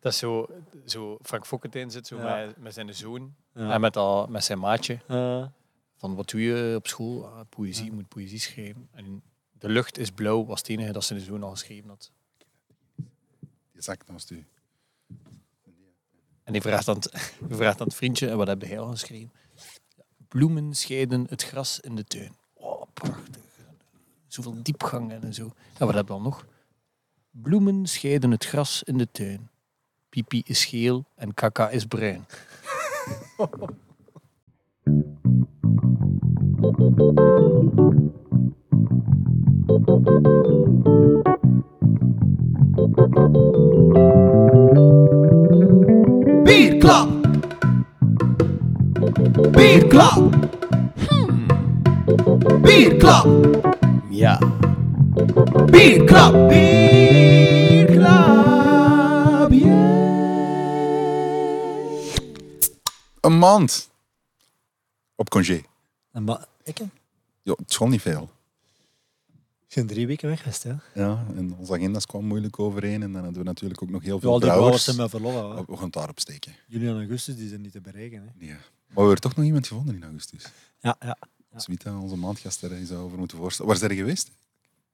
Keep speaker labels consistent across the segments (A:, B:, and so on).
A: Dat is zo, zo Frank Fokkert in zit, zo
B: Ja.
A: met, met zijn zoon
B: Ja.
A: en met, al, met zijn maatje.
B: Eh,
A: Van wat doe je op school? Ah, poëzie, je moet poëzie schrijven. En de lucht is blauw was het enige dat zijn zoon al geschreven had.
C: Die zak naast u.
A: En die vraagt aan het, die vraagt aan het vriendje, en wat heb jij al geschreven? Bloemen scheiden het gras in de tuin. Oh, prachtig. Zoveel diepgang en zo. En wat heb je dan nog? Bloemen scheiden het gras in de tuin. Pipi is geel en kaka is bruin.
D: Bierklap. Bierklap. Bierklap.
B: ja.
D: Bierklap. Bierklap.
C: Een maand. Op congé.
B: En maar ik hè?
C: Ja, het is gewoon niet veel.
B: Ik ben drie weken weg geweest, hè.
C: Ja, en onze agendas kwamen moeilijk overeen. En dan hadden we natuurlijk ook nog heel veel
B: Al die brouwers
C: trouwers.
B: zijn met verlof, hè.
C: Oh, We gaan het daarop steken.
B: Juli en augustus, die zijn niet te bereiken, hè.
C: Ja. Maar we hebben toch nog iemand gevonden in augustus.
B: Ja, ja.
C: Smita, onze maandgast, daar zou over moeten voorstellen. Waar zijn je geweest?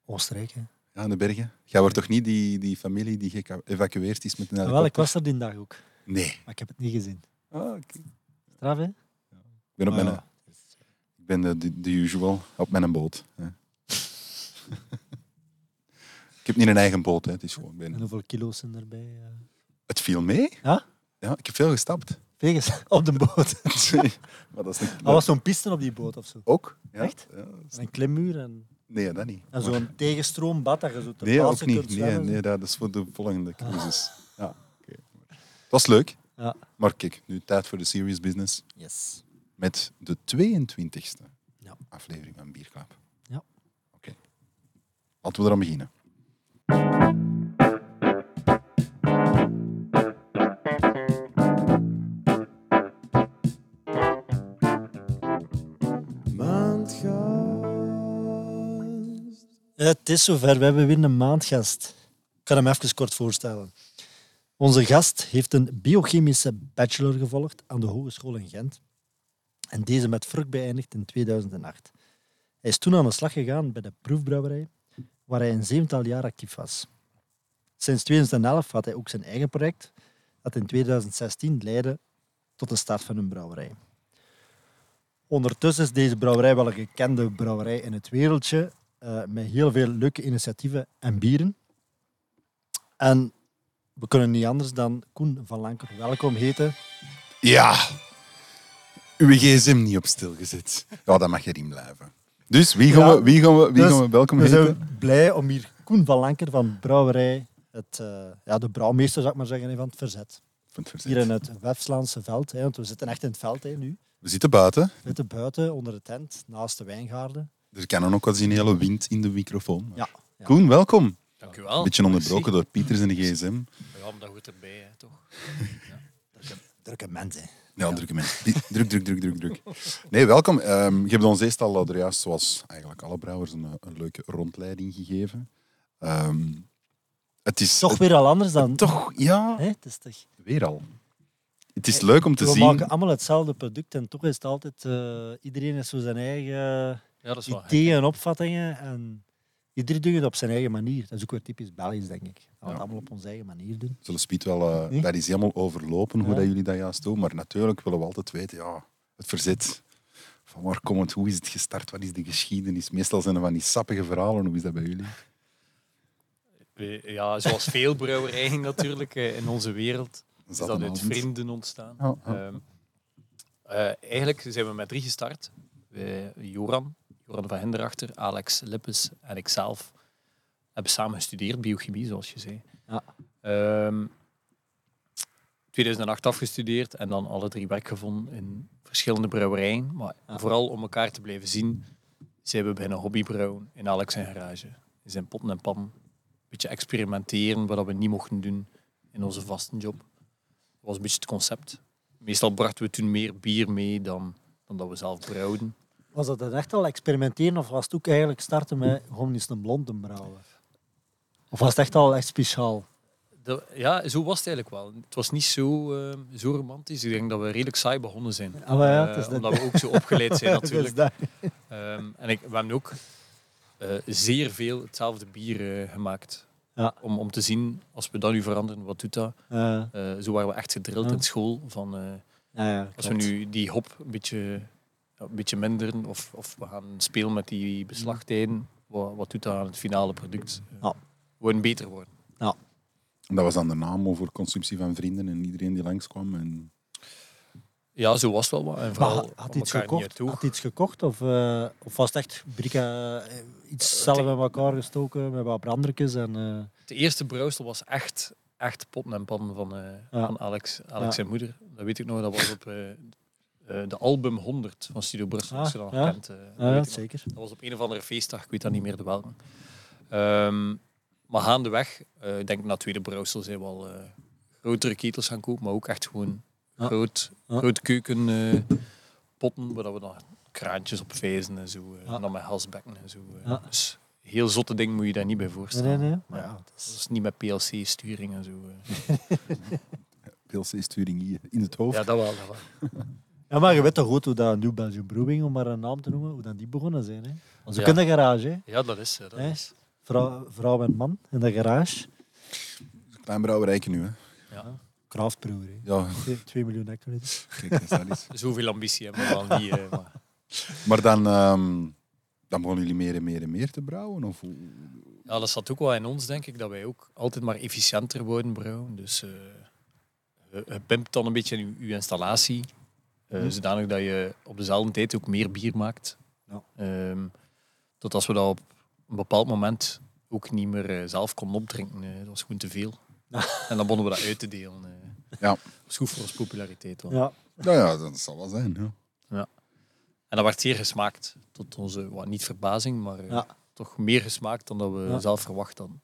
B: Oostenrijk, hè.
C: Ja, in de bergen. Jij wordt toch niet die, die familie die geëvacueerd is met een
B: Wel, ik
C: helikopter?
B: was er die dag ook,
C: Nee.
B: maar ik heb het niet gezien.
C: Ah, oké. Ik
B: Straf, hè?
C: ben, op
B: Ah,
C: mijn,
B: ja.
C: ik ben de, de, de usual, op mijn boot. hè. ik heb niet een eigen boot, hè. het is gewoon... ik
B: En
C: Ben...
B: hoeveel kilo's zijn erbij? eh?
C: Het viel mee.
B: Ja?
C: Ja, ik heb veel gestapt.
B: Vegas, op de boot.
C: maar dat is niet...
B: Er was zo'n piste op die boot of zo.
C: Ook? Ja.
B: Echt?
C: Ja, dat is-
B: En een klimmuur en,
C: Nee, dat niet.
B: en zo'n tegenstroombad dat je zo te
C: Nee, ook
B: plaatsen
C: niet.
B: kunt Ah.
C: Nee,
B: zwemmen.
C: nee, dat is voor de volgende crisis. Ja. oké. Het was leuk.
B: Ja.
C: Maar kijk, nu tijd voor de serious business
B: Yes.
C: met de 22e
B: Ja.
C: aflevering van Bierklap.
B: Ja.
C: Oké. Laten we eraan beginnen.
B: Het is zover, we hebben weer een maandgast. Ik ga hem even kort voorstellen. Onze gast heeft een biochemische bachelor gevolgd aan de Hogeschool in Gent. En deze met vrucht beëindigd in 2008. Hij is toen aan de slag gegaan bij de proefbrouwerij, waar hij een zevental jaar actief was. Sinds 2011 had hij ook zijn eigen project, dat in 2016 leidde tot de start van een brouwerij. Ondertussen is deze brouwerij wel een gekende brouwerij in het wereldje eh, met heel veel leuke initiatieven en bieren. En we kunnen niet anders dan Koen van Lanker welkom heten.
C: Ja. Uw gsm niet op stil gezet. Ja, dat mag je niet blijven. Dus wie gaan,
B: Ja,
C: we, wie gaan, we, wie
B: dus
C: gaan we welkom
B: we
C: heten?
B: zijn blij om hier Koen van Lanker van Brouwerij, het, eh, ja, de brouwmeester zou ik maar zeggen, hè, van het verzet.
C: Van het verzet.
B: Hier in het Westlandse veld, hè, want we zitten echt in het veld hè, nu.
C: We zitten buiten.
B: We zitten buiten, onder de tent, naast de wijngaarden.
C: Er kan ook wat hele wind in de microfoon.
B: Ja, ja. Oh,
C: Koen, welkom.
A: Dank u wel.
C: Beetje onderbroken door Pieters en de gsm.
A: Ja, maar dat hoort erbij, hè, toch?
B: drukke mensen.
C: Ja, drukke mensen. Die- Druk, druk, druk, druk, druk. Nee, welkom. Ehm je hebt ons eerst al eh, er juist, zoals eigenlijk alle brouwers, een, eh, een leuke rondleiding gegeven. Ehm, het is
B: Toch
C: het-
B: weer al anders dan...
C: toch, ja,
B: Hè, het is toch...
C: weer al. Het is leuk om te
B: we
C: zien.
B: maken allemaal hetzelfde product en toch is het altijd... eh, iedereen heeft zo zijn eigen
A: Ja, dat is wel.
B: ideeën en opvattingen. En iedereen doet het op zijn eigen manier. Dat is ook weer typisch Belgisch, denk ik. Dat we
C: Ja.
B: het allemaal op onze eigen manier doen.
C: Zullen Spiet wel, eh,
B: Nee?
C: dat is helemaal overlopen hoe
B: Ja.
C: dat jullie dat juist doen. Maar natuurlijk willen we altijd weten, ja, het verzet. Van waar komt het? Hoe is het gestart? Wat is de geschiedenis? Meestal zijn er van die sappige verhalen. Hoe is dat bij jullie?
A: Ja, zoals veel brouwerijen natuurlijk eh, in onze wereld. Is dat uit
C: Zaterdagavond.
A: vrienden ontstaan.
C: Ja, ja.
A: Ehm, eh, eigenlijk zijn we met drie gestart. We- Joran, Joran van Hinderachter, Alex Lippes en ikzelf hebben samen gestudeerd, biochemie, zoals je zei.
B: Ja.
A: Ehm, 2008 afgestudeerd en dan alle drie werk gevonden in verschillende brouwerijen. Maar
B: Ja.
A: vooral om elkaar te blijven zien, zijn we beginnen hobbybrouwen in Alex zijn garage. In zijn potten en pannen. Een beetje experimenteren, wat we niet mochten doen in onze vaste job. Dat was een beetje het concept. Meestal brachten we toen meer bier mee dan, dan dat we zelf brouwden.
B: Was dat dan echt al experimenteren of was het ook eigenlijk starten met gewoon eens een blond te brouwen? Of was het echt al echt speciaal?
A: Dat- ja, zo was het eigenlijk wel. Het was niet zo, eh, zo romantisch. Ik denk dat we redelijk saai begonnen zijn.
B: Ah, maar ja, het is
A: Eh,
B: dat-
A: omdat we ook zo opgeleid zijn
B: Dat is
A: natuurlijk.
B: dat.
A: Ehm, en ik, we hebben ook eh, zeer veel hetzelfde bier eh, gemaakt.
B: Ja.
A: Om, om te zien, als we dat nu veranderen, wat doet dat?
B: Eh,
A: Eh, zo waren we echt gedrild
B: Ja.
A: in school. Van, eh,
B: nou ja,
A: als we
B: klopt.
A: nu die hop een beetje, ja, een beetje minderen of, of we gaan spelen met die beslagtijden, wat, wat doet dat aan het finale product? Eh,
B: Mm. Ja.
A: Gewoon beter worden.
C: En dat was dan de naam over consumptie van vrienden en iedereen die langskwam. En...
A: Ja, zo was het wel wat. En
B: Maar
A: vooral
B: had, had
A: om
B: iets
A: elkaar niet
B: gekocht?
A: toe.
B: Had iets gekocht of, eh, of was het echt brika eh, iets zelf bij elkaar gestoken met wat brandertjes en eh,
A: De eerste brouwsel was echt, echt potten en pannen van, eh,
B: Ja.
A: van Alex, Alex
B: Ja.
A: zijn moeder. Dat weet ik nog, dat was op eh, eh, de album 100 van Studio Brussel.
B: Ah,
A: als je dat nog
B: ja.
A: kent, eh, dat
B: ah,
A: weet
B: ja,
A: ik nog.
B: zeker.
A: Dat was op een of andere feestdag, ik weet dat niet meer de welke. Ehm, maar gaandeweg, eh, ik denk na tweede brouwsel zijn we al eh, grotere ketels gaan kopen, maar ook echt gewoon
B: Ja.
A: groot,
B: Ja.
A: groot keukenpotten, waar dat we dan kraantjes op vijzen en zo, eh,
B: Ja.
A: en dan met halsbekken en zo. eh.
B: Ja.
A: Dus heel zotte ding moet je daar niet bij
B: Nee,
A: voorstellen.
B: nee, nee. Maar ja,
A: Ja.
B: het
A: Dat
B: is-
A: is niet met PLC-sturing en zo. eh.
C: PLC-sturing hier in het hoofd.
A: Ja, dat wel. Dat wel.
B: ja, maar je weet toch goed hoe dat New Belgium Brewing, om maar een naam te noemen, hoe dat die begonnen zijn. Hè? Als ook
A: Ja.
B: in de garage, hè?
A: Ja, dat is. eh, Dat
B: Hè?
A: is.
B: Vrouw, vrouw en man in de garage.
C: Klein brouwerijke nu, hè.
A: Ja.
B: Craftbrewer, hè.
C: Ja,
B: 2 miljoen hectoliter.
C: kijk eens, dat is.
A: Zoveel ambitie hebben we wel niet. eh, maar.
C: Maar dan, ehm, dan begonnen jullie meer en meer en meer te brouwen? Of hoe-
A: Ja, dat zat ook wel in ons, denk ik, dat wij ook altijd maar efficiënter worden, bro. Dus eh je- je pimpt dan een beetje je, je installatie, eh, zodanig dat je op dezelfde tijd ook meer bier maakt.
B: Ja.
A: Ehm, tot als we dat op een bepaald moment ook niet meer eh, zelf konden opdrinken. eh, dat was gewoon te veel. En dan begonnen we dat uit te delen. eh.
C: Ja.
A: Dat was goed voor onze populariteit. wel.
B: Ja.
C: Ja, Nou ja, dat zal wel zijn. Ja.
A: En dat werd zeer gesmaakt. Tot onze, wat, niet verbazing, maar eh,
B: Ja.
A: toch meer gesmaakt dan dat we
B: Ja.
A: zelf verwacht hadden.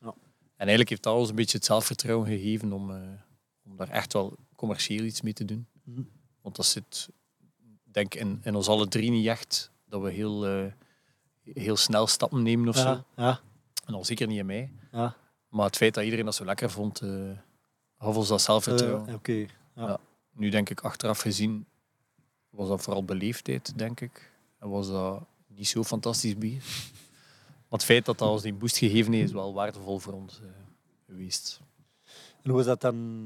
B: Ja.
A: En eigenlijk heeft dat ons een beetje het zelfvertrouwen gegeven om, eh, om daar echt wel commercieel iets mee te doen.
B: Mhm.
A: Want dat zit, denk ik, in, in ons alle drie niet echt. Dat we heel, eh, heel snel stappen nemen of zo.
B: Ja, ja,
A: En al zeker niet in mij.
B: ja.
A: Maar het feit dat iedereen dat zo lekker vond, eh gaf ons dat zelfvertrouwen.
B: Eh, Oké.
A: Nu denk ik achteraf gezien was dat vooral beleefdheid, denk ik. En was dat niet zo fantastisch bier. Maar het feit dat dat ons die boost gegeven heeft, is wel waardevol voor ons eh, geweest.
B: En hoe is dat dan...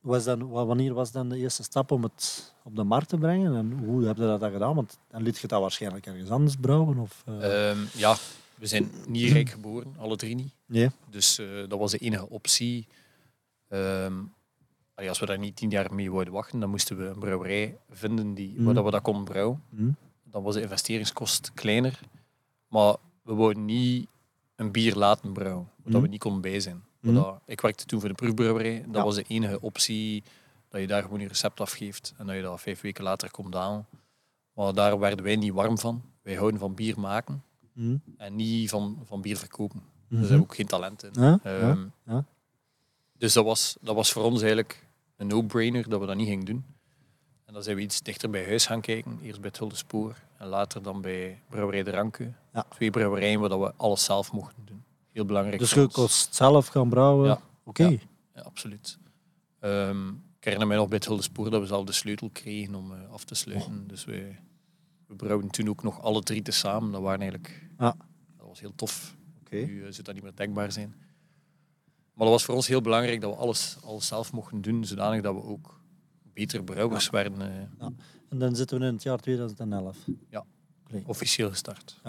B: Was dan, wa- wanneer was dan de eerste stap om het op de markt te brengen? En hoe heb je dat dan gedaan? Want dan liet je dat waarschijnlijk ergens anders brouwen? Of, eh,
A: Ehm, ja, we zijn niet rijk geboren, alle drie niet.
B: nee?
A: Dus eh, dat was de enige optie. Ehm, allee, als we daar niet tien jaar mee wilden wachten, dan moesten we een brouwerij vinden die, waar
B: Mhm.
A: dat we dat konden brouwen.
B: Hm?
A: Dan was de investeringskost kleiner. Maar we wouden niet een bier laten brouwen, omdat we
B: Mhm.
A: niet konden bij zijn.
B: Mhm.
A: Dat- ik werkte toen voor de proefbrouwerij. Dat
B: Ja.
A: was de enige optie dat je daar gewoon je recept afgeeft en dat je dat vijf weken later komt halen. Maar daar werden wij niet warm van. Wij houden van bier maken
B: Hm?
A: en niet van, van bier verkopen. Daar
B: Mhm.
A: zijn we ook geen talent in.
B: Ja, ja.
A: Ehm,
B: ja.
A: Dus dat was, dat was voor ons eigenlijk een no-brainer dat we dat niet gingen doen. En dan zijn we iets dichter bij huis gaan kijken. Eerst bij het Huldespoor en later dan bij Brouwerij de Ranke.
B: Ja.
A: Twee brouwerijen waar dat we alles zelf mochten doen. Heel belangrijk.
B: Dus
A: voor
B: je
A: ons.
B: kost zelf gaan brouwen?
A: Ja.
B: Oké.
A: Ja. Ja, absoluut. Ehm ik herinner mij nog bij het Huldespoor dat we zelf de sleutel kregen om eh, af te
B: Oh.
A: sluiten. Dus we, we brouwden toen ook nog alle drie tezamen. Dat waren eigenlijk...
B: Ja.
A: Dat was heel tof.
B: Oké.
A: Nu eh, zou dat niet meer denkbaar zijn. Maar dat was voor ons heel belangrijk dat we alles, alles zelf mochten doen, zodanig dat we ook beter brouwers werden eh,
B: En dan zitten we in het jaar 2011.
A: officieel gestart.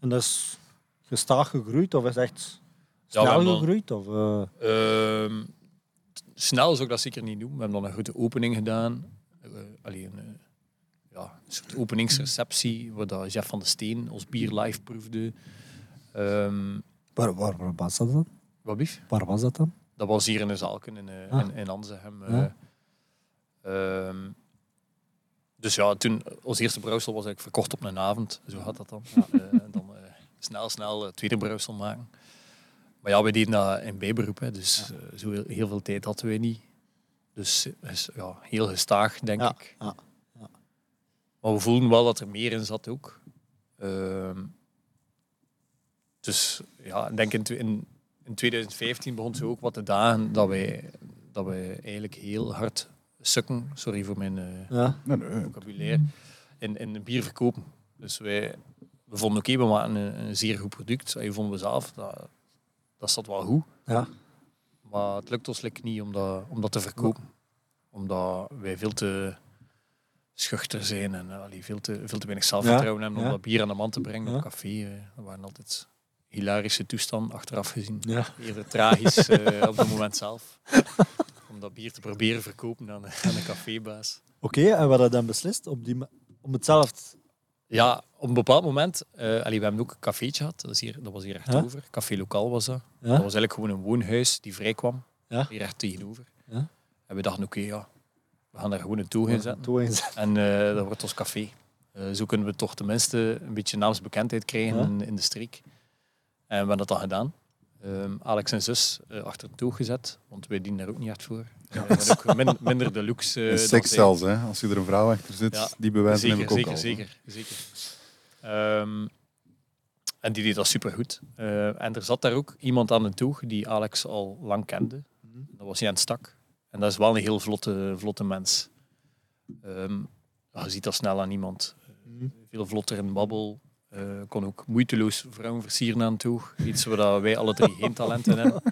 B: En dat is gestaag gegroeid of is echt
A: Ja, we
B: snel
A: hebben dan-
B: gegroeid? Of, eh,
A: Ehm, t- snel zou ik dat zeker niet doen. We hebben dan een grote opening gedaan. alleen een, eh, ja, een soort openingsreceptie, waar dat Jeff van de Steen ons bier live proefde. Ehm
B: waar, waar, waar was dat dan?
A: wat blieft?
B: Waar was dat dan?
A: Dat was hier in de zaalken in, eh
B: Ah.
A: in, in Anzegem. eh.
B: Ja.
A: Ehm, dus ja, toen, ons eerste brouwsel was eigenlijk verkocht op een avond. Zo gaat dat dan. Eh, en dan eh, snel, snel het tweede brouwsel maken. Maar ja, wij deden dat in bijberoep. Hè, dus eh, zo heel, heel veel tijd hadden wij niet. Dus eh, is- ja, heel gestaag, denk
B: Ja,
A: ik.
B: ja,
A: Maar we voelden wel dat er meer in zat ook. Ehm, dus ja, ik denk in, tw- in In 2015 begon ze ook wat te dagen dat wij, dat wij eigenlijk heel hard sukken, sorry voor mijn eh,
B: Ja.
C: Nee, nee.
A: vocabulaire, in, in bier verkopen. Dus wij we vonden oké, we maken een, een zeer goed product. En vonden we zelf, dat, dat zat wel goed.
B: ja.
A: Maar het lukt ons like niet om dat, om dat te verkopen. Omdat wij veel te schuchter zijn en eh, allee, veel, te, veel te weinig zelfvertrouwen hebben om
B: ja.
A: dat bier aan de man te brengen
B: Ja.
A: op café. eh. Dat waren altijd hilarische toestanden achteraf gezien.
B: Ja.
A: Eerder tragisch eh, op het moment zelf. Om dat bier te proberen verkopen aan, aan een cafébaas.
B: Oké, en wat had dan beslist op die ma- om het zelf...
A: Ja, op een bepaald moment... eh allee, we hebben ook een cafeetje gehad. Dat, is hier, dat was hier rechtover. Café Lokaal was dat.
B: Ja?
A: Dat was eigenlijk gewoon een woonhuis die vrij kwam.
B: Ja.
A: Hier recht tegenover.
B: Ja.
A: En we dachten, oké, ja, we gaan daar gewoon een toog in zetten.
B: Toe inzetten.
A: En eh, dat wordt ons café. Eh, zo kunnen we toch tenminste een beetje naamsbekendheid krijgen
B: Ja.
A: in, in de streek. En we hebben dat dan gedaan. Ehm, Alex en zus eh, achter het toog gezet, want wij dienen daar ook niet hard voor. Eh, we hebben ook min- minder de luxe. eh,
C: En
A: dan
C: seks
A: zij.
C: zelfs, hè. Als je er een vrouw achter zit,
A: Ja,
C: die bewijzen
A: Zeker,
C: heb ik ook
A: zeker,
C: al.
A: zeker, zeker. Ehm, en die deed dat supergoed. Eh en er zat daar ook iemand aan de toeg die Alex al lang kende. Dat was Jens Stak. En dat is wel een heel vlotte, vlotte mens. Ehm, je ziet dat snel aan iemand.
B: Mhm.
A: Veel vlotter in babbel. Eh, kon ook moeiteloos vrouwen versieren aan de toeg. Iets waar dat wij alle drie geen talent in hebben.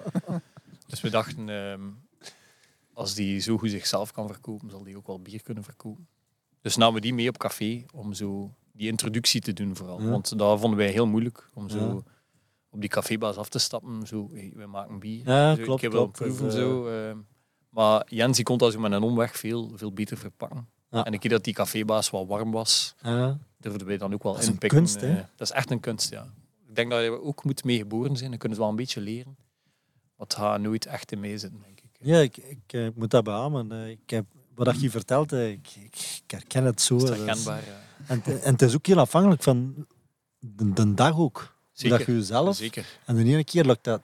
A: Dus we dachten, ehm, als die zo goed zichzelf kan verkopen, zal die ook wel bier kunnen verkopen. Dus namen we die mee op café om zo die introductie te doen vooral.
B: Ja.
A: Want dat vonden wij heel moeilijk om zo op die cafébaas af te stappen. Zo, hey, we maken bier.
B: Ja,
A: zo,
B: klopt,
A: ik heb wel
B: klopt.
A: proeven
B: Dus, eh,
A: zo. eh. maar Jens die kon dat zo met een omweg veel, veel beter verpakken.
B: Ja.
A: En ik keer dat die cafébaas wat warm was,
B: eh, Ja.
A: durfden wij dan ook wel
B: Dat is een
A: inpikken.
B: kunst, hè?
A: eh. dat is echt een kunst, ja. Ik denk dat je er ook moet mee geboren zijn. Dan kunnen ze wel een beetje leren. Maar het gaat nooit echt in mij zitten, denk ik.
B: Ja, ik, ik, eh, ik moet dat beamen. Eh, Ik heb, wat dat je vertelt, eh, ik, ik, ik herken het zo.
A: Dat is
B: Dat is-
A: herkenbaar. ja.
B: en, het- en het is ook heel afhankelijk van de, de dag ook. Dat je
A: Zeker.
B: jezelf...
A: Zeker.
B: En de ene keer lukt dat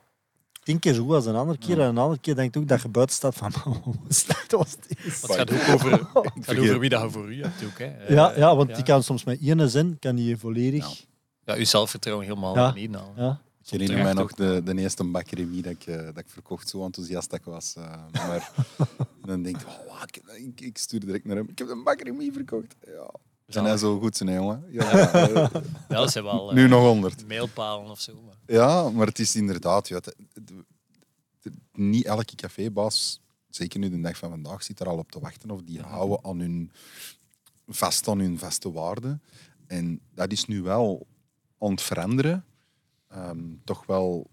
B: tien keer zo goed als de andere keer. En de andere keer denk ik ook dat je buiten staat van... "Man, Hoe slecht was dit?
A: Maar het gaat ook over, het gaat
C: vergeet-
A: over wie dat je voor u hebt ook. Hè. Eh,
B: Ja, ja, want
A: ja.
B: die kan soms met één zin kan die volledig...
A: Ja, uw zelfvertrouwen helemaal
B: Ja.
A: ja. meenemen.
B: Ja.
C: Ik herinner mij nog
A: Terecht
C: de, de eerste bakkeremie dat ik, eh, dat ik verkocht, zo enthousiast dat ik was. eh, maar dan denk ik, oh, wat, ik, ik, ik stuur direct naar hem. Ik heb een bakkeremie verkocht. Ja.
A: Dus
C: En hij zo goed zijn, hè, jongen. Ja, eh,
A: Ja, dat zijn wel eh,
C: nu nog honderd.
A: mijlpalen of zo. maar-
C: Ja, maar het is inderdaad... Ja, het- het- het- niet elke cafébaas, zeker nu de dag van vandaag, zit er al op te wachten. Of die houden aan hun, vast aan hun vaste waarden. En dat is nu wel aan het veranderen. Ehm, toch wel...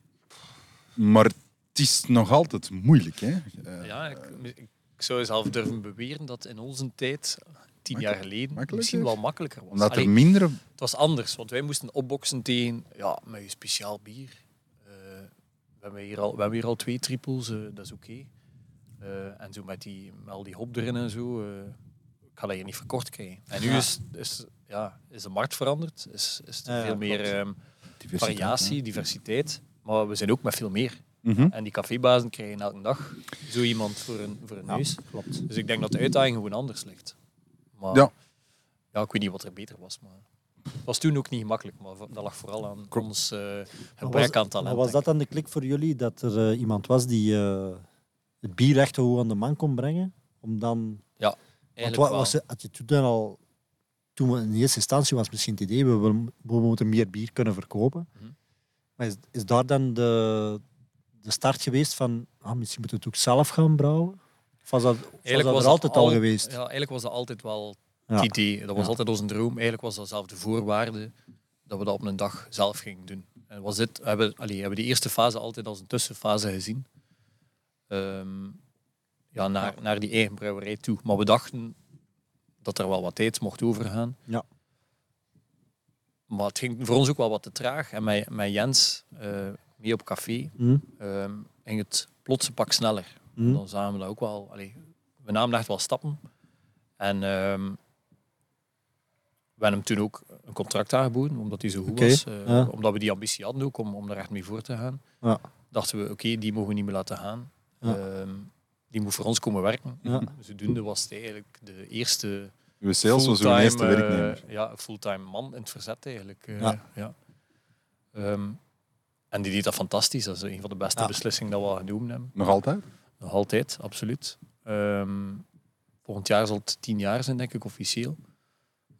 C: Maar het is nog altijd moeilijk, hè? Eh,
A: Ja, ik, ik zou zelf durven beweren dat in onze tijd, tien jaar geleden,
C: makkelijker?
A: misschien wel makkelijker was.
C: omdat
A: Allee,
C: er minder...
A: Het was anders, want wij moesten opboksen tegen, ja, met je speciaal bier. Eh, we, hebben hier al, we hebben hier al twee triples, eh, dat is oké. Eh, en zo met, die, met al die hop erin en zo, eh, ik ga dat hier niet verkort krijgen. En nu is, is, ja, is de markt veranderd, is, is er
B: Ja, ja,
A: veel meer...
B: klopt.
A: ehm,
C: diversiteit,
A: variatie, diversiteit. Maar we zijn ook met veel meer.
C: hè. Mhm.
A: En die cafébazen krijgen elke dag zo iemand voor een, voor een neus.
B: Klopt.
A: Dus ik denk dat de uitdaging gewoon anders ligt. Maar,
C: Ja.
A: ja, ik weet niet wat er beter was. Maar het was toen ook niet gemakkelijk, maar dat lag vooral aan ons eh gebrek aan
B: Maar
A: talent.
B: was dat
A: denk
B: dan de klik voor jullie dat er eh, iemand was die eh, het bier echt gewoon aan de man kon brengen? Om dan,
A: ik.
B: want
A: Eigenlijk
B: wat was
A: wel.
B: de attitude dan al? Toen we in eerste instantie was misschien het idee, we, willen- we moeten meer bier kunnen verkopen.
A: Mhm.
B: Maar is, is daar dan de, de start geweest van, ah, misschien moeten we het ook zelf gaan brouwen? Of was dat, of was dat er altijd al, geweest?
A: Ja, eigenlijk was dat altijd wel
B: Ja.
A: het idee. Dat was
B: Ja.
A: altijd onze droom. Eigenlijk was dat zelf de voorwaarde dat we dat op een dag zelf gingen doen. En was dit, we hebben, allee, we hebben die eerste fase altijd als een tussenfase gezien. Ehm, ja, naar, naar die eigen brouwerij toe. Maar we dachten dat er wel wat tijd mocht overgaan.
B: Ja.
A: Maar het ging voor ons ook wel wat te traag. En met, met Jens eh, mee op café
B: Hm?
A: ehm, ging het plots een pak sneller.
B: Hm?
A: Dan zagen we dat ook wel. Allee, we namen echt wel stappen. En ehm, we hebben hem toen ook een contract aangeboden, omdat hij zo goed
B: Oké,
A: was. eh,
B: ja.
A: Omdat we die ambitie hadden ook om, om er echt mee voor te gaan.
B: Ja.
A: Dachten we, oké, die mogen we niet meer laten gaan.
B: Ja.
A: Ehm, die moet voor ons komen werken. Dus
B: Ja.
A: Zodoende was het eigenlijk de eerste
C: Uw sales was uw
A: fulltime,
C: eerste
A: eh,
C: werknemer.
A: ja, een fulltime man in het verzet eigenlijk. eh,
B: Ja.
A: ja. Ehm, En die deed dat fantastisch. Dat is een van de beste
B: Ja.
A: beslissingen dat we al genomen hebben.
C: Nog altijd?
A: Nog altijd, absoluut. Ehm, volgend jaar zal het tien jaar zijn, denk ik, officieel.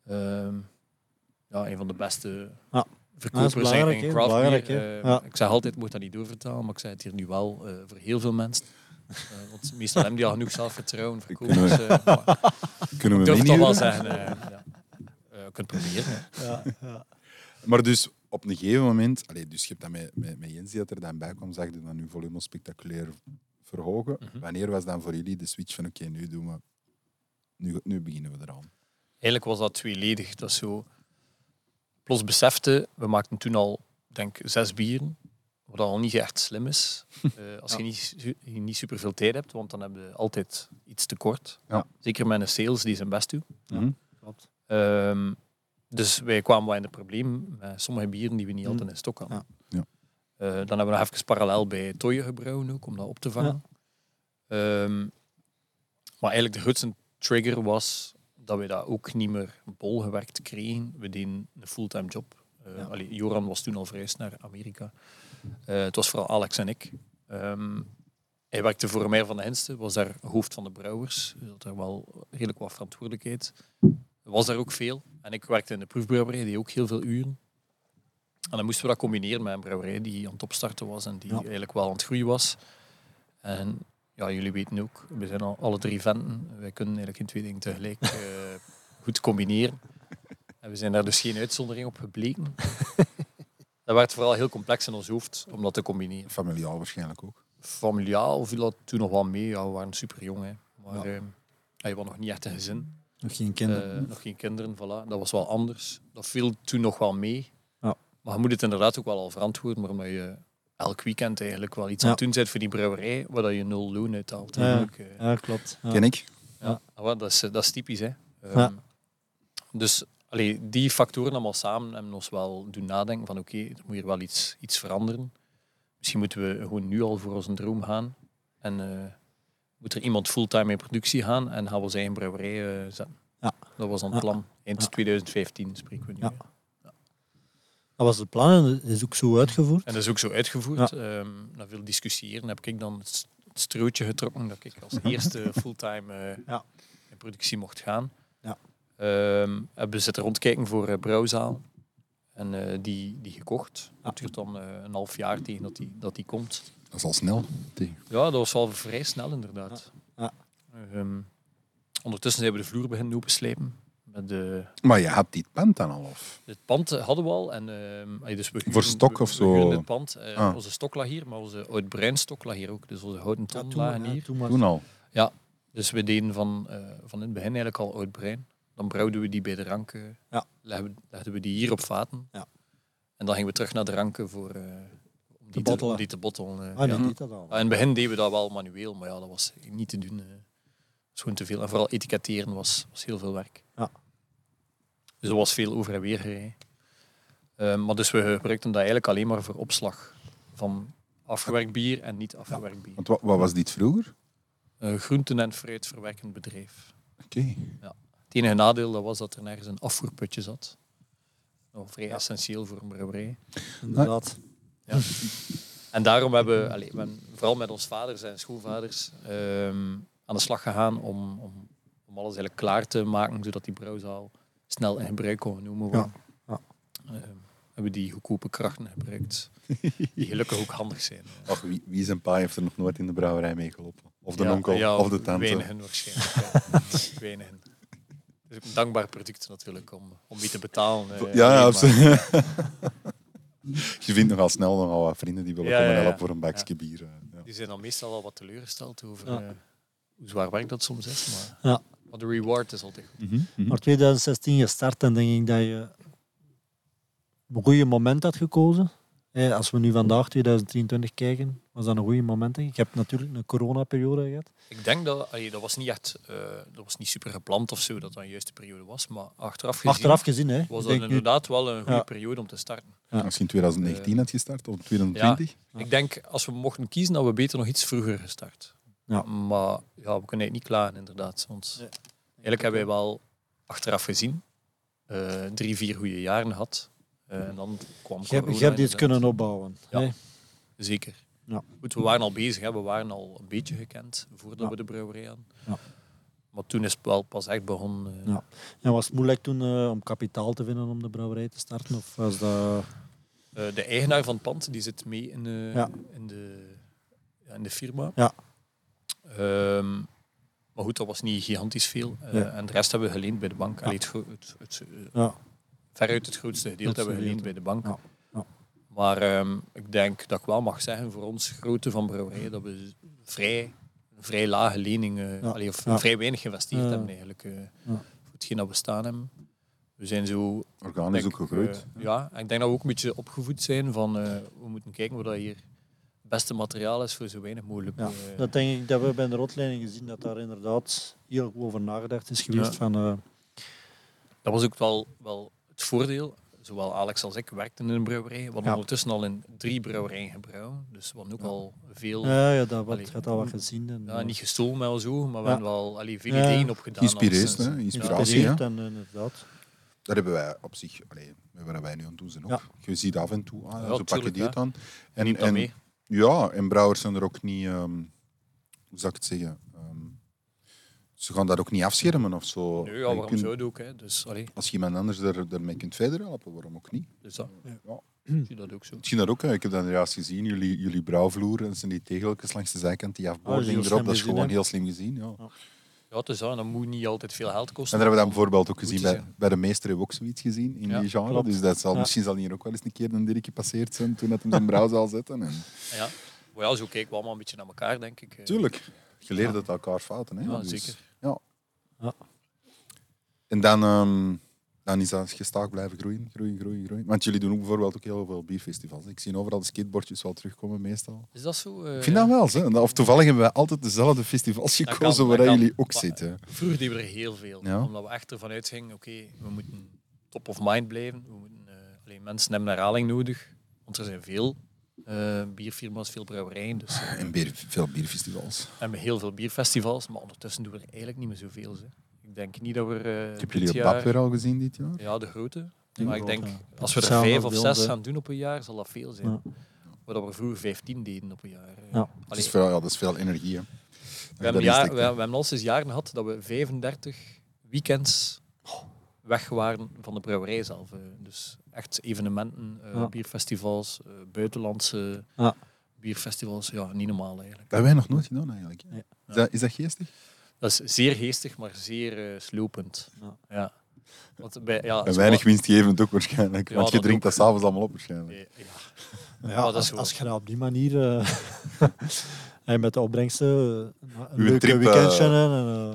A: Ehm, ja, een van de beste
B: Ja.
A: verkopers
B: Ja, dat is belangrijk,
A: in
B: hè.
A: craft beer.
B: Belangrijk, hè.
A: Eh,
B: Ja.
A: Ik zeg altijd, ik moet dat niet doorvertalen, maar ik zeg het hier nu wel eh, voor heel veel mensen. Eh, want meestal hebben die al genoeg zelfvertrouwen, verkopers. eh, maar
C: Kunnen
A: ik
C: we
A: durf
C: hem
A: het toch wel
C: inhuren?
A: zeggen. eh, ja. Eh, je kunt proberen. hè.
B: Ja, ja.
C: Maar dus op een gegeven moment, allee, dus je hebt dat met, met, met Jens die dat er dan bij kwam, zag je dan uw volume spectaculair verhogen. Wanneer was dan voor jullie de switch van oké, nu doen we, nu, nu beginnen we eraan?
A: Eigenlijk was dat tweeledig. Dat is zo... Plots besefte, we maakten toen al, denk ik, zes bieren. Wat al niet echt slim is. Eh, als je niet, su- je niet superveel tijd hebt, want dan heb je altijd iets tekort.
C: Ja.
A: Zeker met een sales die zijn best doet.
C: Mhm.
B: Klopt.
A: Ehm, dus wij kwamen wel in het probleem met sommige bieren die we niet altijd in stok hadden.
C: Ja. Ja.
A: Eh, dan hebben we nog even parallel bij Toye gebrouwen ook, om dat op te vangen. Ehm, maar eigenlijk de grootste trigger was dat we dat ook niet meer bolgewerkt kregen. We deden een fulltime job. Eh,
B: Ja.
A: allee, Joran was toen al verhuisd naar Amerika. Eh, het was vooral Alex en ik. Ehm, hij werkte voor mij van de Henste, was daar hoofd van de brouwers. Dus had daar wel redelijk wat verantwoordelijkheid. Er was daar ook veel. En ik werkte in de proefbrouwerij, die ook heel veel uren. En dan moesten we dat combineren met een brouwerij die aan het opstarten was en die
B: Ja.
A: eigenlijk wel aan het groeien was. En ja, jullie weten ook, we zijn al alle drie venten. Wij kunnen eigenlijk geen twee dingen tegelijk eh, goed combineren. En we zijn daar dus geen uitzondering op gebleken. dat werd vooral heel complex in ons hoofd om dat te combineren
C: Familiaal waarschijnlijk ook.
A: familiaal viel dat toen nog wel mee. Ja, we waren super jong. Hè. Maar eh, hij was nog niet echt een gezin.
B: Nog geen kinderen.
A: Eh, nog geen kinderen, voilà. Dat was wel anders. Dat viel toen nog wel mee.
B: Ja.
A: Maar je moet het inderdaad ook wel al verantwoorden, maar omdat je elk weekend eigenlijk wel iets
B: Ja.
A: aan het doen bent voor die brouwerij, waar dat je nul loon uithaalt.
B: Ja.
A: eigenlijk, eh.
B: ja, klopt. Ja.
C: Ken ik?
A: Ja, wel, dat, is, eh, dat is typisch. Hè. Ehm,
B: Ja.
A: Dus allee, die factoren allemaal samen hebben ons wel doen nadenken van oké, er moet hier wel iets, iets veranderen. Misschien moeten we gewoon nu al voor onze droom gaan. En eh, moet er iemand fulltime in productie gaan en gaan we zijn eigen brouwerij eh, zetten.
B: Ja.
A: Dat was dan
B: Ja.
A: het plan. Eind
B: Ja.
A: 2015 spreken we nu.
B: Ja.
A: hè.
B: Dat was het plan en dat is ook zo uitgevoerd.
A: En dat is ook zo uitgevoerd. Ehm na veel discussiëren heb ik dan het s- het strootje getrokken dat ik als eerste fulltime eh,
B: Ja.
A: in productie mocht gaan.
B: Ja.
A: Ehm, hebben ze zitten rondkijken voor eh, brouwzaal. En eh, die, die gekocht.
B: Ja.
A: Het duurt dan eh, een half jaar tegen dat die, dat die komt.
C: Dat is al snel.
A: Ja, dat was wel vrij snel inderdaad.
B: Ja.
A: Ehm, ondertussen zijn we de vloer beginnen openslijpen. Met de,
C: Maar je had dit pand dan al of?
A: het pand eh, hadden we al. En, ehm, allee, dus we
C: Voor stok
A: we-
C: of
A: we
C: zo?
A: huurden het pand. Eh,
C: Ah.
A: Onze stok lag hier, maar onze oud-bruin stok lag hier ook. Dus onze houten ton lagen hier.
B: toen was-
C: Toen al.
A: Dus we deden van, eh, van in het begin eigenlijk al oud-bruin. Dan brouwden we die bij de ranken.
B: Ja.
A: Legden, we- legden we die hier op vaten.
B: Ja.
A: En dan gingen we terug naar de ranken voor, eh, om, die te,
B: bottelen.
A: om die te bottelen. eh,
B: Ah,
A: ja.
B: die deed dat al.
A: In het begin deden we dat wel manueel, maar ja, dat was niet te doen. eh. Dat was gewoon te veel. En vooral etiketteren was, was heel veel werk.
B: Ja.
A: Dus er was veel over en weer gereden. Eh, maar dus we gebruikten dat eigenlijk alleen maar voor opslag van afgewerkt bier en niet afgewerkt bier.
C: Want wat, wat was dit vroeger?
A: Een groenten- en fruitverwerkend bedrijf.
C: Oké.
A: Het enige nadeel dat was dat er nergens een afvoerputje zat. Nou, vrij essentieel voor een brouwerij.
B: Inderdaad.
A: En daarom hebben we, allee, we hebben vooral met ons vaders en schoonvaders ehm, aan de slag gegaan om, om, om alles eigenlijk klaar te maken, zodat die brouwzaal snel in gebruik kon genomen worden.
B: Ja,
A: Ehm, hebben die goedkope krachten gebruikt, die gelukkig ook handig zijn.
C: Ach, wie, wie zijn pa heeft er nog nooit in de brouwerij meegelopen? Of de
A: Ja,
C: onkel,
A: ja,
C: of de tante.
A: Weinigen waarschijnlijk. ja. Weinigen. Het is ook een dankbaar product natuurlijk om, om wie te betalen. eh,
C: Ja,
A: alleen
C: ja
A: maar.
C: absoluut. je vindt nogal snel nogal wat vrienden die willen
A: Ja,
C: komen
A: ja, ja.
C: helpen voor een bakje bier. eh, Ja.
A: Die zijn dan meestal wel wat teleurgesteld over
B: Ja.
A: eh, hoe zwaar werk dat soms is. Maar,
B: Ja.
A: maar de reward is altijd goed.
C: Mhm,
B: Maar 2016 gestart en denk ik dat je een goede moment had gekozen. Eh, Als we nu vandaag 2023 kijken, was dat een goede moment. denk Ik Je hebt natuurlijk een coronaperiode gehad.
A: Ik denk dat, allee, dat was niet echt, eh, dat was niet super gepland of zo, dat dat een juiste periode was. Maar achteraf gezien
B: Achteraf gezien, hè?
A: was
B: Ik
A: dat
B: denk nu-
A: inderdaad wel een goede
B: Ja.
A: periode om te starten.
C: Als je in 2019
A: Eh,
C: had gestart, of 2020?
A: Ik denk, als we mochten kiezen, dat we beter nog iets vroeger gestart.
B: Ja.
A: Maar ja, we kunnen eigenlijk niet klagen, inderdaad. Want
B: Nee.
A: eigenlijk hebben wij wel achteraf gezien eh, drie, vier goede jaren gehad. Eh, en dan kwam
B: Je hebt,
A: corona
B: je hebt dit
A: inderdaad.
B: kunnen opbouwen.
A: Ja.
B: hè.
A: Zeker.
B: Ja.
A: Goed, we waren al bezig, hè. we waren al een beetje gekend voordat
B: Ja.
A: we de brouwerij hadden.
B: Ja.
A: Maar toen is het wel pas echt begonnen. eh,
B: Ja. En was het moeilijk toen eh, om kapitaal te vinden om de brouwerij te starten? Of was dat...
A: Eh, de eigenaar van het pand die zit mee in de,
B: Ja.
A: in de, ja, in de firma.
B: Ja.
A: Ehm, maar goed, dat was niet gigantisch veel. Eh,
B: Nee.
A: En de rest hebben we geleend bij de bank. Allee, het, gro- het, het, eh,
B: Ja.
A: veruit het grootste gedeelte
B: Het
A: hebben we geleend bij de
B: gedeelte.
A: bank.
B: Ja. Ja.
A: Maar ehm, ik denk dat ik wel mag zeggen voor ons grootte van brouwerij dat we vrij, vrij lage leningen,
B: Ja.
A: allee, of
B: Ja.
A: vrij weinig geïnvesteerd
B: Ja.
A: hebben eigenlijk. eh,
B: Ja.
A: Voor hetgeen dat we staan hebben. We zijn zo
C: Orgaan is
A: denk
C: ook gegroeid.
A: ik, eh, ja, en ik denk dat we ook een beetje opgevoed zijn van eh, we moeten kijken wat dat hier het beste materiaal is voor zo weinig mogelijk.
B: Ja,
A: eh,
B: dat denk ik dat we bij de rotleiding gezien dat daar inderdaad heel goed over nagedacht is geweest.
A: Ja.
B: Van, eh,
A: dat was ook wel, wel het voordeel. Zowel Alex als ik werkten in een brouwerij. We hadden
B: Ja.
A: ondertussen al in drie brouwerijen gebrouwen. Dus we hadden ook al veel,
B: ja, ja, dat wat,
A: Allee.
B: je had al wat gezien. En, eh,
A: ja, niet gestolen maar wel zo, maar we hebben wel allee, veel
B: Ja.
A: ideeën opgedaan.
C: Geïnspireerd,
A: alleszins.
C: hè?
A: dus
C: Inspiratie, hè?
B: geïnspireerd en eh, inderdaad.
C: Dat hebben wij op zich, allee, wat wij nu aan het doen zijn ook.
B: Ja.
C: Je ziet af en toe, ah,
A: Ja,
C: zo pak je
A: tuurlijk,
C: die
A: ja.
C: het aan.
A: Je neemt dat mee.
C: Ja, en brouwers zijn er ook niet, ehm, hoe zou ik het zeggen, ehm, ze gaan dat ook niet afschermen of zo.
A: Nee,
C: Je
A: ja, waarom
C: kunt-
A: zou het ook? Hè? Dus, allee,
C: Als iemand anders er, daarmee kunt verder helpen, waarom ook niet?
A: dus dat,
C: Ja.
A: zie je dat ook zo.
C: Ik zie dat ook, hè. ik heb dat juist gezien, jullie, jullie brouwvloer en zijn die tegeltjes langs de zijkant, die
B: Ah,
C: afboording
B: heel
C: erop,
B: slim
C: dat is
B: gezien,
C: gewoon
B: hè.
C: heel slim gezien. Ja.
A: Ja, dus dat, en dat moet niet altijd veel geld kosten.
C: En daar hebben we dan bijvoorbeeld ook
A: Moet
C: gezien,
A: die
C: bij, bij de meester hebben we ook zoiets gezien in
A: Ja,
C: die genre.
B: klopt.
C: Dus dat zal,
B: Ja.
C: misschien zal hier ook wel eens een keer een dirkje passeerd zijn toen dat hem zijn brouw zal zetten. En,
A: Ja. Maar ja, zo kijken we allemaal een beetje naar elkaar, denk ik. Eh,
C: tuurlijk, je leert het elkaar fouten. Hè?
A: Ja,
C: Dus,
A: zeker.
C: Ja.
B: Ja.
C: En dan, ehm, dan is dat gestaag blijven groeien, groeien, groeien, groeien. Want jullie doen ook bijvoorbeeld ook heel veel bierfestivals. Ik zie overal de skateboardjes wel terugkomen meestal.
A: Is dat zo? eh,
C: Ik vind dat wel, hè. Of toevallig hebben wij altijd dezelfde festivals
A: kan,
C: gekozen waar
A: dat kan.
C: jullie ook
A: Maar-
C: zitten.
A: Vroeger deden we er heel veel.
C: Ja.
A: Omdat we echt ervan uitgingen, oké, we moeten top of mind blijven. We moeten, eh, alleen mensen hebben herhaling nodig. Want er zijn veel eh, bierfirma's, veel brouwerijen. Dus, eh,
C: En bier- veel bierfestivals.
A: we hebben heel veel bierfestivals. Maar ondertussen doen we er eigenlijk niet meer zoveel. Zeg. Ik denk niet dat we eh,
C: Ik heb
A: dit
C: jullie op
A: jaar-
C: BAP weer al gezien dit jaar.
A: Ja, de grote.
B: De
A: maar
B: grote,
A: ik denk,
B: ja.
A: als we er
B: Samen
A: vijf of
B: bij
A: zes
B: ons, hè.
A: gaan doen op een jaar, zal dat veel zijn.
B: Ja.
A: Waar dat we vroeger vijftien deden op een jaar. eh.
B: Ja.
C: Dat
A: Allee,
C: is, veel, ja, Dus dat is veel energie. Hè.
A: We hebben, jaar, we, we hebben al sinds jaren gehad dat we 35 weekends weg waren van de brouwerij zelf. eh. Dus echt evenementen, eh,
B: Ja.
A: bierfestivals, eh, buitenlandse
B: Ja.
A: bierfestivals. Ja, niet normaal eigenlijk.
C: Dat hebben wij nog nooit gedaan eigenlijk. hè.
B: Ja.
C: Is, dat, is dat geestig?
A: Dat is zeer geestig, maar zeer eh, slopend.
B: Ja.
A: Ja. Want bij, ja,
C: En
A: zo-
C: weinig winstgevend ook waarschijnlijk.
A: Ja,
C: want je
A: dat
C: drinkt
A: ook.
C: dat s'avonds allemaal op waarschijnlijk.
A: Eh, Ja,
B: Ja,
A: dat
C: Oh,
A: is
B: als,
A: zo.
B: als je dat op die manier eh, en met de opbrengsten eh, een
C: Uw
B: leuke
C: trip, eh,
B: weekendje en, eh,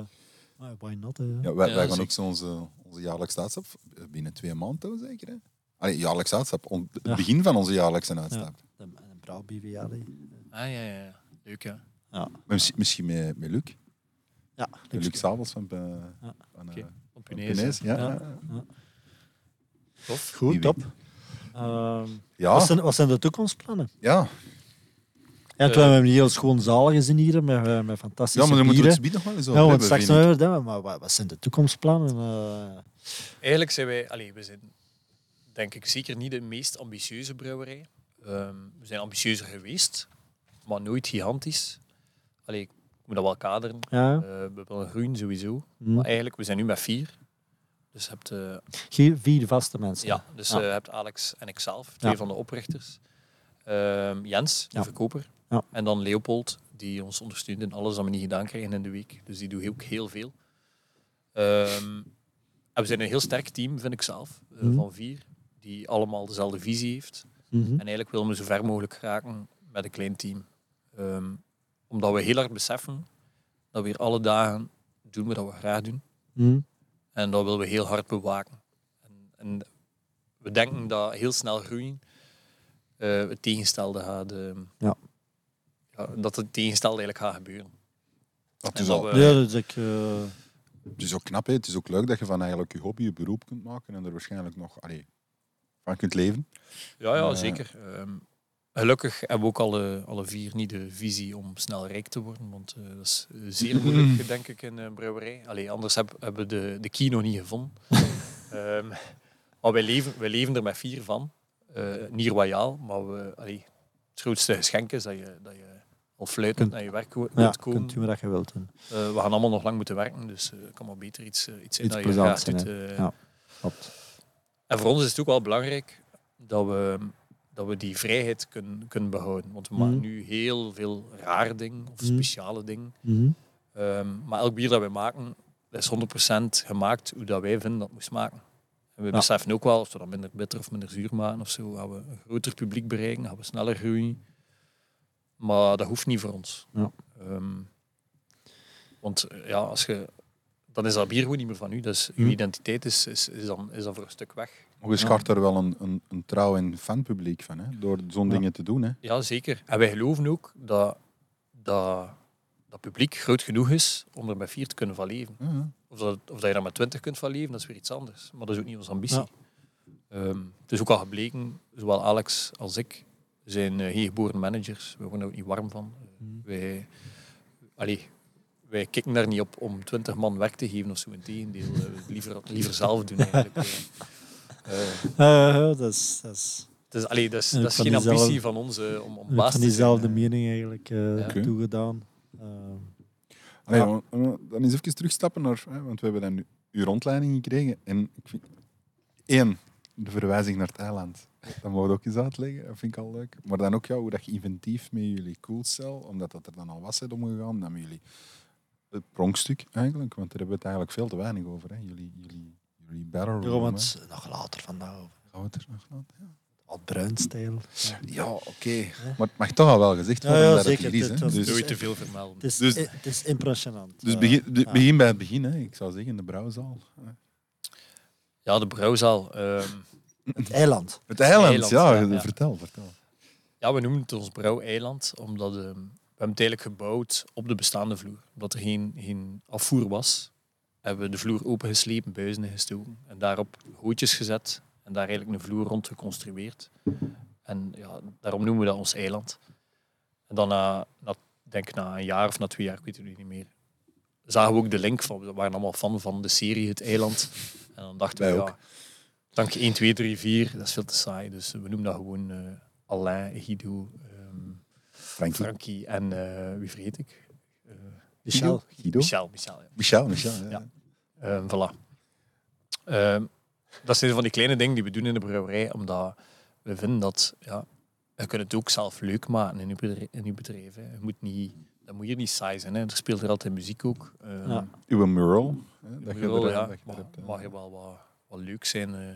B: maar why not? hè, ja.
C: Ja, wij,
A: Ja,
C: wij gaan
A: zeker.
C: ook zo onze, onze jaarlijkse uitstap eh, binnen twee maanden zeker. Hè? Allee, jaarlijkse uitstap. on- het
B: Ja.
C: begin van onze jaarlijkse uitstap.
B: Een, een brouw BVA. hè.
A: Ah, ja, ja, ja. Leuk, ja.
B: Ja,
C: Maar Misschien, misschien met, met Luc.
B: ja
C: Met Luc
B: luxe.
C: s'avonds van, eh,
B: Ja.
C: van eh,
A: Oké.
C: van
A: Op
C: Punees,
A: Punees.
C: Ja.
B: Ja.
C: Ja.
A: Tof.
C: Wie
B: Goed, top.
C: weet.
B: Ehm, wat,
C: Ja.
B: zijn, wat zijn de toekomstplannen?
C: ja.
B: Ja, terwijl we hebben een heel schoon zaal gezien hier met, eh, met fantastische
C: Eh. Ja, maar dan moeten we
B: bieren.
C: het gebied nog wel eens over
B: Ja, want
C: hebben,
B: straks
C: vind ik.
B: hebben we dat, maar wat, wat zijn de toekomstplannen? eh?
A: Eigenlijk zijn wij, allee, we zijn denk ik zeker niet de meest ambitieuze brouwerij. Ehm, we zijn ambitieuzer geweest, maar nooit gigantisch. Allee, ik moet dat wel kaderen.
B: ja.
A: Eh, we willen groeien sowieso.
B: Hm.
A: Maar eigenlijk, we zijn nu met vier. Dus je hebt, eh,
B: Vier, vier vaste mensen.
A: ja, dus
B: Ja.
A: eh, je hebt Alex en ikzelf, twee
B: Ja.
A: van de oprichters. Ehm, Jens, de
B: Ja.
A: verkoper.
B: Ja.
A: En dan Leopold, die ons ondersteunt in alles dat we niet gedaan krijgen in de week. Dus die doet ook heel veel. Ehm, en we zijn een heel sterk team, vind ik zelf, eh,
B: Mhm.
A: van vier, die allemaal dezelfde visie heeft.
B: Mhm.
A: En eigenlijk willen we zo ver mogelijk raken met een klein team. Ehm, omdat we heel hard beseffen dat we hier alle dagen doen wat we graag doen.
B: Mhm.
A: En dat willen we heel hard bewaken. En, en we denken dat heel snel groeien eh, het tegenstelde gaat... eh,
B: Ja.
A: ja, dat het tegenstelde eigenlijk gaat gebeuren.
C: Dat
A: En
C: is
A: dat
C: al
A: we-
B: Ja, dus ik... eh,
C: Het is ook knap, hè. het is ook leuk dat je van eigenlijk je hobby je beroep kunt maken en er waarschijnlijk nog allee, van kunt leven.
A: Ja, ja
C: Eh.
A: zeker. Ehm, gelukkig hebben we ook alle, alle vier niet de visie om snel rijk te worden, want eh, dat is eh, zeer moeilijk, denk eh, ik, in een brouwerij. Allee, anders heb- hebben we de, de key nog niet gevonden. Ehm, Maar wij leven, wij leven er met vier van. Eh, niet royaal, maar we, allee, het grootste geschenk is dat je, dat je al fluitend
B: Kunt-
A: naar je werk wo-
B: Ja,
A: wilt komen.
B: kunt u maar dat je wilt doen.
A: Eh, we gaan allemaal nog lang moeten werken, dus eh, het kan maar beter iets, eh, iets zijn
B: Iets
A: dat je graag
B: plezants
A: doet.
B: zijn,
A: eh.
B: Ja. Klopt.
A: En voor ons is het ook wel belangrijk dat we, dat we die vrijheid kunnen, kunnen behouden. Want we
B: Mhm.
A: maken nu heel veel raar dingen of
B: Mhm.
A: speciale dingen.
B: Mhm.
A: Ehm, maar elk bier dat wij maken, is 100% gemaakt hoe dat wij vinden dat het moest maken. En we
B: Ja.
A: beseffen ook wel, of we dat minder bitter of minder zuur maken of zo, gaan we een groter publiek bereiken, gaan we sneller groeien. Maar dat hoeft niet voor ons.
B: Ja.
A: Ehm, want eh, ja, als je, dan is dat bier gewoon niet meer van u. Dus uw
B: Hm.
A: identiteit is, is, is, dan, is dan voor een stuk weg.
C: Maar je schart daar wel een, een, een trouw en fanpubliek van, hè? door zo'n
B: Ja.
C: dingen te doen. Hè?
A: Ja, zeker. En wij geloven ook dat dat, dat publiek groot genoeg is om er met vier te kunnen van leven.
C: Ja, ja.
A: Of dat, of dat je daar met 20 kunt van leven, dat is weer iets anders. Maar dat is ook niet onze ambitie.
B: Ja.
A: Ehm, het is ook al gebleken, zowel Alex als ik zijn eh, hier geboren managers. We worden er ook niet warm van. Eh,
B: Mhm.
A: wij, allee, wij kicken daar niet op om 20 man werk te geven of zo. Integendeel, eh, we het liever, liever zelf doen eigenlijk. Eh, eh,
B: Eh, ja, dat is, dat is
A: dus, allee, dat is,
B: En
A: dat is
B: van
A: geen
B: diezelfde-
A: ambitie van ons eh, om, om
B: ik
A: baas
B: heb van
A: te zijn.
B: diezelfde mening eigenlijk eh,
A: Ja.
C: Oké.
B: toegedaan. Eh,
C: Allee,
B: Ja.
C: maar- maar Dan eens even terugstappen naar, hè, want we hebben dan uw rondleiding gekregen. En ik vind, één, de verwijzing naar het eiland. Dat mogen we ook eens uitleggen, dat vind ik al leuk. Maar dan ook ja, hoe dat je inventief met jullie coolcel, omdat dat er dan al was, bent omgegaan, dan met jullie het pronkstuk eigenlijk, want daar hebben we het eigenlijk veel te weinig over. Hè. Jullie, jullie, jullie barrel
B: ja,
C: room,
B: want
C: hè.
B: het is nog later vandaag.
C: Gaan we het er nog aan? Ja,
B: Wat bruinstijl.
C: Ja, oké. Maar het mag toch al wel gezegd
B: Ja,
C: worden
B: ja,
C: dat
B: zeker.
C: het hier is.
B: Het
C: Hè.
B: was-
C: Dus,
A: Nooit te veel vermelden.
B: Het is,
C: Dus-
B: eh, het is impressionant.
C: dus
B: Eh,
C: begin, de-
B: ja.
C: begin bij het begin, hè. ik zou zeggen, de brouwzaal.
A: Ja, de brouwzaal. ehm,
B: Het eiland.
C: Het eiland,
A: Eiland,
C: ja,
A: ja, ja.
C: Vertel, vertel.
A: ja, we noemen het ons brouweiland, omdat ehm, we hebben het eigenlijk gebouwd op de bestaande vloer. Omdat er geen, geen afvoer was, hebben we de vloer opengeslepen, buizen gestoken en daarop hootjes gezet en daar eigenlijk een vloer rond geconstrueerd. En ja, daarom noemen we dat ons eiland. En dan, na, na, denk ik na een jaar of na twee jaar, ik weet het nu niet meer, zagen we ook de link van, we waren allemaal fan van de serie Het Eiland. En dan dachten
C: Wij
A: we,
C: ook.
A: ja, dank 1, 2, 3, 4, dat is veel te saai. Dus we noemen dat gewoon eh, Alain, Guido, ehm,
C: Frankie.
A: Frankie en eh, wie vergeet ik? Eh,
B: Michel.
C: Guido?
A: Michel, Michel, ja.
C: Michel, Michel, ja.
A: Ja. Ehm, voilà. Ehm, dat zijn van die kleine dingen die we doen in de brouwerij, omdat we vinden dat ja, je kunt het ook zelf leuk maken in je bedrijf. In je bedrijf hè. Je moet niet, dat moet hier niet saai zijn. Hè. Er speelt er altijd muziek ook. Ehm,
B: Ja.
C: Uw mural. Hè,
A: je
C: dat je
A: wil,
C: er-
A: ja,
C: dat je er
A: mag,
C: hebt, eh. hè.
A: mag je wel wat, wat leuk zijn. eh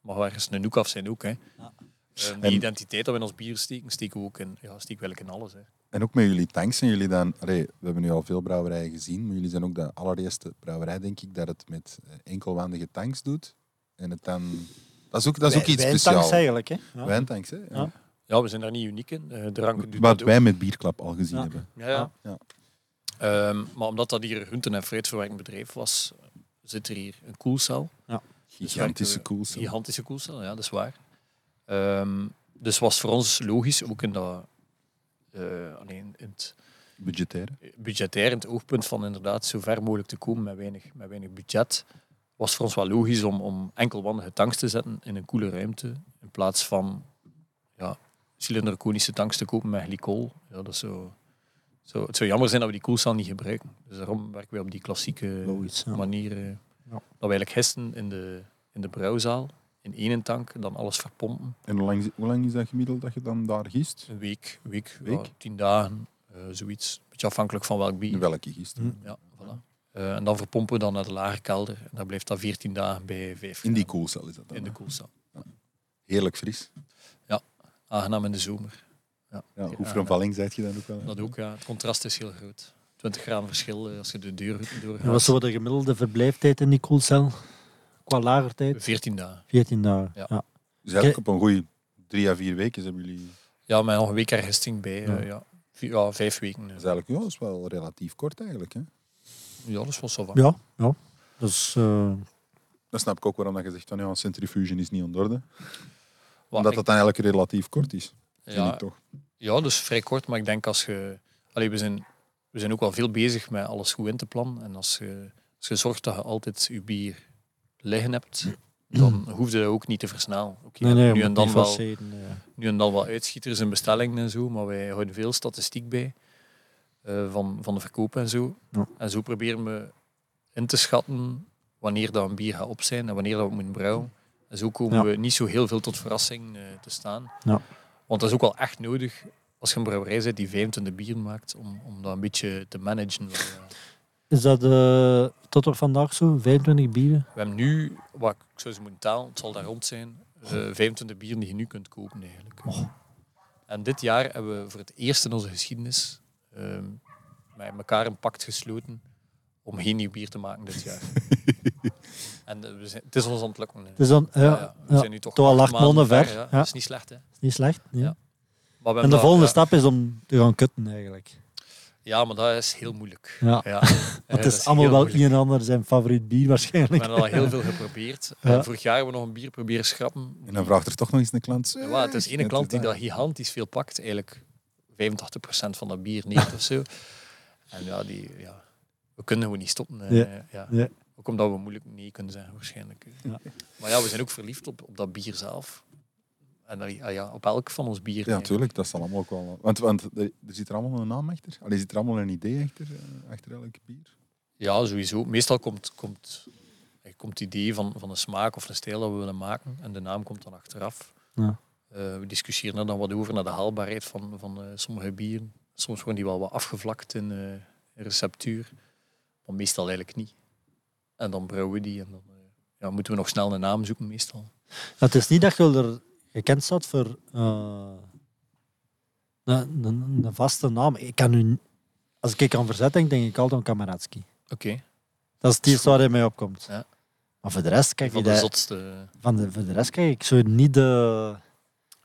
A: mag wel ergens een hoek af zijn ook. Hè.
B: Ja.
A: Ehm, die
C: En-
A: identiteit dat we in ons bier steken, steken we ook in, ja, steken we eigenlijk in alles. Hè.
C: En ook met jullie tanks zijn jullie dan... Allee, we hebben nu al veel brouwerijen gezien, maar jullie zijn ook de allereerste brouwerij, denk ik, dat het met eh, enkelwandige tanks doet. En het dan... Dat is ook, dat is ook
B: Wij-
C: iets
B: wijntanks
C: speciaals.
B: eigenlijk. Hè? Ja.
C: Wijntanks, hè. Ja.
A: Ja, we zijn daar niet uniek in. Eh, dranken doen
C: Wat
A: dat ook.
C: wij met Bierklap al gezien
B: Ja.
C: hebben.
A: Ja, ja.
C: Ja.
A: Ehm, maar omdat dat hier een groenten- en fruitverwerkend bedrijf was, eh, zit er hier een koelcel.
B: Dus
C: Gigantische
A: werken
C: koelcel.
A: Gigantische koelcel, ja, dat is waar. Ehm, dus was voor ons logisch, ook in dat... eh, alleen in het
C: Budgetaire.
A: budgetair, in het oogpunt van inderdaad zo ver mogelijk te komen met weinig, met weinig budget, was voor ons wel logisch om, om enkelwandige tanks te zetten in een koele ruimte, in plaats van ja, cilinderconische tanks te kopen met glycol. Ja, dat zou, zou, het zou jammer zijn dat we die koelcel niet gebruiken. Dus daarom werken we op die klassieke
B: Logisch, ja.
A: manier. eh, Dat we eigenlijk gisteren in de, in de brouwzaal in één tank dan alles verpompen.
C: En hoe lang, hoe lang is dat gemiddeld dat je dan daar gist?
A: Een week, week, ja,
C: Week?
A: tien dagen, eh, zoiets. Beetje afhankelijk van welk bier.
C: Welke gist?
B: Hm.
A: Ja, voilà. Eh, en dan verpompen we dan naar de lage kelder. En dan blijft dat 14 dagen bij 5
C: In die koelcel is dat dan.
A: in de
C: hè?
A: koelcel.
C: Heerlijk fris.
A: Aangenaam in de zomer.
C: Ja,
A: Ja,
C: hoe
A: ja.
C: vervalling zijt je dan ook wel. hè?
A: Dat ook, ja. Het contrast is heel groot. 20 graden verschil eh, als je de deur
B: En wat
A: doorgaat.
B: is zo de gemiddelde verblijftijd in die koelcel? Qua lagertijd?
A: 14 dagen.
B: 14 dagen.
A: Ja.
B: Ja.
C: Dus eigenlijk op een goede drie à vier weken hebben jullie...
A: Ja, maar nog een week hergisting bij. eh, ja. Vi- ja, vijf weken. eh.
C: Dat is eigenlijk ja, dat is wel relatief kort eigenlijk. Hè?
A: Ja, dat is wel zo van.
B: ja, ja. Dus eh,
C: Dan snap ik ook waarom dat je zegt van ja, centrifugen is niet aan de orde.
A: Wat
C: Omdat
A: ik-
C: dat dan eigenlijk relatief kort is, vind
A: ja,
C: ik toch.
A: ja, dus vrij kort. Maar ik denk als je... Allee, we, zijn, we zijn ook wel veel bezig met alles goed in te plannen. En als je, als je zorgt dat je altijd je bier liggen hebt, dan hoefde dat ook niet te versnellen. Oké,
B: Nee, nee,
A: nu,
B: moet
A: en
B: niet
A: dan wel,
B: forceren, ja.
A: nu en dan wel uitschieters in bestellingen en zo, maar wij houden veel statistiek bij eh, van, van de verkoop en zo.
B: Ja.
A: En zo proberen we in te schatten wanneer dat een bier gaat op zijn en wanneer dat we moeten brouwen. En zo komen
B: Ja.
A: we niet zo heel veel tot verrassing eh, te staan.
B: Ja.
A: Want dat is ook wel echt nodig als je een brouwerij bent die 25 bier maakt, om, om dat een beetje te managen. Want, eh,
B: Is dat eh, tot op vandaag zo? 25 bieren?
A: We hebben nu, wat ik ik zou ze moeten talen, het zal daar rond zijn, eh, 25 bieren die je nu kunt kopen eigenlijk.
B: Oh.
A: En dit jaar hebben we voor het eerst in onze geschiedenis eh, met elkaar een pact gesloten om geen nieuw bier te maken dit jaar. en eh, we zijn, het is ons aan het lukken. hè.
B: Het is dan, ja,
A: Ja, ja. we
B: ja.
A: zijn nu toch
B: Toch al acht
A: maanden
B: maanden ver,
A: ja.
B: ja.
A: Dat is niet slecht. Hè. Maar
B: Niet slecht. nee.
A: Ja. we hebben
B: En de
A: dat-
B: volgende
A: ja.
B: stap is om te gaan kutten eigenlijk.
A: Ja, maar dat is heel moeilijk.
B: Ja.
A: Ja.
B: Want
A: dat
B: het
A: is
B: is allemaal
A: heel
B: wel
A: moeilijk.
B: een en ander zijn favoriet bier
A: We
B: waarschijnlijk.
A: hebben al heel veel geprobeerd.
B: Ja.
A: En vorig jaar hebben we nog een bier proberen schrappen.
C: En dan vraagt er toch nog eens een klant.
A: Ja, maar het is
C: "Zeg,
A: ene klant die
C: is
A: dat gigantisch veel pakt. Eigenlijk 85% van dat bier niet of zo. En ja, die, ja, we kunnen gewoon niet stoppen. eh,
B: Ja.
A: Ja.
B: Ja.
A: Ook omdat we moeilijk nee kunnen zeggen waarschijnlijk.
B: Ja.
A: Maar ja, we zijn ook verliefd op, op dat bier zelf. En dan- ah ja, op elk van ons bier.
C: Ja, tuurlijk, dat zal allemaal ook wel. Want, want eh, er zit er allemaal een naam achter. Allee, zit er allemaal een idee achter, eh, achter elk bier.
A: Ja, sowieso. Meestal komt, komt, eh, komt het idee van, van een smaak of een stijl dat we willen maken en de naam komt dan achteraf.
B: Ja.
A: Eh, we discussiëren er dan wat over naar de haalbaarheid van, van eh, sommige bieren. Soms worden die wel wat afgevlakt in eh, receptuur, maar meestal eigenlijk niet. En dan brouwen we die en dan eh, ja, moeten we nog snel een naam zoeken meestal.
B: Maar Het is niet dat je er gekend staat voor eh, een, een, een vaste naam. Ik kan nu, als ik aan verzet denk, denk ik altijd aan Kamaratski.
A: Oké,
B: Dat is het eerste waar hij mij opkomt.
A: Ja.
B: Maar voor de rest kijk
A: van
B: ik
A: de
B: dat-
A: zotste.
B: van de, voor de rest kijk ik zo niet de.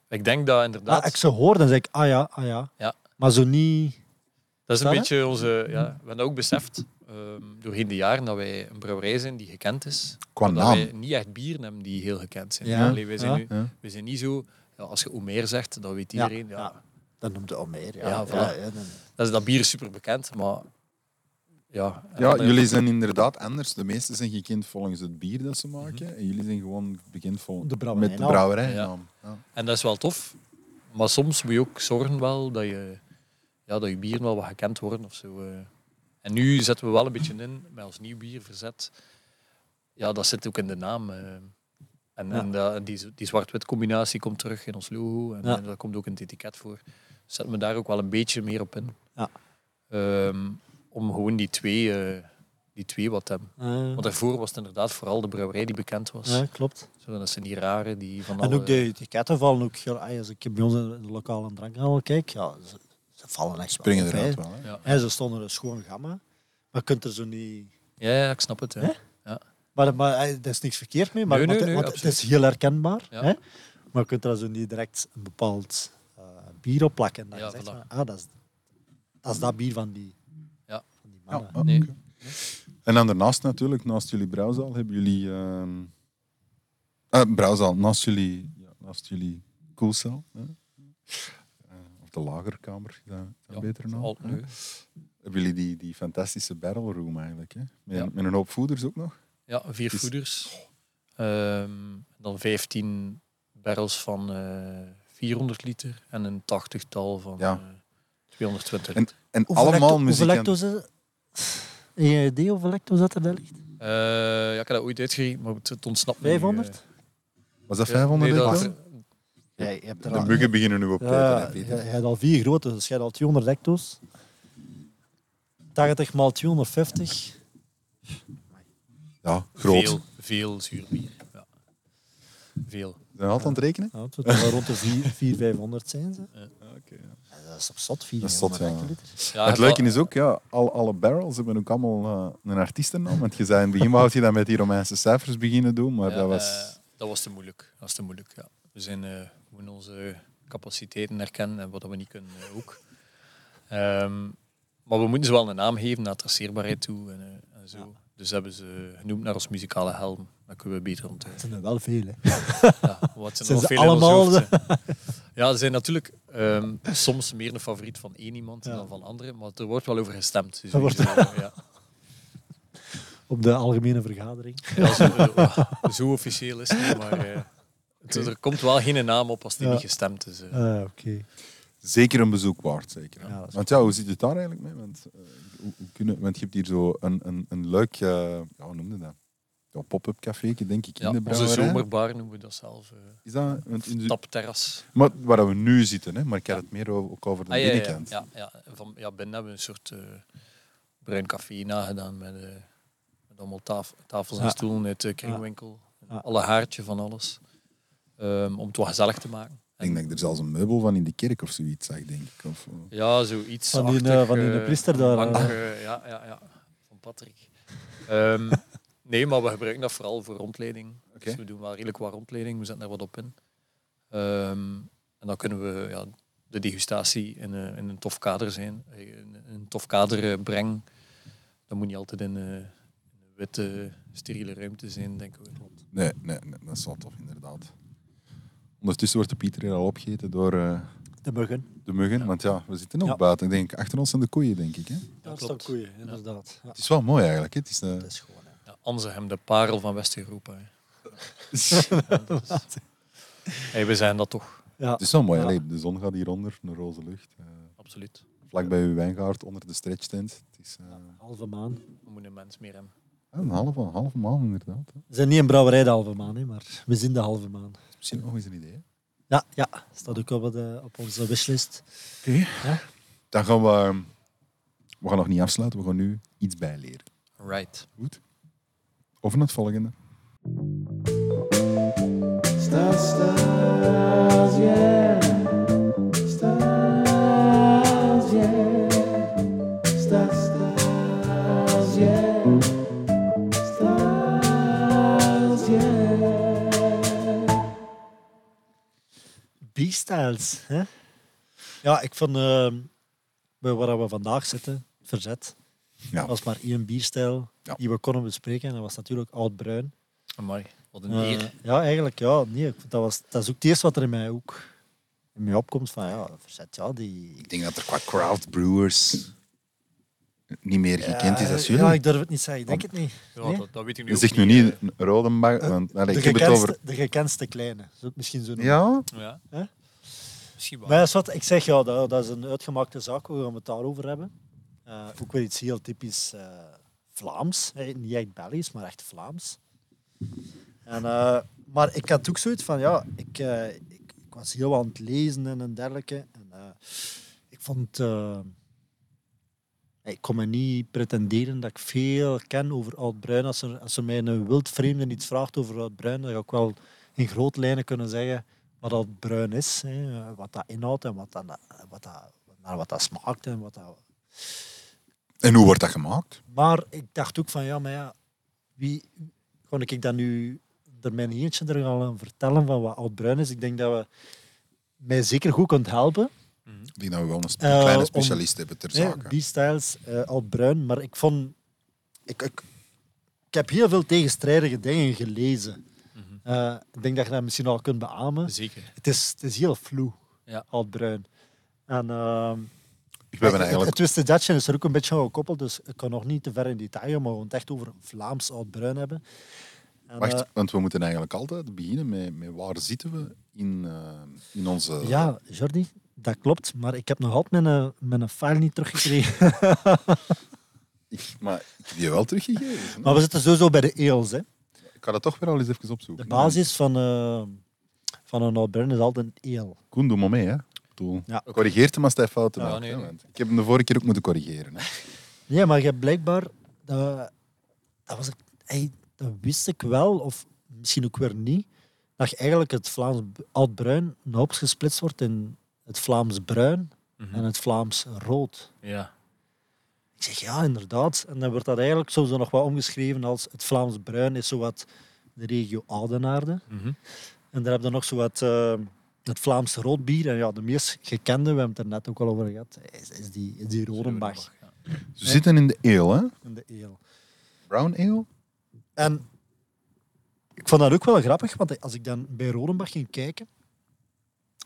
A: Ik denk dat inderdaad...
B: Ah, ik ze hoor, dan zeg ik ah ja, ah ja.
A: Ja.
B: Maar zo niet.
A: Dat is een
B: Wel, hè?
A: beetje onze. Ja, we hebben dat ook beseft ehm, doorheen de jaren dat wij een brouwerij zijn die gekend is.
C: Qua
A: maar
C: naam.
A: Dat wij niet echt bieren hebben die heel gekend zijn.
B: Ja,
A: Allee, wij, zijn
B: ja.
A: nu,
C: Ja.
A: wij zijn niet zo. Ja, als je Omer zegt, dan weet
B: Ja,
A: iedereen. Ja.
B: ja. Dat noemt het al meer. Ja,
A: Ja, voilà.
B: dan-
A: Dat, is, dat bier is super bekend, maar. Ja, en
C: Ja,
A: dan-
C: jullie zijn inderdaad anders. De meesten zijn gekend volgens het bier dat ze
A: Mhm.
C: maken. En jullie zijn gewoon bekend vol
B: De
C: met de
B: brouwerijnaam.
C: brouwerijnaam. Ja.
A: En dat is wel tof. Maar soms moet je ook zorgen wel dat je, ja, dat je bieren wel wat gekend worden of zo. eh. En nu zetten we wel een beetje in met ons nieuw bier verzet. Ja, dat zit ook in de naam. eh. En,
B: Ja.
A: en dat- die, z- die zwart-wit combinatie komt terug in ons logo. En
B: Ja.
A: eh, dat komt ook in het etiket voor. Dus zetten we daar ook wel een beetje meer op in.
B: Ja.
A: Ehm, om gewoon die twee, eh, die twee wat te hebben.
B: Eh,
A: Want daarvoor was het inderdaad vooral de brouwerij die bekend was.
B: ja, klopt.
A: Zo, dat zijn die rare die van
B: En
A: alle-
B: ook de etiketten vallen ook heel... ah, Als ik bij ons in de lokale drankhandel kijk, ja, ze, ze vallen echt
C: Springen
B: wel op,
C: eruit
B: hè.
C: wel. Hè?
A: Ja.
B: Hè, ze stonden een schoon gamma, maar je kunt er zo niet...
A: Ja, ja, ik snap het. Ja.
B: Hè? Maar, maar eh, daar is niks verkeerd mee, maar,
A: Nee, nee,
B: want-
A: nee,
B: want het is heel herkenbaar.
A: Ja.
B: Hè? Maar je kunt er zo niet direct een bepaald eh, bier op plakken. En dan
A: Ja,
B: je zegt
A: voilà.
B: van, ah, dat is, dat is dat bier van die,
A: Ja.
B: van die
C: Ja.
B: mannen.
C: Ah,
A: Nee.
C: oké. En dan daarnaast natuurlijk, naast jullie brouwzaal, hebben jullie... ehm, eh, brouwzaal, naast jullie, ja, naast jullie koelcel. hè? Eh, of de lagerkamer, is dat, is dat
A: Ja,
C: beter nou?
A: Alt nu.
C: Hebben jullie die, die fantastische barrel room eigenlijk? Hè? Met,
A: Ja.
C: met een hoop voeders ook nog?
A: Ja, vier
C: Is-
A: voeders. Ehm, dan 15 barrels van eh 400 liter en een tachtigtal van
C: Ja.
A: eh, 220
C: En-
A: liter.
C: En
B: Hoeveel
C: allemaal
B: lacto-
C: muziek.
B: Hoeveel eh,
C: aan-
B: lactose... Heb je een idee hoeveel lactose dat er daar ligt?
A: Eh, ja, ik heb dat ooit uitgerekend, maar het ontsnapt me nu, eh.
B: 500?
C: Was dat
A: Ja,
C: 500
A: nee, dat
C: liter?
A: ver-
B: Ja, je hebt er
C: De
B: al-
C: muggen beginnen nu op te eten,
B: Ja,
C: hè,
B: je
C: Peter.
B: je hebt al vier grote, dus je hebt al 200 hecto's. 80 maal 250.
C: Ja, groot.
A: Veel, veel zuurbier. Ja. Veel.
C: Zijn we altijd aan het rekenen?
B: Ja, het zou toch wel rond de 400, 500 zijn ze. Ja, dat is op zot,
C: Dat is zot,
B: 400
C: ja.
B: hectoliter.
A: Ja,
C: het
A: Ah, wel-
C: leuke is ook, ja, al, alle barrels hebben ook allemaal eh, een artiestennaam. Want je zei in het begin, wou je dat met die Romeinse cijfers beginnen doen, maar
A: ja,
C: dat was...
A: eh, dat was te moeilijk. Dat was te moeilijk, ja. We zijn, eh, we moeten onze capaciteiten herkennen en wat we niet kunnen eh, ook. Ehm, maar we moeten ze wel een naam geven naar traceerbaarheid toe en, eh, en zo. Dus hebben ze genoemd naar ons muzikale helm. Dat kunnen we beter onthouden.
B: Het zijn er wel veel, hè.
A: Ja, wat zijn,
B: Zijn
A: er
B: ze
A: nog veel in ons
B: allemaal
A: hoofd, hè. Ja, ze zijn natuurlijk ehm, soms meer een favoriet van één iemand
B: Ja.
A: dan van anderen, maar er wordt wel over gestemd. Dus
B: Er wordt-
A: ja.
B: op de algemene vergadering.
A: Ja, zo, zo officieel is het niet, maar eh, het- er komt wel geen naam op als die
B: Ja.
A: niet gestemd is. eh.
B: Ah, Oké.
C: Zeker een bezoek waard, zeker.
B: Ja, dat is
C: want ja, hoe zit het daar eigenlijk mee? Want, eh, hoe, hoe kunnen, want je hebt hier zo een, een, een leuk, eh, ja, hoe noemde dat? Ja, pop-up café, denk ik,
A: Ja,
C: in de
A: onze
C: brouwerij.
A: zomerbar noemen we dat zelf. eh
C: Is dat? Want in de-
A: tapterras.
C: maar waar we nu zitten, hè? maar ik had het meer over, ook over de
A: Ah, ja, ja, ja,
C: binnenkant.
A: ja, ja. Van, ja, binnen hebben we een soort eh, bruin café nagedaan met, eh, met allemaal taf- tafels en
B: Ja.
A: stoelen uit de kringwinkel.
B: Ja.
A: Alle haartje van alles. Ehm, om het wat gezellig te maken.
C: Ik denk dat ik er zelfs een meubel van in de kerk of zoiets zag, denk ik. Of, eh,
A: Ja, zoiets.
B: Van die, eh,
A: achtig,
B: van die
A: eh,
B: priester daar,
A: bank,
B: eh.
A: eh, ja, ja, ja, van Patrick. Ehm, nee, maar we gebruiken dat vooral voor rondleiding. Dus
C: Oké.
A: we doen wel redelijk wat rondleiding, we zetten daar wat op in. Ehm, en dan kunnen we ja, de degustatie in, eh, in een tof kader zijn. eh, In, in een tof kader eh, brengen. Dat moet niet altijd in, eh, in een witte, steriele ruimte zijn, denk ik.
C: Nee, nee, nee, dat is wel tof, inderdaad. Ondertussen wordt de Pieter hier al opgegeten door eh,
B: De muggen.
C: de muggen. Want ja, we zitten ook
B: Ja.
C: buiten. Ik denk, achter ons zijn de koeien, denk ik. Hè?
B: Daar
A: klopt.
B: staan koeien, inderdaad. Ja.
C: Het is wel mooi eigenlijk. Hè? Het is, eh,
B: Dat is gewoon. hè.
A: Ja, Anzegem, de parel van West-Europa. hè. Ja, dat is- hey, we zijn dat toch,
B: Ja.
C: het is wel mooi.
B: Ja.
C: Allee, de zon gaat hieronder, een roze lucht. eh,
A: absoluut.
C: vlak bij uw wijngaard, onder de stretchtent. Het is eh,
B: Halve maan.
A: We moeten een mens meer hebben.
C: een halve, een halve maand, inderdaad. Hè?
B: We zijn niet een brouwerij de halve maan, hè, maar we zien de halve maan.
C: Dat is misschien nog eens een idee. hè?
B: Ja, ja. Staat ook op, de, op onze wishlist.
C: Dan gaan we... We gaan nog niet afsluiten. We gaan nu iets bijleren.
A: Right.
C: Goed? Over naar het volgende.
B: B-styles, hè? Ja, ik vond eh, bij waar we vandaag zitten, verzet,
C: Ja.
B: was maar één bierstijl
C: Ja.
B: die we konden bespreken. En dat was natuurlijk oud-bruin.
A: Amai, wat een
B: Eh,
A: eer.
B: ja, eigenlijk, ja. Nee, ik vond dat, was, dat is ook het eerste wat er in mij ook in mij opkomt. Van, ja, verzet, ja, die...
C: Ik denk dat er qua craft brewers niet meer gekend is als
B: Eh, Ja,
C: jullie.
B: Ja, ik durf het niet zeggen. Ik denk het niet.
A: Ja,
B: Nee?
A: dat, dat weet ik nu
C: Je
A: ook
C: zegt nu
A: niet,
C: niet een rode mag, want allee,
B: eh, De
C: ik heb het over...
B: gekendste, de gekendste kleine, zou ik misschien zo noemen.
C: Ja?
A: eh, Ja.
B: Hè?
A: Misschien wel.
B: Maar dat is wat ik zeg, ja, dat, dat is een uitgemaakte zaak, we gaan het daarover hebben. Eh, ook weer iets heel typisch eh, Vlaams. Eh, niet echt Belgisch, maar echt Vlaams. En, eh, maar ik had ook zoiets van, ja, ik, eh, ik, ik was heel aan het lezen en een dergelijke. En, eh, ik vond... eh, ik kon me niet pretenderen dat ik veel ken over Oud-Bruin. Als er, als er mij een wild vreemde iets vraagt over Oud-Bruin, dan ga ik wel in grote lijnen kunnen zeggen wat dat bruin is, hè, eh, wat dat inhoudt en wat dat, wat dat, naar wat dat smaakt. En wat dat...
C: En hoe wordt dat gemaakt?
B: Maar ik dacht ook van, ja, maar ja, wie kon ik dat nu er mijn eentje er gaan aan vertellen van wat oud bruin is? Ik denk dat we mij zeker goed kunt helpen.
C: Ik denk dat we wel een, spe-
B: Eh,
C: kleine
B: om-
C: specialist hebben ter zake.
B: B-styles, eh oud bruin, maar ik vond... Ik, ik, ik heb heel veel tegenstrijdige dingen gelezen. Eh, ik denk dat je dat misschien al kunt beamen.
A: Zeker.
B: Het is, het is heel vloe,
A: Dus- Ja.
B: oud bruin. En... ehm,
C: We hebben
B: Het-
C: eigenlijk...
B: Het Twisted Dutch is er ook een beetje aan gekoppeld, dus ik kan nog niet te ver in detail, gaan, maar we gaan het echt over Vlaams oud-bruin hebben. En, eh,
C: Wacht, want we moeten eigenlijk altijd beginnen met, met waar zitten we in, eh, in onze...
B: ja, Jordi, dat klopt, maar ik heb nog altijd mijn, eh, mijn file niet teruggekregen.
C: Ik, maar ik heb je wel teruggegeven. hè?
B: maar we zitten sowieso bij de eels. Hè.
C: Ik ga dat toch weer al eens even
B: De
C: opzoeken.
B: basis van, eh, van een oud-bruin is altijd E een eel.
C: Eh, Koen, doe maar mee, hè. Ik bedoel,
B: Ja.
C: Corrigeert hem als hij fouten
A: Ja,
C: maakt.
A: nee,
C: hè,
A: nee.
C: want Ik heb hem de vorige keer ook moeten corrigeren. Hè.
B: Ja, maar je hebt blijkbaar... eh, dat, was, ik- ey, dat wist ik wel, of misschien ook weer niet, dat je eigenlijk het Vlaams b- oud-bruin een hoop gesplitst wordt in het Vlaams bruin en het Vlaams rood.
A: Ja.
B: Ik zeg ja, inderdaad. En dan wordt dat eigenlijk soms nog wel omgeschreven als het Vlaams bruin is zowat de regio Oudenaarde.
A: Mhm.
B: En daar heb je nog zowat eh het Vlaamse roodbier. En ja, de meest gekende, we hebben het er net ook al over gehad, is, is die, is die Rodenbach
A: Ja.
C: Ze zitten in de ale, hè.
B: in de eel.
C: Brown ale.
B: En ik vond dat ook wel grappig, want als ik dan bij Rodenbach ging kijken,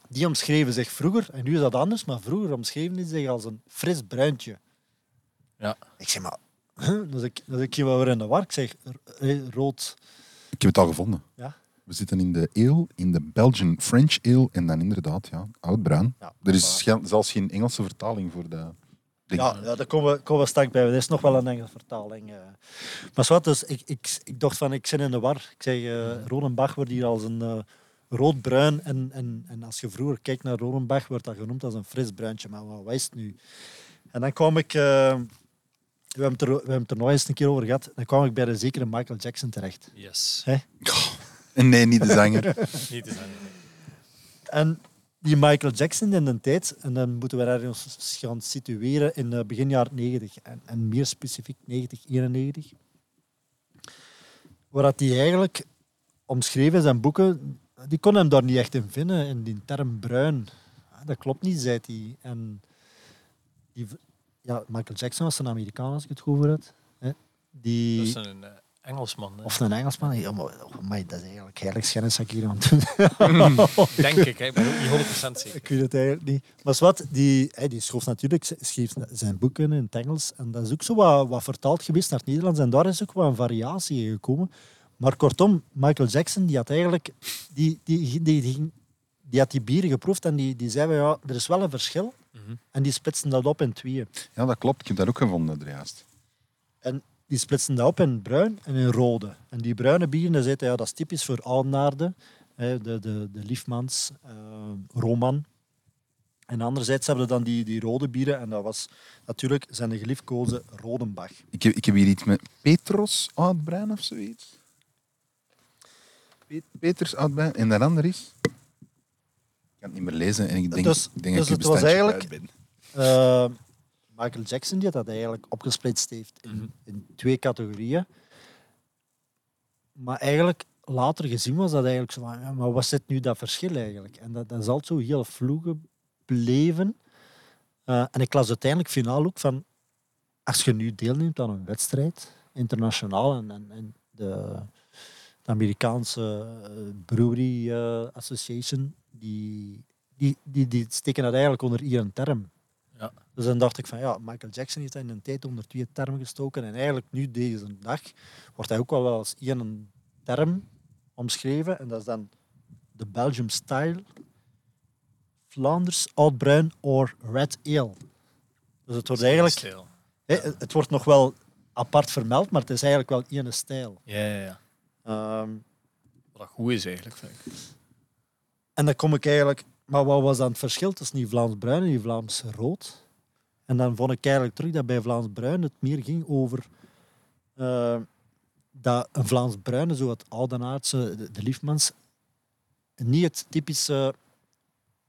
B: die omschreven zich vroeger, en nu is dat anders, maar vroeger omschreven die zich als een fris bruintje.
A: Ja.
B: Ik zeg maar, Dat ik, dat ik hier wel weer in de war. Ik zeg r- eh, rood.
C: Ik heb het al gevonden.
B: Ja.
C: We zitten in de ale, in de Belgian French ale en dan inderdaad, ja, oud-bruin.
B: Ja,
C: er
B: voilà.
C: is sche- zelfs geen Engelse vertaling voor de... de-
B: Ja, ja, daar komen we, komen we straks bij. Er is nog wel een Engelse vertaling. eh. Maar zwart, dus ik, ik, ik dacht van, ik zit in de war. Ik zeg, eh Rodenbach wordt hier als een eh, roodbruin. En, en, en als je vroeger kijkt naar Rodenbach, wordt dat genoemd als een fris bruintje. Maar wat wat is het nu? En dan kwam ik... eh, we hebben, het er, we hebben het er nog eens een keer over gehad. Dan kwam ik bij de zekere Michael Jackson terecht.
A: Yes.
C: Nee, niet de zanger.
A: Niet te zijn.
B: En die Michael Jackson in de tijd, en dan moeten we daar ons gaan situeren in eh, begin jaren 90 en, en meer specifiek 90, 91. Waar dat hij eigenlijk omschreven in zijn boeken, die kon hem daar niet echt in vinden, in die term bruin. Ah, Dat klopt niet, zei hij. En die, v- ja, Michael Jackson was een Amerikaan, als ik het goed voor had. hè. Die,
A: Dat is een eh, Engelsman, hè.
B: Of een Engelsman. Ja, maar, oh, amai, dat is eigenlijk heiligschennis, dat ik hier aan het doen
A: denk ik. Hè. Ik ben ook niet 100% zeker.
B: Ik weet het eigenlijk niet. Maar wat, die, hè, die schoof natuurlijk schreef zijn boeken in het Engels. En dat is ook zo wat, wat vertaald geweest naar het Nederlands. En daar is ook wel een variatie in gekomen. Maar kortom, Michael Jackson die had eigenlijk die, die, die, die, ging- die had die bieren geproefd en die, die zei van, ja, er is wel een verschil.
A: Mhm.
B: En die splitsen dat op in tweeën.
C: Ja, dat klopt. Ik heb dat ook gevonden, er juist.
B: Die splitsen dat op in bruin en in rode. En die bruine bieren, daar zei hij, ja, dat is typisch voor Alnaarden, hè, de, de, de Liefmans, eh, Roman. En anderzijds hebben we dan die, die rode bieren, en dat was natuurlijk zijn de geliefkozen Rodenbach.
C: Ik heb, ik heb hier iets met Petros oud-bruin of zoiets. Pe- Peters oud-bruin. En de ander is... Ik kan het niet meer lezen en ik denk,
B: Dus-
C: ik denk
B: dus
C: dat ik
B: het was
C: bestandje
B: eigenlijk-
C: kwijt ben.
B: Eh, Michael Jackson die had dat eigenlijk opgesplitst heeft in,
A: Mhm.
B: in twee categorieën. Maar eigenlijk later gezien was dat eigenlijk zo van, ja, maar wat zit nu dat verschil eigenlijk? En dat, dat is altijd zo heel vloeg gebleven. Eh, en ik las uiteindelijk finaal ook van, als je nu deelneemt aan een wedstrijd, internationaal en, en, en de, de Amerikaanse eh, Brewery eh, Association, die, die, die, die steken dat eigenlijk onder iedere term.
A: Ja.
B: Dus dan dacht ik van ja, Michael Jackson heeft dat in een tijd onder twee termen gestoken. En eigenlijk nu, deze dag, wordt hij ook wel wel als één term omschreven. En dat is dan de Belgium Style, Vlaanders, Oudbruin or Red Ale. Dus het wordt eigenlijk
A: Stil.
B: Hè, het- het wordt nog wel apart vermeld, maar het is eigenlijk wel één stijl.
A: Ja, ja, ja.
B: Ehm,
A: Wat dat goed is eigenlijk, vind ik.
B: en dan kom ik eigenlijk... Maar wat was dan het verschil tussen die Vlaams bruin en die Vlaams rood? En dan vond ik eigenlijk terug dat bij Vlaams bruin het meer ging over... eh, dat een Vlaams bruine, zo het oudenaardse, de, de liefmans, niet het typische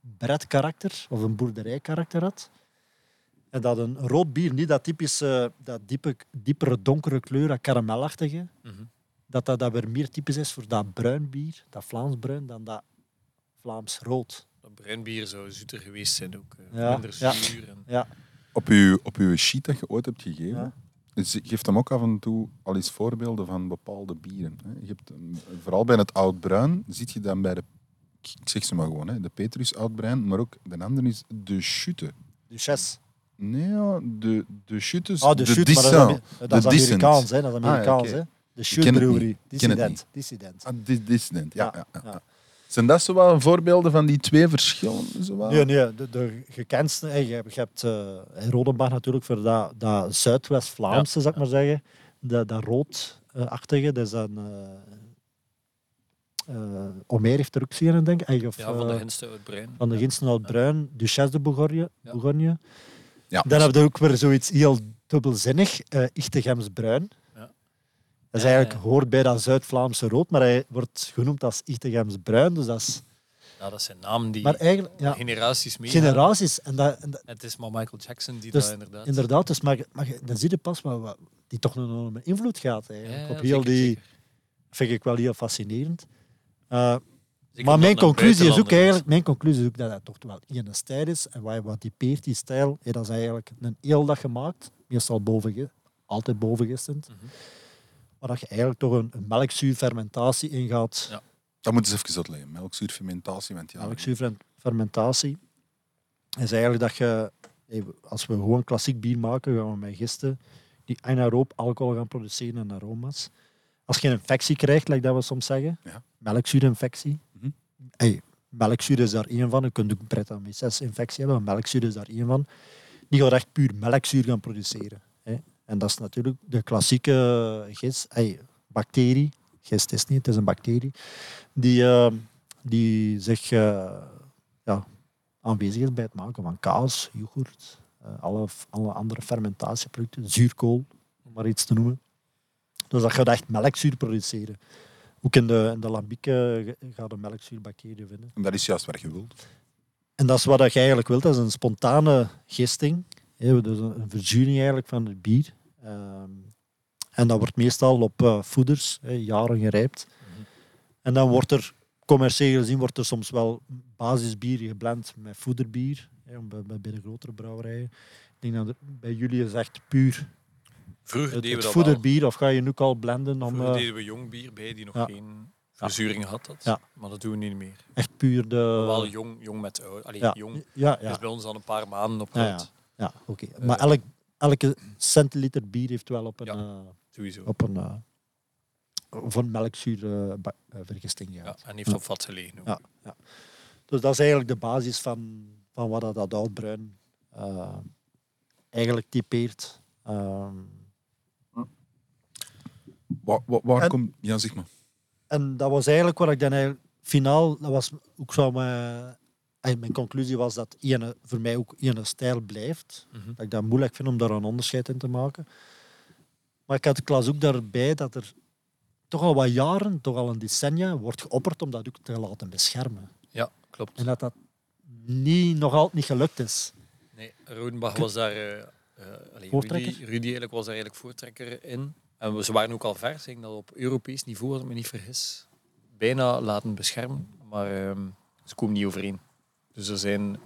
B: bredkarakter of een boerderijkarakter had. En dat een rood bier niet dat typische, dat diepe, diepere donkere kleur, dat karamelachtige,
A: Mhm.
B: dat, dat dat weer meer typisch is voor dat bruin bier, dat Vlaams bruin, dan dat Vlaams rood.
A: Dat bruinbier zou zoeter geweest zijn ook. eh,
B: Ja,
A: Minder
B: ja.
A: zuur. En...
B: Ja,
C: Op uw, op uw sheet dat je ooit hebt gegeven,
B: Ja.
C: dus je geeft hem ook af en toe al eens voorbeelden van bepaalde bieren. Hè. Je hebt, een- vooral bij het oud-bruin zit je dan bij de, ik zeg ze maar gewoon, hè, de Petrus oud-bruin, maar ook de andere is de Chute.
B: Duchesse.
C: Nee, ja, de, de Chute is
B: Ah, de, shoot, maar dat is, Ameri-
C: Dissin.
B: dat is
C: De Dissent.
B: Amerikaans, hè. Dat is
C: ja,
B: Amerikaans,
C: oké.
B: hè. De
C: ken
B: shoot
C: het
B: brewery.
C: niet. Ik ken het
B: Dissident.
C: niet.
B: Dissident.
C: Ah, di- Dissident, ja. ja,
B: Ja,
C: ja.
B: ja.
C: Zijn dat zo wel voorbeelden van die twee verschillen? Zo wel?
B: Nee, nee, de, de gekendste. hè, Je hebt, je hebt eh, Rodenbach natuurlijk voor dat, dat Zuidwest-Vlaamse, zou ik maar zeggen. Dat, dat roodachtige. Dat is een, eh eh, Omer heeft er ook zin in, denk ik. Eh, Of,
A: Ja, van de
B: eh,
A: henste uit brein.
B: van de Ginsen uit Bruin, Duchesse de Bourgogne.
A: Ja.
B: Bourgogne.
C: Ja.
B: Dan heb je ook weer zoiets heel dubbelzinnig. eh Ichtegems Bruin.
A: Ja.
B: Dat is
A: Ja,
B: eigenlijk,
A: ja.
B: hoort bij dat Zuid-Vlaamse rood, maar hij wordt genoemd als Ichtegems Bruin. Dus dat is,
A: Ja, dat zijn namen die
B: maar eigenlijk, ja,
A: generaties mee.
B: generaties. En dat, en dat-
A: Het is maar Michael Jackson die
B: Dus
A: dat inderdaad.
B: Inderdaad, dus maar, maar je- dan zie je pas wat, wat die toch een enorme invloed gaat eigenlijk.
A: Ja,
B: op
A: ja,
B: heel
A: zeker,
B: die,
A: zeker.
B: vind ik wel heel fascinerend. Eh,
A: Zeker
B: maar
A: omdat het
B: mijn
A: naar
B: conclusie, is ook
A: buitenlanders
B: eigenlijk, mijn conclusie is ook dat dat toch wel één stijl is. En wat, wat typeert die stijl? Ja, dat is eigenlijk een heel dag gemaakt, meestal boven, altijd bovengistend.
A: Mhm.
B: Maar dat je eigenlijk toch een, een melkzuurfermentatie ingaat.
A: Ja.
C: Dat moet eens even uitleggen. Melkzuurfermentatie, want ja...
B: Melkzuurfermentatie is eigenlijk dat je, hey, als we gewoon klassiek bier maken, gaan we met gisten die anaeroop alcohol gaan produceren en aroma's. Als je een infectie krijgt, like dat we soms zeggen,
C: Ja.
B: melkzuurinfectie.
C: Mhm.
B: Hey, melkzuur is daar één van. Je kunt ook een Brettanomyces-infectie hebben, maar melkzuur is daar één van. Die gaat echt puur melkzuur gaan produceren. hè. En dat is natuurlijk de klassieke gist. Hey, bacterie, gist is niet, het is een bacterie, die, eh, die zich eh, ja, aanwezig is bij het maken van kaas, yoghurt, eh, alle, alle andere fermentatieproducten, zuurkool, om maar iets te noemen. Dus dat gaat echt melkzuur produceren. Ook in de, in de lambieken gaat de melkzuurbacteriën vinden.
C: En dat is juist waar je wilt.
B: En dat is wat je eigenlijk wilt, dat is een spontane gisting. hè, Dus een een verzuring eigenlijk van het bier. Ehm, en dat wordt meestal op eh, voeders, hè, jaren gerijpt. En dan wordt er, commercieel gezien, wordt er soms wel basisbier geblend met voederbier. hè, om bij- bij, bij de grotere brouwerijen. Ik denk dat er- bij jullie is echt puur
A: Vroeger deden
B: het, het
A: we dat wel.
B: voederbier. Of ga je nu ook al blenden om
A: Vroeger
B: eh,
A: deden we jong bier bij die nog
B: Ja.
A: geen verzuring had. Dat.
B: Ja.
A: Maar dat doen we niet meer.
B: echt puur de...
A: wel jong, jong met oud. Allee,
B: ja,
A: jong Dus-
B: ja, ja.
A: is bij ons al een paar maanden op
B: Ja,
A: rood.
B: Ja, oké. Maar elk, elke centiliter bier heeft wel op een,
A: Eh. Ja.
B: eh,
A: Sowieso.
B: op een, eh, op een melkzuur eh, ba- eh, vergisting
A: ja,
B: gehad.
A: en heeft op vat gelegen ook.
B: Ja. Dus dat is eigenlijk de basis van, van wat dat, dat oudbruin eh, eigenlijk typeert. Ehm,
C: Waar, waar, waar
B: En-
C: komt... Ja, zeg maar.
B: en dat was eigenlijk wat ik dan eigenlijk... Finaal, dat was ook zo mijn... en Mijn conclusie was dat ene, voor mij ook ene stijl blijft.
A: Mhm.
B: Dat ik dat moeilijk vind om daar een onderscheid in te maken. Maar ik had Klaas ook daarbij dat er toch al wat jaren, toch al een decennia, wordt geopperd om dat ook te laten beschermen.
A: Ja, klopt.
B: En dat dat niet, nog altijd niet gelukt is.
A: Nee, Rodenbach was daar... eh, eh, allee, Rudy,
B: Voortrekker?
A: Rudy eigenlijk was daar eigenlijk voortrekker in. En we, ze waren ook al ver, zeg dat op Europees niveau, als ik me niet vergis, bijna laten beschermen. Maar ehm, ze komen niet overeen. Dus er zijn,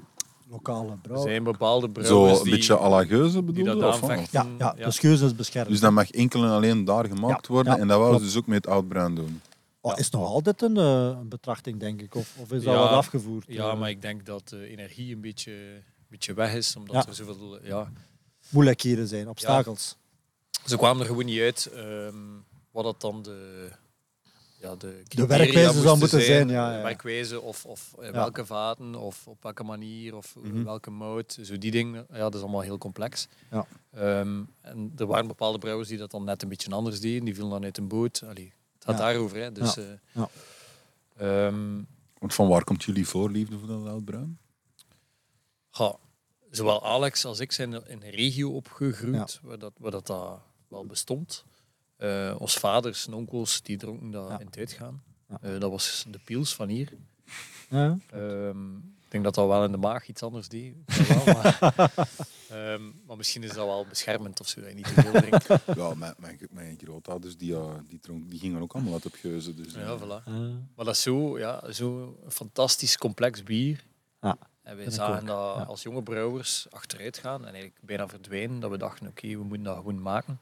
B: Lokale
A: er
B: brouw.
A: zijn bepaalde brouwers
C: Zo een
A: die,
C: beetje à la Geuze
A: die
C: bedoel
A: dat
C: je? of wat?
A: aanvechten.
B: Ja, ja, dus geuze is beschermd.
C: Dus dat mag enkel en alleen daar gemaakt
B: Ja,
C: worden.
B: ja,
C: en dat wou ze
B: klopt.
C: dus ook met oud bruin doen.
B: Oh, is nog altijd een, eh, een betrachting, denk ik. Of, of is dat
A: Ja.
B: wat afgevoerd?
A: Ja,
B: Eh,
A: maar ik denk dat de energie een beetje, een beetje weg is, omdat
B: Ja.
A: er zoveel... eh, Ja,
B: Moeilijkheden zijn, obstakels.
A: ze kwamen er gewoon niet uit ehm, wat dat dan de... Ja, de, criteria
B: werkwijze zou
A: moesten
B: moeten zijn, ja, ja.
A: De werkwijze of, of in
B: Ja.
A: welke vaten of op welke manier of
C: Mhm.
A: welke mout. Zo die dingen, ja, dat is allemaal heel complex.
B: Ja.
A: Ehm, en er waren bepaalde brouwers die dat dan net een beetje anders deden. Die vielen dan uit een boot. Allee, het gaat
B: Ja.
A: daarover, hè. Dus, eh,
B: Ja.
A: ehm,
C: Want van waar komt jullie voorliefde voor dat oud bruin?
A: Ja, zowel Alex als ik zijn in een regio opgegroeid waar, dat, waar dat, dat wel bestond. Eh ons vaders en onkels die dronken dat
B: Ja.
A: in het uitgaan.
B: Ja.
A: Eh, dat was de pils van hier.
B: Ja.
A: Ehm, ik denk dat dat wel in de maag iets anders deed. Dat wel, maar, Ehm, maar misschien is dat wel beschermend of zo, dat je niet te veel drinkt.
C: Ja, mijn, mijn, mijn grootouders die, eh, die, dronk, die gingen ook allemaal uit op Geuze. Dus, eh,
A: Ja, voilà.
B: Eh,
A: Maar dat is zo, ja, zo een fantastisch complex bier.
B: Ja,
A: En wij
B: vind ik
A: zagen
B: ook,
A: dat
B: ja.
A: als jonge brouwers achteruit gaan en eigenlijk bijna verdwijnen, dat we dachten, oké, we moeten dat gewoon maken.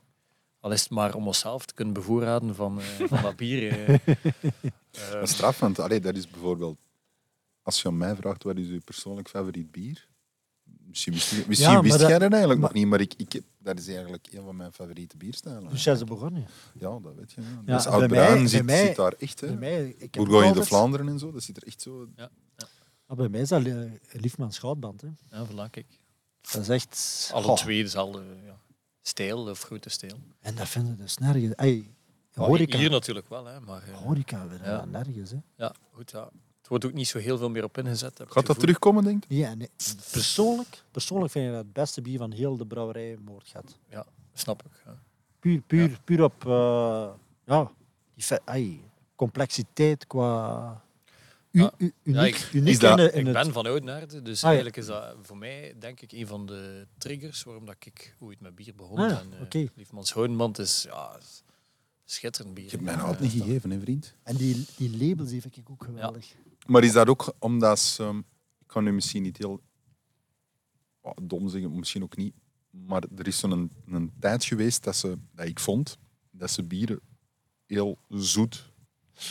A: Al is het maar om onszelf te kunnen bevoorraden van, eh, van dat bier. eh.
C: Dat is
A: Ehm,
C: straf, want allee, dat is bijvoorbeeld... Als je aan mij vraagt, wat is je persoonlijk favoriet bier? Misschien, misschien, misschien
B: maar
C: wist
B: dat-
C: jij dat eigenlijk
B: maar-
C: nog niet, maar ik, ik heb, dat is eigenlijk een van mijn favoriete bierstijlen.
B: Dus jij ze begonnen.
C: Ja, dat weet je. Ja.
B: Ja,
C: dus
B: bij
C: oud
B: mij- bij
C: bruin zit,
B: mij-
C: zit daar echt.
B: Bij
C: Hè.
B: mij, ik heb ook
C: Bourgogne de
B: altijd-
C: Vlaanderen en zo, dat zit er echt zo.
B: Ah, Bij mij is dat eh, Liefmans Goudband. Hè.
A: ja, voilà, kijk.
B: Dat is echt...
A: Alle
B: Goh.
A: twee dezelfde ja, stijl, of grote stijl.
B: En dat vinden ze dus nergens. Ey,
A: Maar
B: horeca,
A: Hier natuurlijk wel, hè, maar eh,
B: horeca weer,
A: Ja.
B: nergens. Hè.
A: ja, goed, ja. het wordt ook niet zo heel veel meer op ingezet. heb ik het
C: Gaat dat
A: gevoel.
C: terugkomen, denk je?
B: Ja, nee. persoonlijk, persoonlijk vind ik dat het beste bier van heel de brouwerij moord gaat.
A: Snap ik. Ja.
B: Puur, puur, puur op eh, ja, die fe- ey, complexiteit qua... U,
A: Ja.
B: u- uniek
A: Ja, ik-
B: uniek
C: is dat-
B: in, in
A: Ik
B: het...
A: ben van Oudenaarde, dus
B: Ah, ja.
A: eigenlijk is dat voor mij denk ik een van de triggers waarom dat ik ooit met bier begon.
B: Ah,
A: en, eh,
B: oké.
A: Liefmans Hoonmand is ja, is schitterend bier. Eh,
C: Je hebt mij nog altijd niet gegeven, hè, vriend.
B: En die, die labels die vind ik ook geweldig.
C: Maar is dat ook omdat ze... ehm, ik kan nu misschien niet heel ah, dom zeggen, misschien ook niet. Maar er is zo'n een, tijd geweest dat, ze, dat ik vond dat ze bieren heel zoet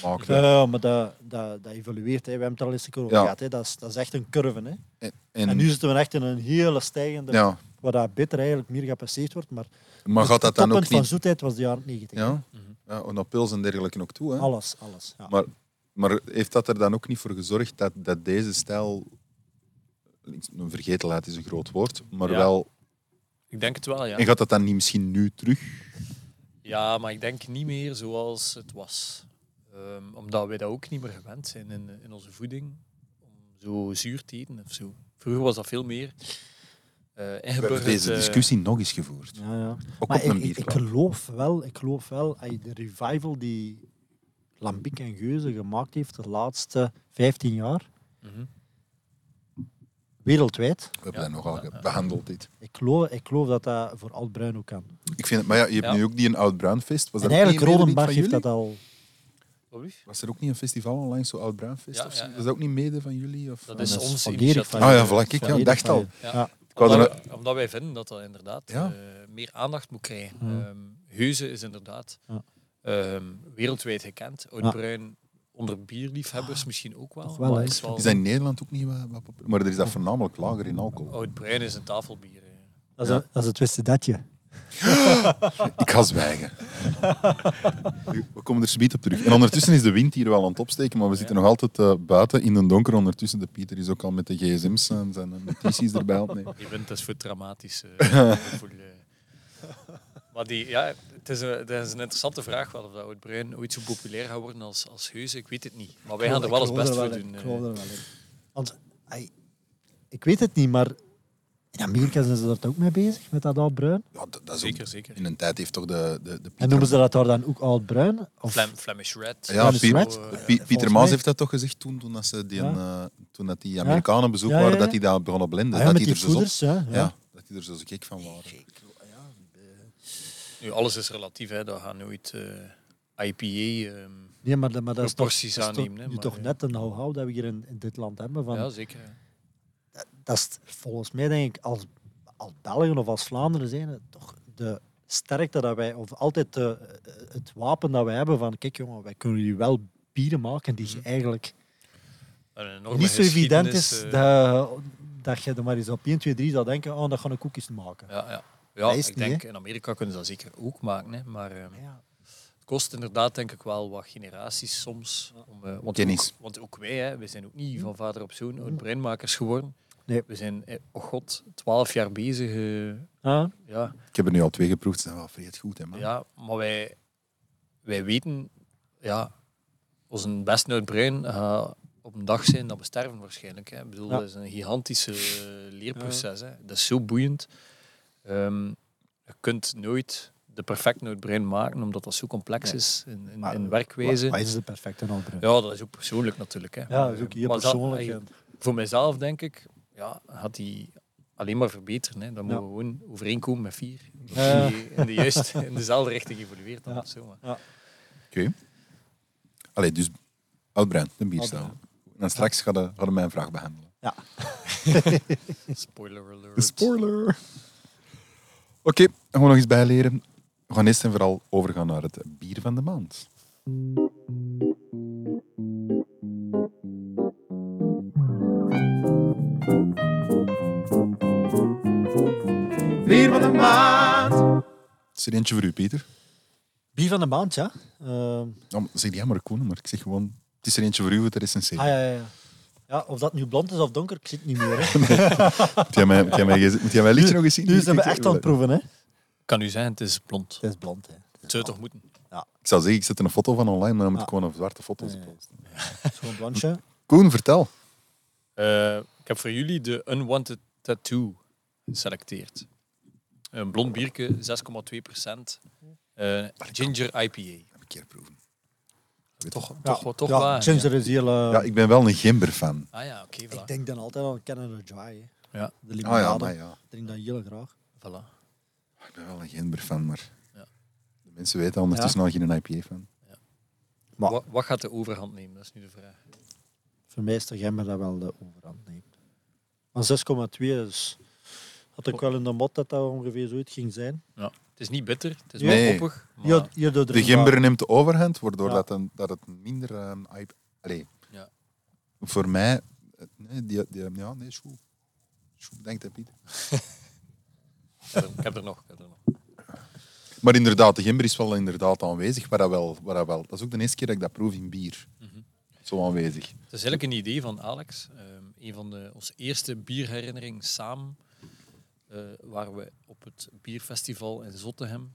C: maakte.
B: Ja, maar dat, dat, dat evolueert. Hè. We hebben het al eens een keer over
C: Ja.
B: gehad. Hè. Dat, is, dat is echt een curve. Hè.
C: en,
B: En, nu zitten we echt in een hele stijgende,
C: ja,
B: waar dat bitter eigenlijk meer gepasseerd wordt. Maar,
C: maar gaat dat
B: het toppunt
C: dan ook
B: van Mhm.
C: niet...
B: zoetheid was de jaren 90.
C: Ja? ja, en dat pils en dergelijke ook toe. Hè?
B: Alles, alles. Ja.
C: Maar, maar heeft dat er dan ook niet voor gezorgd dat, dat deze stijl... Een vergetelheid is een groot woord, maar
A: Ja.
C: wel...
A: Ik denk het wel, ja.
C: En gaat dat dan niet misschien nu terug?
A: Ja, maar ik denk niet meer zoals het was. Ehm, omdat wij dat ook niet meer gewend zijn in, eh, in onze voeding. Om zo zuur te eten of zo. Vroeger was dat veel meer eh
C: We hebben
A: ingeburgerd.
C: deze
A: eh,
C: discussie nog eens gevoerd.
B: Ja, ja.
C: Ook
B: Maar
C: op
B: ik,
C: een
B: ik, ik
C: bierklap.
B: geloof wel, ik geloof wel, ey, de revival die Lambiek en Geuze gemaakt heeft de laatste 15 jaar,
A: mhm.
B: wereldwijd,
C: We hebben
A: Ja.
C: dat nogal ge- behandeld, dit.
B: ik geloof, ik geloof dat dat voor Alt Bruin ook kan.
C: Ik vind het, maar ja, je hebt
A: Ja.
C: nu ook die een oud bruinfest. Was
B: en
C: dat
B: eigenlijk
C: één middenwit
B: Rodenbach
C: van
B: heeft
C: jullie?
B: dat al.
A: Wat lief?
C: Was er ook niet een festival onlangs, zo oud bruinfest?
A: Ja,
C: of zo?
A: ja, ja.
C: Is dat ook niet mede van jullie? Of,
A: Dat is
B: dat is
A: ons
B: van
A: initiatief.
B: Erik van-
C: Ah ja, voilà, kijk, ja,
B: van
C: ik dacht al.
B: Ja.
A: Ja.
C: Ik wou
A: Omdat, omdat wij vinden dat dat inderdaad
C: Ja.
A: eh, meer aandacht moet krijgen.
B: Hmm.
A: Ehm, Heuze is inderdaad
B: Ja.
A: ehm, wereldwijd gekend. Oud-Bruin onder bierliefhebbers misschien ook wel.
B: Ah, Toch wel,
A: maar
B: hè?
A: is wel
C: Is dat in Nederland ook niet wat, wat populair? Maar er is dat voornamelijk lager in alcohol.
A: Oud-Bruin is een tafelbier. eh. hè.
B: Dat is, een- dat is het wisten datje.
C: Ik ga zwijgen. We komen er subiet op terug. En ondertussen is de wind hier wel aan het opsteken, maar we zitten nog altijd eh, buiten in de donker. Ondertussen, de Pieter is ook al met de gsm's en zijn eh, notities erbij aan het nemen.
A: Die wind is voor het dramatisch eh, gevoel. eh. Maar die, ja, het is, een, het is een interessante vraag wel of dat Oud-Bruin ooit zo populair gaat worden als, als Heuze. Ik weet het niet. Maar wij gaan er wel ons
B: Ik geloof
A: best voor
B: er wel in,
A: doen.
B: Ik
A: eh.
B: geloof er wel in. Want, ey, ik weet het niet, maar in Amerika zijn ze daar ook mee bezig, met dat Alt Bruin.
C: Ja, dat, dat is ook-
A: Zeker, zeker.
C: In een tijd heeft toch de, de, de
B: En
C: Pieter...
B: noemen ze dat daar dan ook Alt Bruin? Of
A: Flam- Flemish Red.
C: Ja,
B: Flam-
C: Piet-
B: Red?
A: Zo, eh,
C: de Pie- Pieter
B: volgens
C: Maas
B: mij-
C: heeft dat toch gezegd toen, toen, dat ze die,
B: Ja.
C: eh, toen dat die Amerikanen bezoek
B: Ja, ja,
C: waren,
B: ja.
C: dat die daar begonnen blenden.
B: Ah ja,
C: dat
B: met die
C: die er zo zot-
B: voeders, ja. ja.
C: Ja, dat die er zo gek van waren.
A: Nu, alles is relatief, hè. Dat gaat nooit eh, IPA... ehm,
B: Nee, maar, dat- maar dat is toch,
A: Proporties
B: dat is toch-
A: aannemen, hè,
B: nu
A: maar,
B: toch
A: ja.
B: net een hou-hou dat we hier in, in dit land hebben. Van,
A: ja, zeker.
B: Dat is volgens mij, denk ik, als, als Belgen of als Vlaanderen zijn, het toch de sterkte dat wij, of altijd de, het wapen dat wij hebben van, kijk jongen, wij kunnen hier wel bieren maken die
A: Mhm.
B: je eigenlijk
A: Een enorme
B: niet zo evident
A: geschiedenis,
B: is
A: eh,
B: dat, dat je er maar eens op 1, 2, 3 zou denken, oh, dat gaan we koekjes maken.
A: Ja, ja. ja
B: Dat is het
A: ik
B: niet,
A: denk, in Amerika kunnen ze dat zeker ook maken. Hè. Maar ehm,
B: Ja.
A: het kost inderdaad denk ik wel wat generaties soms. Om, eh, want,
C: Kennis.
A: Ook, want ook wij, hè, wij zijn ook niet van vader op zoon oud-breinmakers geworden.
B: Mm. Nee.
A: We zijn, eh, oh god, twaalf jaar bezig. eh,
B: Ja.
A: ja,
C: Ik heb er nu al twee geproefd, ze zijn wel vreed goed, hè, man.
A: ja, maar wij, wij weten, ja, onze beste oud-brein gaat eh, op een dag zijn dat we sterven waarschijnlijk. Hè. Ik bedoel,
B: Ja.
A: dat is een gigantische eh, leerproces. Hè. Dat is zo boeiend. Ehm, je kunt nooit de perfecte oud-brein maken, omdat dat zo complex is in, in,
B: Maar
A: in
B: Wat,
A: werkwijze.
B: wat is de perfecte Albrecht?
A: Ja, dat is ook persoonlijk natuurlijk. Hè.
B: Ja, dat is ook heel
A: Maar dat-
B: persoonlijk.
A: ey,
B: en-
A: voor mijzelf denk ik, ja, had die alleen maar verbeteren. Hè. Dan
B: Ja.
A: moeten we gewoon overeenkomen met vier. Dat
B: Ja.
A: die in de juiste, in dezelfde richting evolueert dan
B: Ja.
A: of zo. Maar.
C: Oké. Allee, dus Oud-Bruin, de bierstijl.
B: Oud-Bruin.
C: En straks gaan we- gaan we mijn vraag behandelen.
A: Spoiler alert.
C: Spoiler! Oké, dan gaan we nog eens bijleren. We gaan eerst en vooral overgaan naar het bier van de maand.
D: Bier van de maand.
C: Is er eentje voor u, Pieter?
B: Bier van de maand, ja. Ehm,
C: Nou, zeg jij maar Koen, maar ik zeg gewoon... Het is er eentje voor u, het recenseren.
B: Ah, ja, ja, ja. ja, of dat nu blond is of donker, ik zie het niet meer. Hè.
C: Moet jij mijn, moet jij mijn, gez- moet jij mijn liedje nog eens zien?
B: Nu
C: Hier,
B: zijn we
C: kijk,
B: echt aan het proeven, hè.
A: Ik kan u zeggen, het is blond.
B: Het is blond, hè.
A: Het zou toch moeten?
C: Ik zou zeggen, ik zet er een foto van online, maar dan moet ik
B: Ah.
C: gewoon een zwarte foto
B: Ja, ja.
C: posten.
B: Zo'n blondje.
C: Koen, vertel.
A: Eh, ik heb voor jullie de Unwanted Tattoo geselecteerd. Een blond bierke, 6,2 procent. eh, ginger IPA.
C: Een keer proeven.
A: Toch,
B: Ja.
A: toch, wel- toch
B: ja,
A: waar.
B: Ginger is heel... eh,
C: Ja, ik ben wel een gimber-fan.
A: Ah ja, oké,
B: ik
A: voilà.
B: denk dan altijd aan Canada Dry, hè.
A: Ja,
B: De
C: Ah ja,
B: limonade.
C: maar ja.
B: Ik drink dat heel graag.
A: voilà.
C: Ik ben wel een gimber-fan, maar...
A: Ja.
C: De mensen weten ondertussen al geen IPA-fan.
B: Maar-
A: Wat, wat gaat de overhand nemen? Dat is nu de vraag.
B: Voor mij is de gember dat wel de overhand neemt. dus Maar 6,2 is... Had ik wel in de mot dat dat ongeveer zoiets ging zijn.
A: Ja. Het is niet bitter, het is
C: Nee.
A: wel koppig. Maar
B: Je, je doet er
C: De
B: een paar-
C: gimber neemt de overhand, waardoor
B: Ja.
C: dat, een, dat het minder... ehm, hype- Allee.
A: Ja.
C: Voor mij... eh, Nee, die, die, ja, nee, schoe. Schoe, denkt hij, Piet.
A: ik, heb er, ik heb er nog. Ik heb er nog.
C: Maar inderdaad, de gimber is wel inderdaad aanwezig, waar dat wel, waar dat wel. Dat is ook de eerste keer dat ik dat proef in bier. Zo aanwezig.
A: Het is eigenlijk een idee van Alex. Ehm, een van de, onze eerste bierherinneringen samen eh, waren we op het bierfestival in Zottegem.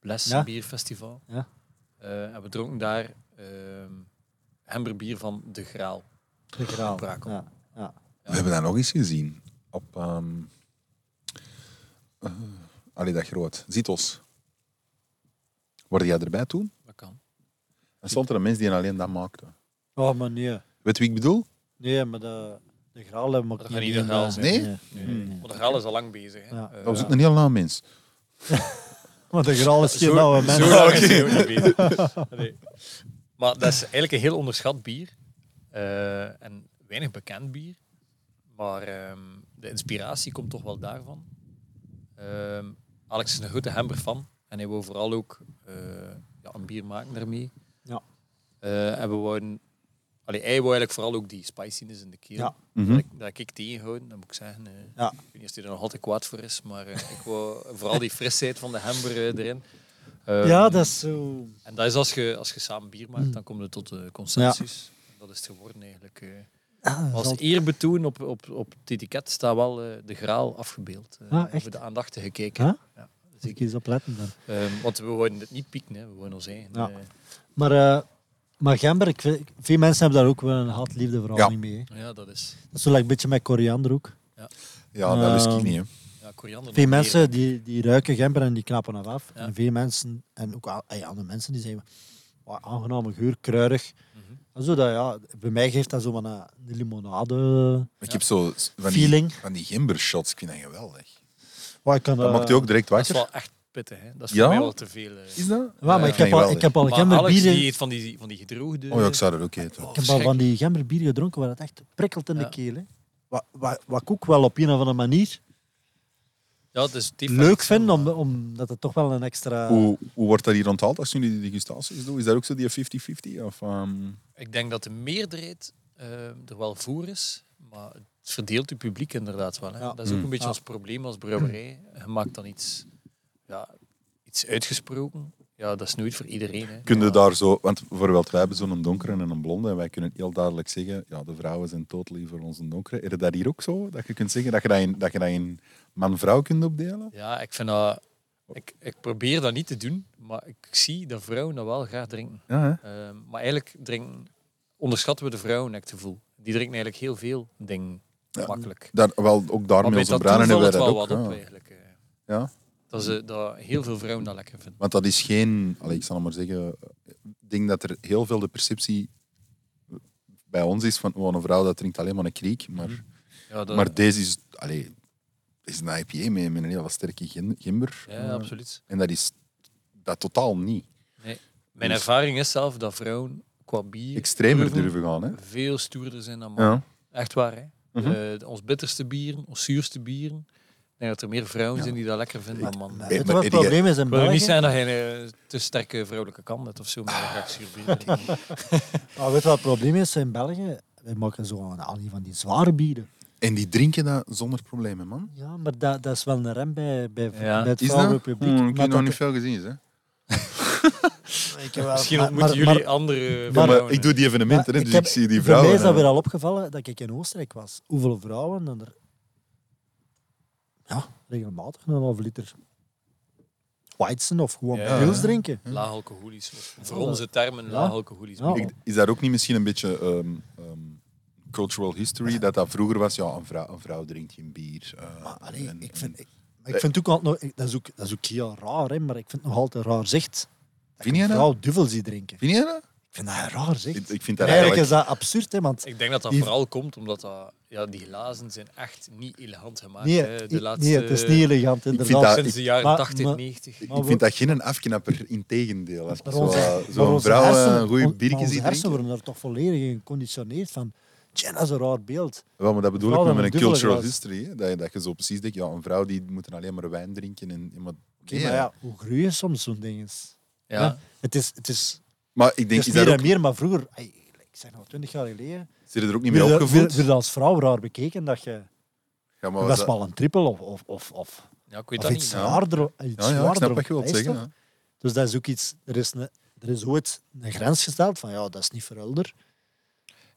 A: Les
B: Ja.
A: Bierfestival.
B: Ja.
A: Eh, en we dronken daar ehm hemberbier van De Graal.
B: De graal.
A: Brakel.
B: Ja, ja.
C: We hebben dat nog eens gezien. Op... ehm eh, allee, dat groot. Zitos. Word jij erbij toen?
A: Dat kan.
C: En stond er een mens die alleen dat maakte.
B: Oh, maar nee.
C: Weet wie ik bedoel?
B: Nee, maar de, de graal hebben we
A: Dat gaat niet de
B: eh,
A: graal zijn.
C: Nee?
A: Want De Graal is al lang bezig. Hè.
B: Ja.
A: Eh,
C: Dat was ook een heel naam mens.
B: Maar de graal is geen oude
A: Zo
B: mens.
A: lang is hij ook niet bezig. Allee. Maar dat is eigenlijk een heel onderschat bier. Eh, en weinig bekend bier. Maar ehm, de inspiratie komt toch wel daarvan. Ehm, Alex is een grote hember fan. En hij wil vooral ook eh, ja, een bier maken daarmee.
B: Ja.
A: Eh, en we wouden... Allee, hij wou eigenlijk vooral ook die spiciness in de keel.
B: Ja.
A: Dat,
C: Mhm.
A: ik, dat ik tegenhouden, dat moet ik zeggen. eh,
B: Ja.
A: Ik weet niet of hij er nog altijd kwaad voor is, maar eh, ik wou vooral die frisheid van de hember eh, erin. Ehm,
B: Ja, dat is Mm. zo...
A: en dat is als je, als je samen bier maakt, dan kom je tot eh consensus. En Dat is het geworden eigenlijk. eh.
B: Ah,
A: Als
B: zal-
A: eerbetoon op, op, op het etiket staat wel eh, de graal afgebeeld. eh,
B: Ah,
A: over
B: echt?
A: de aandachtige gekeken.
B: Ah?
A: Ja,
B: Moet ik
A: zeker.
B: eens opletten dan.
A: Ehm, want we worden het niet pieken, hè. we worden ons eigen.
B: Ja.
A: eh,
B: Maar, eh, maar gember, ik weet- veel mensen hebben daar ook wel een haat-liefde verhouding mee. hè.
A: ja, dat is.
B: Dat is zo like, een beetje met koriander ook.
C: Ja, dat wist ik
B: Ehm,
C: niet. Hè.
A: Ja, koriander.
B: Veel
A: nog meer,
B: mensen die, die ruiken gember en die knappen het af.
A: Ja.
B: En veel mensen, en ook al- ja, andere mensen, die zeggen "Wat een aangename geur, kruidig.
A: Mhm.
B: En zo dat, ja, bij mij geeft dat zo van een, een limonade.
C: Ik heb zo van die,
B: Feeling.
C: van die gimbershots, ik vind dat geweldig.
B: Wat ik kan,
C: Dat
B: eh,
C: maakt je ook direct
A: hè. Dat is
C: wakker.
A: wel echt pittig. Hè. Dat is
C: Ja?
A: voor mij wel te veel. eh.
C: Is dat?
B: Ja, maar
A: Ja,
B: ik, heb al, ik heb al
A: Maar Alex,
B: gemberbier
A: die
B: in-
A: eet van die, van die gedroogde...
C: Oh ja, ik zou dat ook eten.
A: Oh,
B: ik heb al van die gemberbier gedronken waar het echt prikkelt in
A: Ja.
B: de keel. hè. Wat, wat, wat ik ook wel op een of andere manier
A: ja, het is, het heeft wel
B: leuk
A: iets van,
B: vind, om,
A: eh,
B: omdat het toch wel een extra...
C: Hoe, hoe wordt dat hier onthaald als jullie die degustaties doen? Is dat ook zo die 50-50? Of, ehm,
A: Ik denk dat de meerderheid eh, er wel voor is, maar het verdeelt het publiek inderdaad wel. Hè.
B: Ja.
A: Dat is ook
C: Mm.
A: een beetje
B: Ja.
A: ons probleem als brouwerij. Je maakt dan iets, ja, iets uitgesproken. Ja, dat is nooit voor iedereen. Hè.
C: Kun je
A: Ja.
C: daar zo, want bijvoorbeeld wij hebben zo'n donkere en een blonde en wij kunnen heel duidelijk zeggen, ja, de vrouwen zijn totally voor onze donkere. Is dat hier ook zo? Dat je kunt zeggen dat je dat in, dat je dat in man-vrouw kunt opdelen?
A: Ja, ik vind dat... Ik, ik probeer dat niet te doen, maar ik zie dat vrouwen dat wel graag drinken.
C: Ja, hè?
A: Ehm, maar eigenlijk drinken, onderschatten we de vrouwen, heb ik het gevoel. Die drinken eigenlijk heel veel dingen,
C: Ja.
A: makkelijk.
C: Daar, wel, ook
A: Maar
C: daar met
A: bij
C: onze
A: dat
C: bruinen
A: valt
C: hebben wij
A: het
C: dat
A: wel
C: ook.
A: wat op,
C: ja.
A: eigenlijk. eh.
C: Ja.
A: Dat, ze, dat heel veel vrouwen dat lekker vinden.
C: Want dat is geen, allee, ik zal het maar zeggen, ik denk dat er heel veel de perceptie bij ons is van oh, een vrouw dat drinkt alleen maar een kriek. Maar,
A: Ja, Mhm. dat,
C: maar deze is, allee, is een IPA met, met een hele sterke gim- gimber.
A: ja, absoluut.
C: En dat is dat totaal niet.
A: Mijn
C: Dus-
A: ervaring is zelf dat vrouwen qua bier
C: Extremer
A: proeven
C: durven gaan, hè?
A: veel stoerder zijn dan mannen.
C: Ja.
A: Echt waar, hè?
C: Mhm.
A: Eh, ons bitterste bieren, ons zuurste bieren. Ik denk dat er meer vrouwen
C: Ja.
A: zijn die dat lekker vinden dan mannen.
B: Maar
A: Ik
B: weet je
C: maar
B: wat het
C: eet jij-
B: probleem is in
A: wil ook
B: België?
A: niet zijn dat je een te sterke vrouwelijke kant hebt of zo, maar dat graag zuur bier drinkt.
B: Ah, Maar weet je wat het probleem is in België? Wij maken zo een aantal van die zware bieren.
C: En die drinken dat zonder problemen, man.
B: Ja, maar dat, dat is wel een rem bij, bij,
A: Ja.
B: bij het
C: Is dat?
B: vrouwelijk publiek.
C: Hmm,
B: Maar
C: ik heb nog
B: dat-
C: niet veel gezien, hè?
B: ik heb wel-
A: Misschien
B: maar-
A: ontmoeten
B: maar-
A: jullie andere
C: Ja,
A: vrouwen.
C: maar ik doe die
B: maar-
C: evenementen, hè,
B: ik
C: dus
B: heb-
C: ik zie die vrouwen.
B: Voor mij is dat
C: hè.
B: weer al opgevallen dat ik in Oostenrijk was. Hoeveel vrouwen dan er... Ja, regelmatig een halve liter Weizen of gewoon
A: Ja.
B: pils drinken.
C: Hm.
A: Laag alcoholisch. Voor onze termen,
B: Ja.
A: laag alcoholisch.
B: Ja.
A: bier.
C: Ik- is dat ook niet misschien een beetje ehm, ehm, cultural history? Dat dat vroeger was, ja, een vrouw, een vrouw drinkt geen bier. eh,
B: Maar allee,
C: en- Eh.
B: ik
C: en-
B: vind... Ik, ik vind ook altijd nog, ik- dat, is ook, dat is ook heel raar, hè, maar ik vind het nog altijd raar zicht. dat
C: Vind
B: ik
C: je
B: een
C: dat?
B: vrouw duvel zie drinken.
C: Vind jij dat?
B: Ik vind dat een raar zicht.
C: Ik, ik vind dat
B: En eigenlijk is dat
C: eigenlijk...
B: absurd, hè, want
A: Ik denk dat dat
B: Die-
A: vooral komt omdat dat, ja, die glazen zijn echt niet elegant gemaakt.
B: nee,
A: hè. de
B: i-
A: laatste,
B: nee, het is niet elegant
C: vind
B: inderdaad.
C: dat-
A: Sinds de jaren
B: Maar-
A: 80,
B: maar-
A: 90.
C: Ik,
B: maar we-
C: vind dat geen een afknapper, in tegendeel. Als
B: Maar
C: zo'n
B: onze-
C: zo
B: maar
C: zo'n
B: onze
C: vrouw eh,
B: hersenen-
C: een
B: on-
C: goeie
B: maar
C: biertje
B: Onze
C: ziet
B: hersenen
C: drinken...
B: worden er toch volledig in geconditioneerd van... Tja, dat is een raar beeld.
C: Wel, maar dat bedoel ik
B: vrouw
C: met
B: met
C: een
B: een dubbele
C: cultural
B: glas.
C: history. hè. Dat, je- dat je zo precies denkt, ja, een vrouw die moet alleen maar wijn drinken. En, en maar
B: Oké, maar ja, hoe groeien soms zo'n dingen?
A: Ja.
B: Hè? Het is, het is,
C: Maar ik
B: het
C: denk,
B: is
C: is
B: meer
C: daar
B: en
C: ook,
B: meer, maar vroeger, ai, ik zeg nou twintig jaar geleden,
C: zit je er ook niet
B: werd
C: mee
B: je- werd
C: opgevoed?
B: werd je als vrouw raar bekeken dat je
C: Ja, maar was
B: best
C: dat-
B: wel een trippel of, of, of, of,
A: Ja, ik weet
B: of
A: dat
B: iets
A: niet.
C: ja.
B: zwaarder. Iets
C: Ja, ja, ik
B: zwaarder
C: snap
B: op
C: wat je wilt
B: lijst
C: zeggen.
B: had.
C: hè.
B: Dus dat is ook iets, er is, een, er is ooit een grens gesteld van ja, dat is niet voor elder.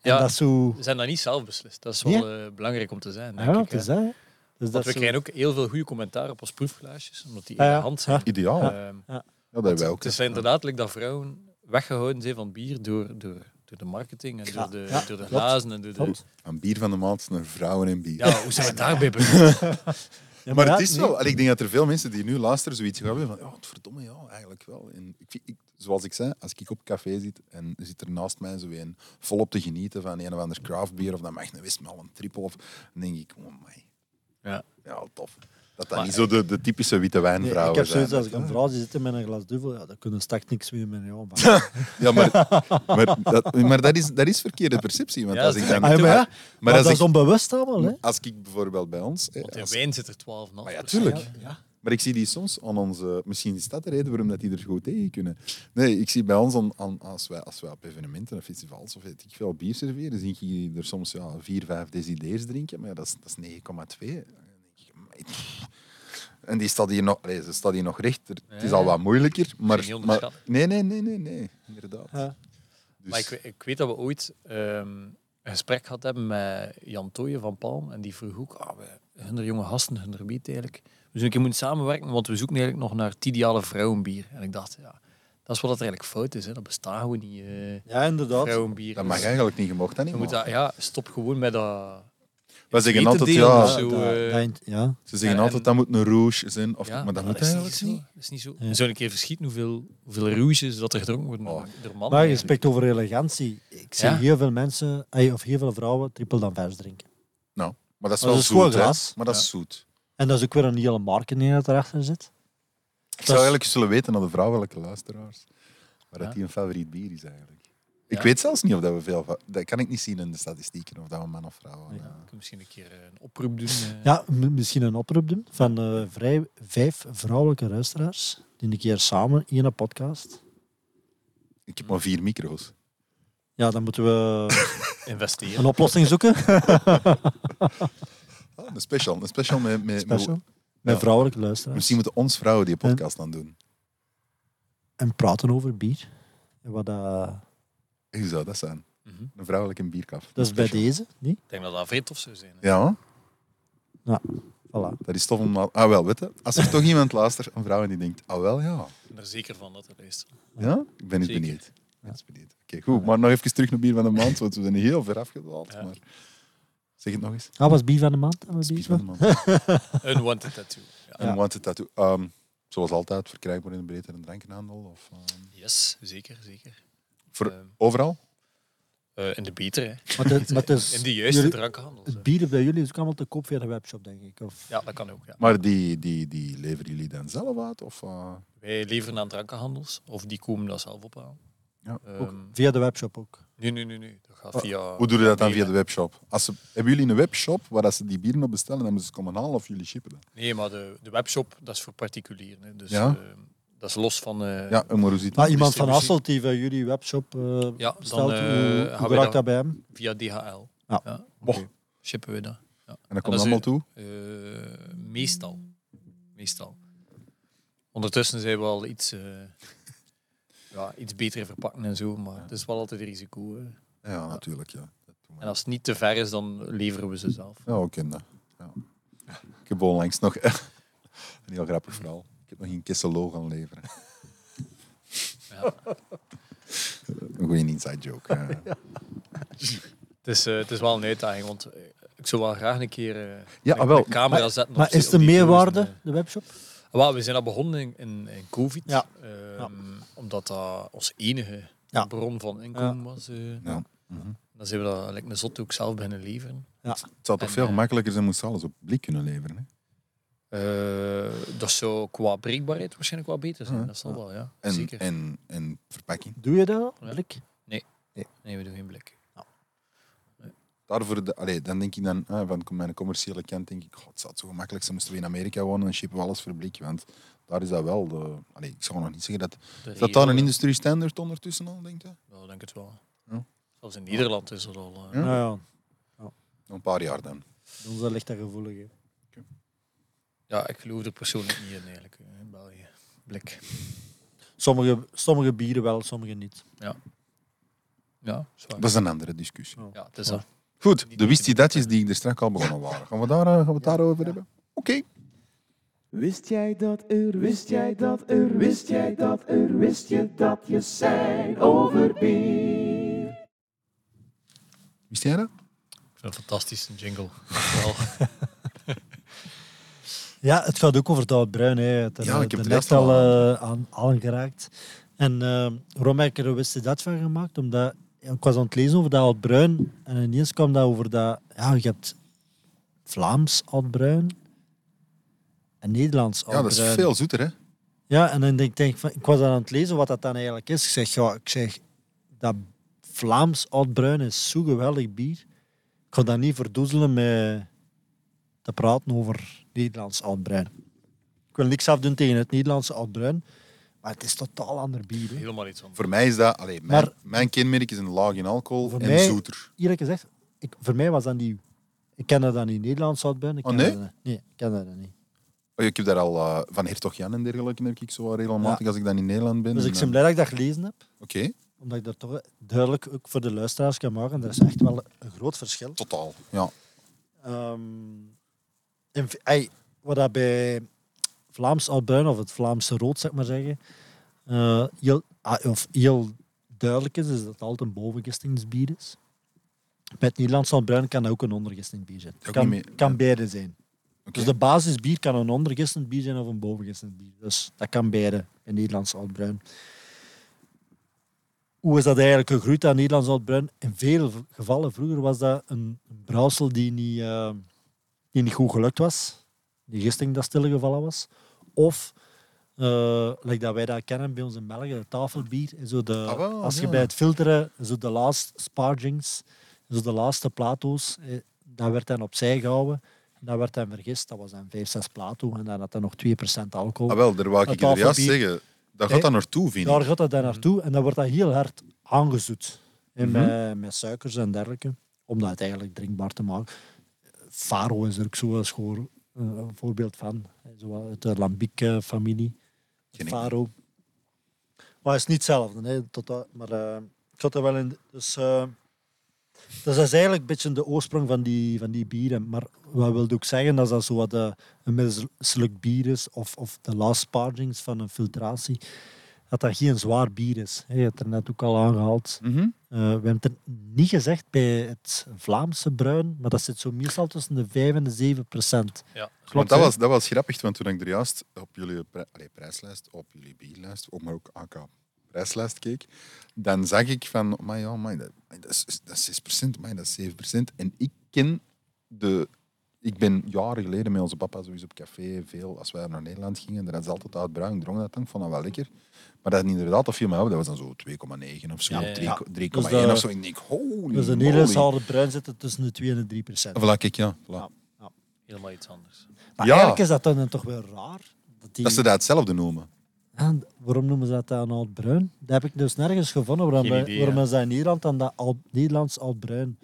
B: En
A: Ja.
B: dat is zo...
A: We zijn dat niet zelf beslist. Dat is wel eh, belangrijk om te zijn. Denk
B: Ja,
A: ik,
B: het is
A: hè.
B: dat. hè. Dus
A: Want
B: dat
A: we
B: is zo-
A: krijgen ook heel veel goede commentaar op ons proefglaasjes, omdat die
B: Ah,
A: in
B: ja.
A: de hand zijn.
C: Ideaal. Ja,
A: Ehm,
C: dat hebben wij ook.
A: Het is
C: hè.
A: inderdaad like dat vrouwen weggehouden zijn van bier door, door, door de marketing en
B: Ja,
A: door de,
B: ja,
A: door de
B: klopt.
A: glazen en door de...
B: Klopt.
C: Van bier van de maand naar vrouwen en bier.
A: Ja, hoe zijn we daarbij begonnen?
B: Ja,
C: maar het
B: ja,
C: is
B: nee.
C: wel. en Ik denk dat er veel mensen die nu luisteren zoiets gaan hebben van, ja, het verdomme, ja, eigenlijk wel. En ik, vind- ik, zoals ik zei, als ik op café zit en er zit er naast mij zo een volop te genieten van een of ander craftbier of dan mag een wistmel, een triple, of, dan denk ik, oh my,
A: Ja.
C: ja, tof. Dat dat
A: Maar-
C: niet zo de, de typische witte
B: Nee,
C: wijnvrouwen
B: ik heb zoiets
C: zijn.
B: als ik een vrouw die zit met een glas duvel, ja, dan kunnen straks niks meer met jou aanpakken.
C: Ja, maar, maar, dat, maar dat, is, dat is verkeerde perceptie. Want
A: Ja,
C: als
A: dat
C: ik
A: is
C: dan,
B: Ah, ja, maar ja,
C: maar
B: dat
C: als
B: is
C: ik,
B: onbewust allemaal, hè?
C: als ik bijvoorbeeld bij ons... eh,
A: Want in
C: als-
A: wijn zit er 12,5.
C: Maar ja,
A: procent.
C: tuurlijk.
B: Ja.
C: Maar ik zie die soms aan onze... Misschien is dat de reden waarom dat die er goed tegen kunnen. Nee, ik zie bij ons, aan, aan- als, wij, als wij op evenementen of festivals of weet ik veel bier serveren, zie ik die er soms ja, vier, vijf desiders drinken. Maar ja, dat is, dat is 9,2. Dan denk ik, "Amai, pff." En die staat hier nog, allee, ze staat hier nog rechter. Het is al wat moeilijker. Maar,
A: niet
C: maar,
A: onderschatten.
C: nee, nee, nee, nee, nee. Inderdaad.
B: Ja.
C: Dus-
A: Maar ik, we- ik weet dat we ooit ehm, een gesprek gehad hebben met Jan Tooyen van Palm. En die vroeg ook, ah, we, hun jonge gasten, hun biedt eigenlijk. We zullen een keer moeten samenwerken, want we zoeken eigenlijk nog naar het ideale vrouwenbier. En ik dacht, ja, dat is wat dat er eigenlijk fout is. Hè. Dat bestaat gewoon niet, eh,
B: Ja, inderdaad.
A: vrouwenbier.
C: dat mag
A: Dus
C: eigenlijk niet, je mag dat niet.
A: we moeten,
C: man.
A: dat- ja, stop gewoon met dat...
C: Wij zeggen
A: weten
C: altijd,
A: delen
C: ja,
A: of zo. eh,
B: dat- ja.
C: ze zeggen
A: En-
C: altijd dat moet een rouge zijn. Of, maar dat moet
A: is niet
C: eigenlijk
A: zo.
C: niet.
A: Dat is niet zo.
B: Ja.
A: Zou een keer verschieten hoeveel, hoeveel rouges dat er gedronken worden
C: Oh.
A: door mannen?
B: Maar
A: eigenlijk.
B: respect over elegantie. Ik zie
A: eh, Ja.
B: heel veel mensen, ey, of heel veel vrouwen, triple dan vers drinken.
C: Nou, maar dat is
B: Maar
C: wel
B: dat is gewoon
C: zoet, hè.
B: glas.
C: Maar dat is
A: Ja.
C: zoet.
B: En dat is ook weer een hele marketing die dat erachter zit.
C: Ik zou eigenlijk eens willen weten aan de vrouwelijke luisteraars, maar dat
A: Ja.
C: die een favoriet bier is eigenlijk. Ik
A: Ja.
C: weet zelfs niet of dat we veel... va- Dat kan ik niet zien in de statistieken, of dat we man of vrouw
A: Ja.
C: waren.
A: Ik kan misschien een keer eh, een oproep doen. eh.
B: Ja, m- misschien een oproep doen van eh, vrij, vijf vrouwelijke luisteraars. Die een keer samen in een podcast.
C: Ik heb maar vier micro's.
B: Ja, dan moeten we
A: Investeren.
B: een oplossing zoeken.
C: Ah, een special. Een special met... met,
B: Special.
C: met-
B: Met
C: Ja.
B: vrouwelijke luisteraars.
C: misschien moeten ons vrouwen die podcast dan doen.
B: En praten over bier. En wat eh, dat...
C: Hoe zou dat zijn?
A: Mhm.
C: Een vrouwelijke bierkaf.
B: dat is bij deze, niet?
A: Ik denk dat dat vrij tof zou zijn. hè.
C: Ja, hoor.
B: Voilà.
C: dat is tof om... na- Ah, wel, weet je, Als er toch iemand luistert, een vrouw en die denkt, ah, wel, ja.
A: Ik ben er zeker van dat er is.
C: Ja? Ik ben eens
A: Zeker.
C: benieuwd. Ik ben eens benieuwd. Oké, goed. Maar nog even terug naar bier van de maand, want we zijn heel ver afgedwaald.
A: Ja.
C: Maar zeg het nog eens.
B: Ah, was bier van de maand? Was bier
C: Bier
B: van
C: van
B: de
C: de maand.
A: Een wanted tattoo. Ja.
C: En Wanted Tattoo. Ehm, zoals altijd, verkrijgbaar in de breedte en drankenhandel? Of, ehm,
A: Yes, zeker, zeker.
C: voor,
A: Ehm,
C: overal?
A: eh, in de betere, hè.
B: maand? Maar het- maar het is-
A: in de juiste
B: jullie-
A: drankhandel. hè.
B: Het bier bij jullie is ook allemaal te koop via de webshop, denk ik. Of...
A: Ja, dat kan ook. Ja.
C: Maar die, die, die leveren jullie dan zelf uit? Of, eh,
A: Wij leveren aan drankenhandels, of die komen dat zelf ophalen.
C: Ja,
B: Ook
A: Ehm,
B: via de webshop ook. Ah,
A: nee, nee, nee, nee. Dat gaat via...
C: hoe doen jullie dat dan
A: Nee,
C: via de webshop? Als ze, hebben jullie een webshop waar dat ze die bieren op bestellen, dan moeten ze het komen halen of jullie shippen dat?
A: Nee, maar de, de webshop, dat is voor particulieren. Hè. Dus
C: Ja.
A: ehm, dat is los van... eh,
C: Ja, en maar hoe
B: Maar
C: ziet dat?
B: Ah, iemand van
A: distributie.
B: Hasselt die via jullie webshop eh
A: Ja,
B: bestelt,
A: dan, eh,
B: hoe,
A: gaan
B: hoe
A: we
B: raakt
A: dan-
B: dat bij hem?
A: via DHL.
B: Ja.
C: Boah,
B: Oké.
A: Shippen we dat?
C: En dat
A: dat
C: komt
A: is
C: allemaal
A: u-
C: toe?
A: Eh, meestal. Meestal. Ondertussen zijn we al iets, eh, ja, iets beter in verpakken en zo, maar het is wel altijd een risico. hè.
C: Ja, natuurlijk. Ja. Dat doen we.
A: En als het niet te ver is, dan leveren we ze zelf.
C: Ja, ook in dat. Ja. Ik heb onlangs nog een heel grappig verhaal. Ik heb nog een Kisselo gaan leveren.
A: Ja.
C: Een goede inside joke. eh.
A: Het, is, eh, het is wel een uitdaging, want eh, ik zou wel graag een keer eh,
C: Ja,
A: een,
C: wel.
A: een camera
B: Maar-
A: zetten. op
B: Maar
A: die-
B: is
A: op
B: de
A: die dozen,
B: meerwaarde,
A: eh.
B: de webshop?
A: Wel, we zijn al begonnen in, in, in COVID,
B: Ja.
A: ehm,
B: Ja.
A: omdat dat onze enige
B: Ja.
A: bron van inkomen was. eh.
C: Ja. Mhm.
A: Dan zijn we dat like, een zot ook zelf beginnen leveren.
C: Het zou toch
A: En,
C: veel
A: eh,
C: gemakkelijker zijn moest ze alles op blik kunnen leveren. Hè?
A: Eh, dat zou qua breekbaarheid waarschijnlijk wel beter zijn.
C: Ja,
A: dat zal wel, ja.
C: En,
A: Zeker.
C: En, en verpakking.
B: Doe je dat?
A: Ja.
B: Blik?
A: Nee, we doen geen blik.
C: Daarvoor de, allee, dan denk ik dan, ah, eh, van mijn commerciële kant, denk ik, god, het zou het zo gemakkelijk zijn, moesten we in Amerika wonen en shippen we alles voor blik. Want Daar is dat wel de... Allee, ik zou nog niet zeggen dat...
A: De
C: Is dat daar een
A: regel,
C: industrie standaard ondertussen al, denk je?
A: Wel, ik denk het wel.
C: Ja.
A: Zelfs in Nederland is dat al... eh,
C: Ja.
B: Nou ja,
C: Nog Een paar jaar dan.
B: bij ons dat ligt daar gevoelig. hè.
A: Ja, ik geloof er persoonlijk niet in, eigenlijk, eh, in België. Blik.
B: Sommige, sommige bieren wel, sommige niet.
A: Ja, zwaar.
C: Dat is een andere discussie.
A: Ja, het is dat.
C: Goed, de wist je datjes die ik er straks al begonnen waren. Gaan we, daar, eh, gaan we het daarover hebben? Oké.
D: Wist jij dat er, wist jij dat er, wist jij dat er, wist je dat je zijn over bier?
C: Wist jij dat?
A: Ik vind het fantastisch, een jingle. Wel,
B: Ja, het gaat ook over het oud bruin. Hè. Het,
C: Ja,
B: eh,
C: ik heb
B: de net
C: er eerst al
B: al eh, aan aangeraakt. En eh waarom heb ik er wist dat van gemaakt? Omdat ja, ik was aan het lezen over dat oud bruin. En ineens kwam dat over dat... Ja, je hebt Vlaams oud bruin en Nederlands oud
C: Ja, dat is veel zoeter, hè?
B: Ja, en dan denk ik, denk ik van, ik was dan aan het lezen wat dat dan eigenlijk is. Ik zeg, ja, ik zeg, dat Vlaams oudbruin is zo geweldig bier. Ik ga dat niet verdoezelen met te praten over Nederlands oudbruin. Ik wil niks afdoen tegen het Nederlandse oudbruin, maar het is totaal ander bier. hè.
A: helemaal iets anders.
C: Voor mij is dat... Allee, mijn,
B: Maar-
C: mijn kenmerk is een laag in alcohol
B: Voor
C: en
B: mij-
C: zoeter.
B: Eerlijk gezegd, ik, voor mij was dat nieuw. Ik ken dat dan niet, Nederlands oudbruin. Ik
C: Oh,
B: ken
C: nee?
B: dat niet. nee, ik ken dat niet.
C: Oh, Ik heb daar al... eh, van Hertog Jan en dergelijke heb ik zo regelmatig als ik dan in Nederland ben.
B: Dus
C: En eh,
B: ik ben
C: dan-
B: blij dat ik dat gelezen heb,
C: Oké,
B: omdat ik dat toch duidelijk ook voor de luisteraars kan maken. Er is echt wel een groot verschil.
C: totaal. Ja.
B: Ehm, in, V- ey, wat dat bij Vlaams Albruin of het Vlaamse rood, zeg maar zeggen, eh, heel, ah, of heel duidelijk is, is dat het altijd een bovengistingsbier is. Bij het Nederlands Albruin kan dat ook een ondergistend bier zijn.
C: Ook
B: kan
C: niet meer-
B: kan
C: ja.
B: beide zijn.
C: Oké.
B: Dus de basisbier kan een ondergistend bier zijn of een bovengistend bier. Dus dat kan beide in Nederlands Oudbruin. Hoe is dat eigenlijk gegroeid aan Nederlands Oudbruin? In veel v- gevallen vroeger was dat een een brouwsel die niet, eh, die niet goed gelukt was. Die gisting dat stilgevallen was. Of, eh like dat wij dat kennen bij ons in België, het tafelbier. Zo de,
C: Ah, wel,
B: als je
C: ja.
B: bij het filteren, zo de laatste spargings, zo de laatste plato's, eh, dat werd dan opzij gehouden. Dat werd dan vergist, dat was dan 5, 6 plato en dan had hij nog 2% alcohol.
C: Ah, wel, daar wou ik
B: Het
C: er juist
B: alfabet-
C: zeggen. Daar
B: Nee.
C: gaat dat naartoe, vind
B: Daar
C: ik. Mhm.
B: gaat dat dan naartoe en dan wordt dat heel hard aangezoet. En met, met suikers en dergelijke, om dat eigenlijk drinkbaar te maken. Faro is er ook zo een schoor- eh, een voorbeeld van. Zo wat uit de Lambiek-familie.
C: Ken ik
B: Faro. Maar het is niet hetzelfde, hè, tot dat, maar eh ik zat er wel in. Dus, eh, dus dat is eigenlijk een beetje de oorsprong van die, van die bieren. Maar wat wil ook zeggen dat dat zo wat eh, een misselijk bier is, of, of de last spargings van een filtratie, dat dat geen zwaar bier is. hè. Je hebt er net ook al aangehaald.
C: Mhm.
B: Eh, we hebben het er niet gezegd bij het Vlaamse bruin, maar dat zit zo meestal tussen de 5 en de 7 procent.
A: Ja,
C: Want
B: Klopt,
C: dat
B: hè?
C: was, dat was grappig, want toen ik er juist op jullie pri- allee, prijslijst, op jullie bierlijst, op, maar ook AK prijslijst keek, dan zag ik van, maar ja, amai, dat, amai, dat, is, dat is 6%, amai, dat is 7%. En ik ken de... Ik ben jaren geleden met onze papa sowieso op café, veel, als wij naar Nederland gingen, daar is altijd oud bruin, ik dronk dat dan, ik vond dat wel lekker. Maar dat inderdaad, dat viel mij op, dat was dan zo 2,9 of zo,
A: Ja, ja, ja.
C: 3,1
B: Dus dat-
C: of zo. En ik denk, holy
B: Dus de
C: moly.
B: Nederlandse harde bruin zit er tussen de 2 en de 3 procent.
C: Voilà, kijk, ja. voilà.
B: Ja.
A: helemaal iets anders.
B: Maar
C: Ja.
B: eigenlijk is dat dan toch wel raar. Dat die,
C: Dat ze dat hetzelfde noemen.
B: Ah, waarom noemen ze dat dan oud-bruin? Dat heb ik dus nergens gevonden. Waarom,
A: Geen idee,
B: waarom
A: hè.
B: is dat in Nederland dan dat oud- Nederlands oud-bruin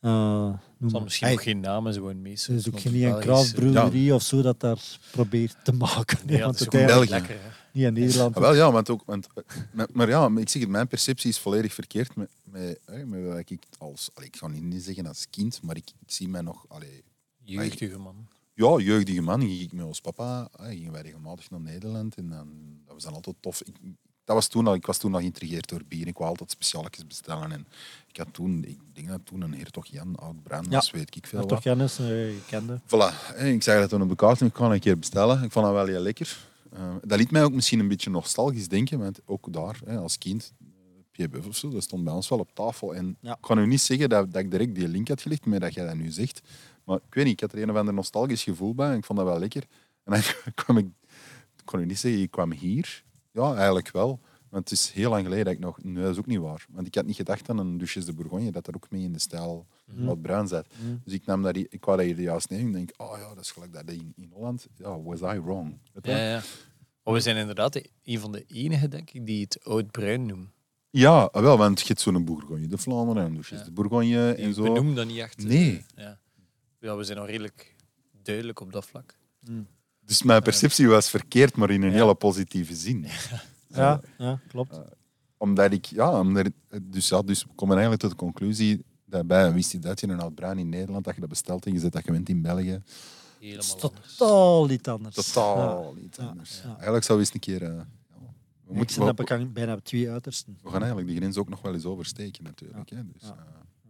B: eh
A: Het zal
B: noemen?
A: misschien
B: Hey,
A: ook geen namen ze gewoon meestal.
B: er is ook
A: want
B: geen
A: Belgisch- eh,
B: kraftbrouwerie of zo dat daar probeert te maken. hè,
A: Ja, dat
B: want
A: is
B: het
A: gewoon
B: eigenlijk
A: België.
C: België.
A: lekker. hè.
B: niet in Nederland.
C: Ah, wel ja, want ook, want, maar, maar ja, maar ik zeg het, mijn perceptie is volledig verkeerd met, met, hè, met wat ik als, allee, ik ga niet niet zeggen als kind, maar ik, ik zie mij nog, allee,
A: Jeugdige man.
C: ja, jeugdige man, ging ik met ons papa, hè, gingen wij regelmatig naar Nederland en dan, dat was dan altijd tof. Ik, dat was toen al, ik was toen al geïntrigeerd door bier, ik wou altijd specialetjes bestellen en ik had toen, ik denk dat toen een hertog Jan oud bruin was,
B: Ja.
C: weet ik veel
B: Maar
C: wat.
B: toch Jannes, eh, je kende.
C: Voilà, hè, ik zei dat toen op de kaart en ik kon een keer bestellen. Ik vond dat wel heel lekker. Eh, dat liet mij ook misschien een beetje nostalgisch denken, want ook daar, hè, als kind, eh, Pierre Buff of zo, dat stond bij ons wel op tafel. En
B: Ja.
C: ik kan u niet zeggen dat, dat ik direct die link had gelegd, maar dat jij dat nu zegt. Maar ik weet niet, ik had er een of ander nostalgisch gevoel bij en ik vond dat wel lekker. En dan kwam ik, ik kon u niet zeggen, ik kwam hier. Ja, eigenlijk wel. Want het is heel lang geleden dat ik nog... Nee, dat is ook niet waar. Want ik had niet gedacht aan een douches de Bourgogne, dat dat ook mee in de stijl
A: Mhm.
C: wat bruin zat. Dus ik nam dat hier, ik wou dat hier juist nemen en denk, oh ja, dat is gelijk dat in, in Holland. Ja, was I wrong? Weet je?
A: Ja, ja. Maar we zijn inderdaad de- een van de enige, denk ik, die het oud-bruin noemen.
C: Ja, ah, wel, want je hebt zo'n Bourgogne de Vlaanderen en douches
A: Ja.
C: de Bourgogne en
A: We
C: zo.
A: noemen dat niet echt. eh,
C: Nee.
A: Ja. ja, we zijn al redelijk duidelijk op dat vlak.
C: Dus mijn perceptie was verkeerd, maar in een
A: Ja.
C: hele positieve zin.
B: Ja, ja klopt.
C: Omdat ik, ja, omdat ik- dus, ja, dus we komen eigenlijk tot de conclusie dat bij wist je dat je een oud bruin in Nederland, dat je dat bestelt en je zet dat gewend in België.
B: Het is
A: Helemaal anders.
B: totaal iets anders. Ja.
C: Totaal iets anders.
B: Ja.
C: Eigenlijk zou we eens een keer. eh, ja, we,
B: Ik
C: moeten,
B: zit
C: we,
B: op elkaar bijna op twee uitersten.
C: we gaan eigenlijk die grens ook nog wel eens oversteken, natuurlijk. Hè, dus,
B: Ja.
C: eh,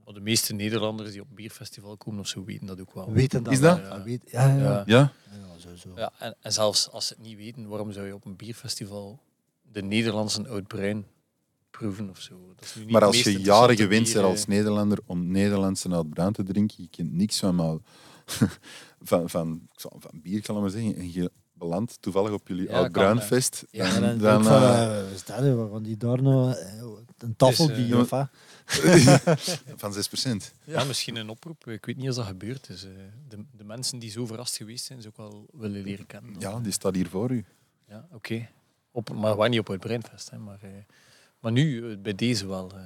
A: Maar de meeste Nederlanders die op een bierfestival komen of zo weten dat ook wel.
B: Weten dat
C: Is dat?
B: wel, Ja, weet, ja, ja.
A: Ja.
B: ja.
C: ja?
B: ja, zo, zo.
A: Ja, en, en zelfs als ze het niet weten, waarom zou je op een bierfestival de Nederlandse oud-bruin proeven of zo? Dat is nu niet
C: Maar
A: het
C: als
A: meest
C: je jaren
A: interessante
C: gewend bent
A: bier,
C: als
A: eh.
C: Nederlander om Nederlandse oud bruin te drinken, je kent niks van, maar, van, van, ik zal- van bier, kan ik maar zeggen, en je belandt toevallig op jullie
A: Ja,
C: oud
A: kan, hè.
C: bruinfest.
A: Ja,
B: En dan, denk
C: dan,
B: ik van,
C: eh,
B: eh, wat is dat? hè? Wat gaan die daar nou? eh, Een tafelbier
A: Dus, eh,
B: of wat?
C: van 6 procent.
A: Ja, misschien een oproep. Ik weet niet of dat gebeurd is. eh. De, de mensen die zo verrast geweest zijn, ze ook wel willen leren kennen.
C: Ja, die staat hier voor u.
A: Ja, oké. Op- Maar waar niet op het Breinfest. Hè. Maar, eh, maar nu, eh, bij deze wel. eh.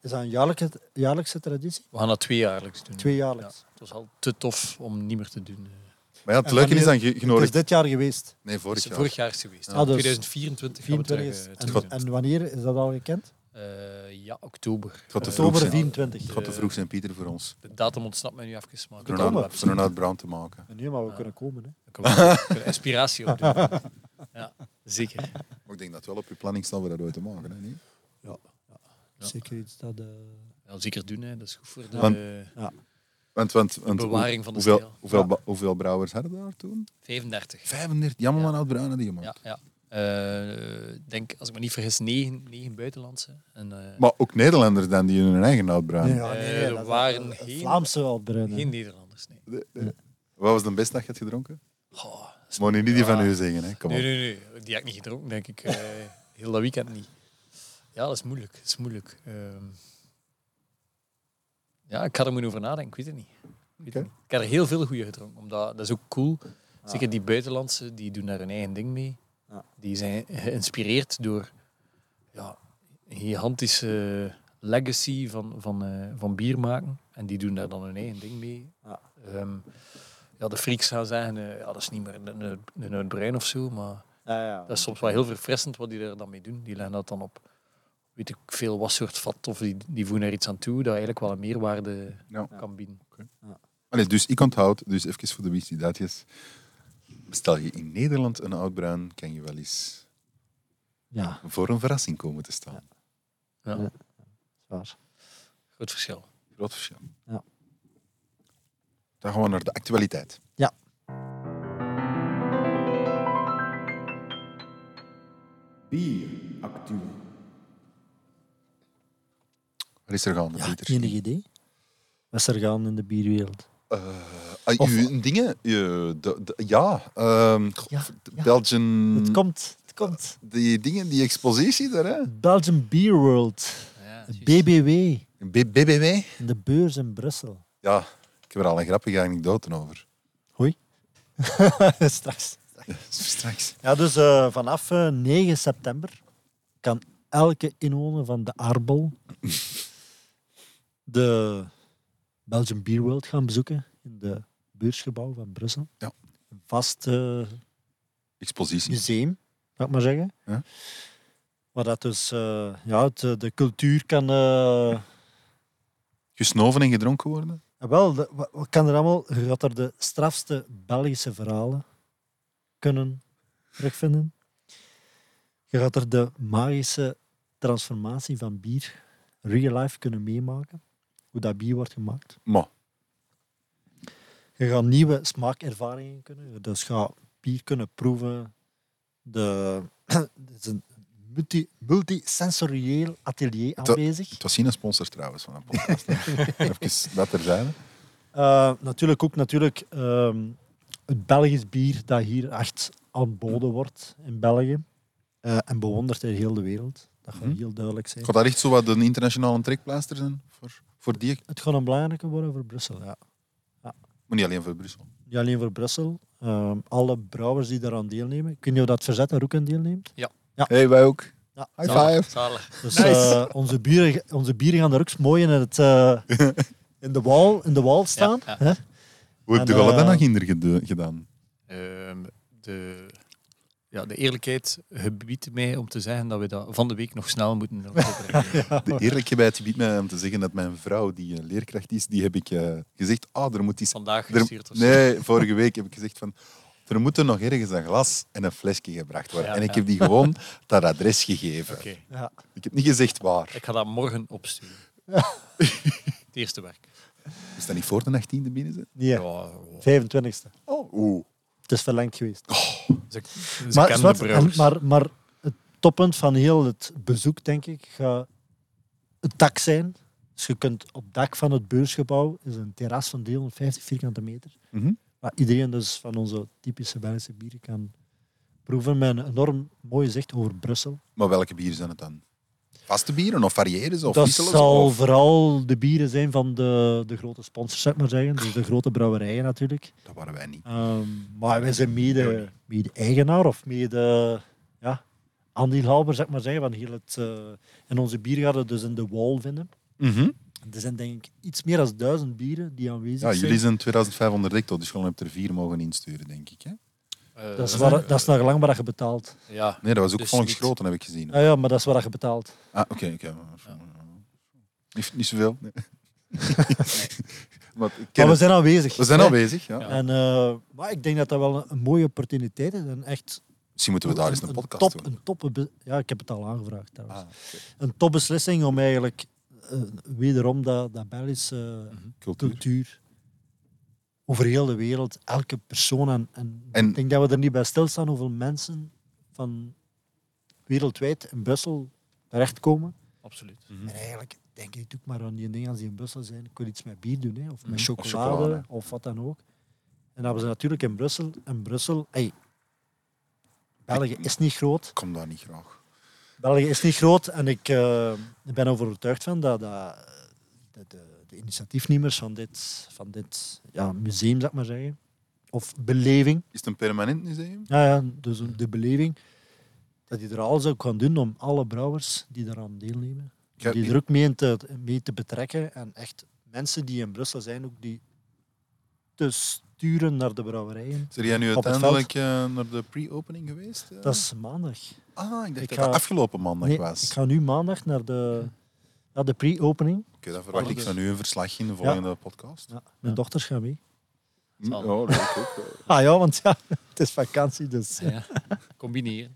B: Is dat een jaarlijkse, jaarlijkse traditie?
A: we gaan dat tweejaarlijks doen.
B: Tweejaarlijks.
A: Het was al te tof om niet meer te doen. eh.
C: Maar ja, het
B: En
C: leuke is
B: wanneer-
C: dan je, je
B: Het
C: nodigt-
B: is dit jaar geweest.
C: Nee,
A: Het
C: vorig
A: is
C: jaar.
A: vorig jaar is geweest. hè.
B: Ah, dus
A: 2024 gaan we
B: 24
A: terug,
B: is.
A: eh, terug
B: En,
A: doen.
B: en wanneer is dat al gekend?
A: Eh, ja, oktober.
C: Het gaat te vroeg
B: Oktober
C: zijn.
B: 24.
C: Het gaat te vroeg zijn, Pieter, voor ons.
A: De datum ontsnapt me nu even, maar ik
C: Voor een,
A: kan
B: Oktober.
A: wel
C: oud- voor een oud bruin te maken.
B: Nee, maar we
A: Ah.
B: kunnen komen. Hè.
A: ik kan wel- ik kan inspiratie opdoen. Ja, zeker.
C: Maar ik denk dat wel op je planning staan we dat ooit te maken. Hè? niet?
A: Ja.
B: Zeker iets dat... eh,
A: Ja, zeker doen, hè. dat is goed voor de
C: Want-
A: eh,
C: Want, want, want hoe-
A: bewaring van de
C: hoeveel,
A: stijl.
C: Hoeveel,
B: Ja.
C: ba- hoeveel brouwers hadden daar toen?
A: 35.
C: 35. Jammer man, oud bruin hadden gemaakt.
A: Ja, ja. Eh, ik denk, als ik me niet vergis, negen, negen buitenlandse. En, eh,
C: Maar ook Nederlanders dan, die hun eigen oud bruin.
B: nee, ja, nee,
A: Eh, er
B: dat is
A: waren
B: een- een
A: geen-
B: Vlaamse Albruinen.
A: geen Nederlanders, nee.
C: Wat was de beste dat je hebt gedronken?
A: Goh, dat is-
C: Moet nu niet
A: Ja.
C: die van u zeggen. Hè? Kom op.
A: nee, nee, nee. Die heb ik niet gedronken, denk ik. eh, heel dat weekend niet. Ja, dat is moeilijk. Dat is moeilijk. Ehm, ja, ik ga er moeten over nadenken. Ik weet het niet. Ik, weet het
C: Oké.
A: niet. ik heb er heel veel goede gedronken. Omdat, dat is ook cool. Zeker die buitenlandse, die doen daar hun eigen ding mee.
B: Ja.
A: Die zijn geïnspireerd door ja, een gigantische legacy van, van, eh, van bier maken. En die doen daar dan hun eigen ding mee.
B: Ja.
A: Ehm, ja, de freaks gaan zeggen, eh, ja, dat is niet meer een, een, een uitbrein of zo, maar
B: Ja, Ah, ja.
A: dat is soms wel heel verfrissend wat die er dan mee doen. Die leggen dat dan op, weet ik veel, wat soort vat of die, die voegen er iets aan toe dat eigenlijk wel een meerwaarde
C: Ja.
A: kan bieden.
C: Nou, Allee, dus ik onthoud, dus even voor de wist die dat is. Bestel je in Nederland een oud bruin, kan je wel eens
B: Ja,
C: voor een verrassing komen te staan.
A: Ja,
B: Ja. zwaar.
A: groot verschil.
C: Groot verschil.
B: Ja.
C: Dan gaan we naar de actualiteit.
B: Ja.
D: Bier actueel.
C: Wat is er gaande,
B: Ja,
C: Pieter?
B: enig idee. Wat is er gaan in de bierwereld?
C: Ah,
B: Of-
C: uw dingen? Je- de- de- ja, ehm, goh,
B: Ja,
C: de
B: ja.
C: Belgian...
B: Het komt, het komt.
C: Die dingen, die expositie daar, hè?
B: Belgian Beer World,
A: Ja,
B: BBW,
C: B- BBW?
B: in de beurs in Brussel.
C: Ja, ik heb er al een grappige anekdote over.
B: Straks.
C: Straks.
B: Ja, dus eh, vanaf eh, 9 september kan elke inwoner van de Arbel de Belgian Beer World gaan bezoeken in de beursgebouw van Brussel.
C: Ja.
B: Een vast eh,
C: Expositie.
B: museum, mag ik maar zeggen.
C: Ja.
B: Waar dat dus eh, ja, het, eh, de cultuur kan... eh,
C: Gesnoven en gedronken worden?
B: Ah, Wel, de- wa- wat kan er allemaal? Je gaat er de strafste Belgische verhalen kunnen terugvinden. Je gaat er de magische transformatie van bier real life kunnen meemaken. Hoe dat bier wordt gemaakt.
C: Maar,
B: Je gaat nieuwe smaakervaringen kunnen. Dus je gaat bier kunnen proeven. De, het is een multi, multisensorieel atelier
C: Dat-
B: aanwezig.
C: het was geen sponsor trouwens van een podcast. hè. Even dat er zijn.
B: Eh, natuurlijk ook natuurlijk, ehm, het Belgisch bier dat hier echt aanboden wordt in België. Eh, eh, en bewonderd in heel de wereld. Dat gaat
C: Mhm.
B: heel duidelijk zijn.
C: Gaat dat echt zo wat een internationale trekpleister zijn? Voor, voor die?
B: Het gaat een belangrijke worden voor Brussel, ja.
C: Maar niet alleen voor Brussel.
B: Niet alleen voor Brussel. eh, alle brouwers die daaraan deelnemen. Ik weet niet of dat Verzet daar ook aan deelneemt.
C: hey, wij ook.
B: Ja.
C: High
A: Zalig,
C: five.
A: zalig.
B: Dus
A: Nice.
B: eh, onze, bieren, onze bieren gaan daar ook mooi in, het, eh, in, de, wal, in de wal staan.
A: Ja,
B: hè.
C: Hoe heb
B: En,
C: je dat
B: eh,
C: dan nog inder gede- gedaan?
A: Ehm, de, ja, de eerlijkheid gebiedt mij om te zeggen dat we dat van de week nog snel moeten opbrengen.
C: De eerlijkheid gebiedt mij om te zeggen dat mijn vrouw, die eh, leerkracht is, die heb ik eh, gezegd, ah, er moet iets...
A: Vandaag
C: er-
A: gestuurd of zo.
C: nee, vorige week heb ik gezegd van... Er moeten nog ergens een glas en een flesje gebracht worden.
A: Ja,
C: en ik
A: ja.
C: heb die gewoon dat adres gegeven.
A: Oké,
B: Ja.
C: Ik heb niet gezegd waar.
A: ik ga dat morgen opsturen. Het eerste werk.
C: Is dat niet voor de 18e binnen zijn?
B: Nee,
A: Ja, wow.
B: 25e.
C: Oh. Oeh.
B: Het is verlengd geweest.
A: Ze, ze
B: maar,
A: kennen
B: zwart,
A: de brouwers.
B: en- maar, maar het toppunt van heel het bezoek, denk ik, gaat het dak zijn. Dus je kunt op het dak van het beursgebouw, is een terras van 350 vierkante meter,
C: Mhm.
B: waar iedereen dus van onze typische Belgische bieren kan proeven met een enorm mooi zicht over Brussel.
C: Maar welke bieren zijn het dan? Vaste bieren of variëren? Of
B: dat
C: wisselen?
B: zal
C: Of...
B: vooral de bieren zijn van de, de grote sponsors, zeg maar zeggen. Dus de grote brouwerijen natuurlijk.
C: Dat waren wij niet.
B: Ehm, maar wij zijn mede, mede eigenaar of mede ja, aandeelhouder, zeg maar zeggen, van heel het... eh, en onze bier gaat het dus in de wall vinden.
A: Mhm.
B: Er zijn denk ik iets meer dan duizend bieren die aanwezig
C: Ja,
B: zijn.
C: jullie zijn 2500 hectare, dus je hebt er vier mogen insturen, denk ik. Hè?
A: Eh,
B: dat, is waar,
A: eh,
B: dat is nog lang wat je betaalt. Ah
A: Ja,
C: Nee, dat was ook
A: Dus
C: volgens
A: niet.
C: Groten, heb ik gezien.
B: Ja, ja, maar dat is wat je betaalt.
C: Ah, oké. oké. Niet, niet zoveel. Nee. maar, ik ken
B: Maar we
C: het.
B: zijn aanwezig.
C: we zijn
B: hè.
C: aanwezig. Ja.
A: Ja.
B: En, eh, maar ik denk dat dat wel een, een mooie opportuniteit is. En echt
C: Misschien moeten we daar eens een podcast
B: top,
C: doen.
B: een toppe be- Ja, ik heb het al aangevraagd trouwens.
C: Ah, oké.
B: Een topbeslissing om eigenlijk eh, wederom dat, dat Belgische eh,
C: Cultuur.
B: cultuur over heel de wereld, elke persoon. En, en,
C: En-
B: ik denk dat we er niet bij stilstaan hoeveel mensen van wereldwijd in Brussel terechtkomen.
A: absoluut.
C: Mhm.
B: En eigenlijk denk ik ook maar aan die dingen als die in Brussel zijn. Ik wil iets met bier doen, hè, of
A: Mhm.
B: met
A: Of
B: chocolade, of,
C: Hm. chocolade.
B: wat dan ook. En dat was natuurlijk in Brussel. En Brussel, hey, België is niet groot.
C: Ik kom daar niet graag.
B: België is niet groot en ik eh, ben overtuigd van dat, dat de, de, de initiatiefnemers van dit, van dit ja, museum, zeg maar zeggen, of beleving,
C: Is het een permanent museum?
B: ja, ja, dus de beleving, dat die er alles ook gaan doen om alle brouwers die daaraan deelnemen,
C: Ik heb
B: die
C: niet-
B: er ook mee, in te, mee te betrekken en echt mensen die in Brussel zijn, ook die te sturen naar de brouwerijen.
C: Zijn jij nu
B: Op het
C: uiteindelijk eh, naar de pre-opening geweest? eh?
B: Dat is maandag.
C: Ah, ik dacht
B: ik
C: dat
B: ga-
C: dat afgelopen maandag
B: Nee,
C: was.
B: ik ga nu maandag naar de, naar de pre-opening.
C: Oké, dan verwacht ik
A: Alles.
C: van u een verslag in de volgende podcast.
B: Ja, mijn dochters gaan mee.
C: Hm,
A: Zal.
C: ja, dat ook, eh.
B: Ah ja, want ja, het is vakantie, dus
A: Ja. Combineren.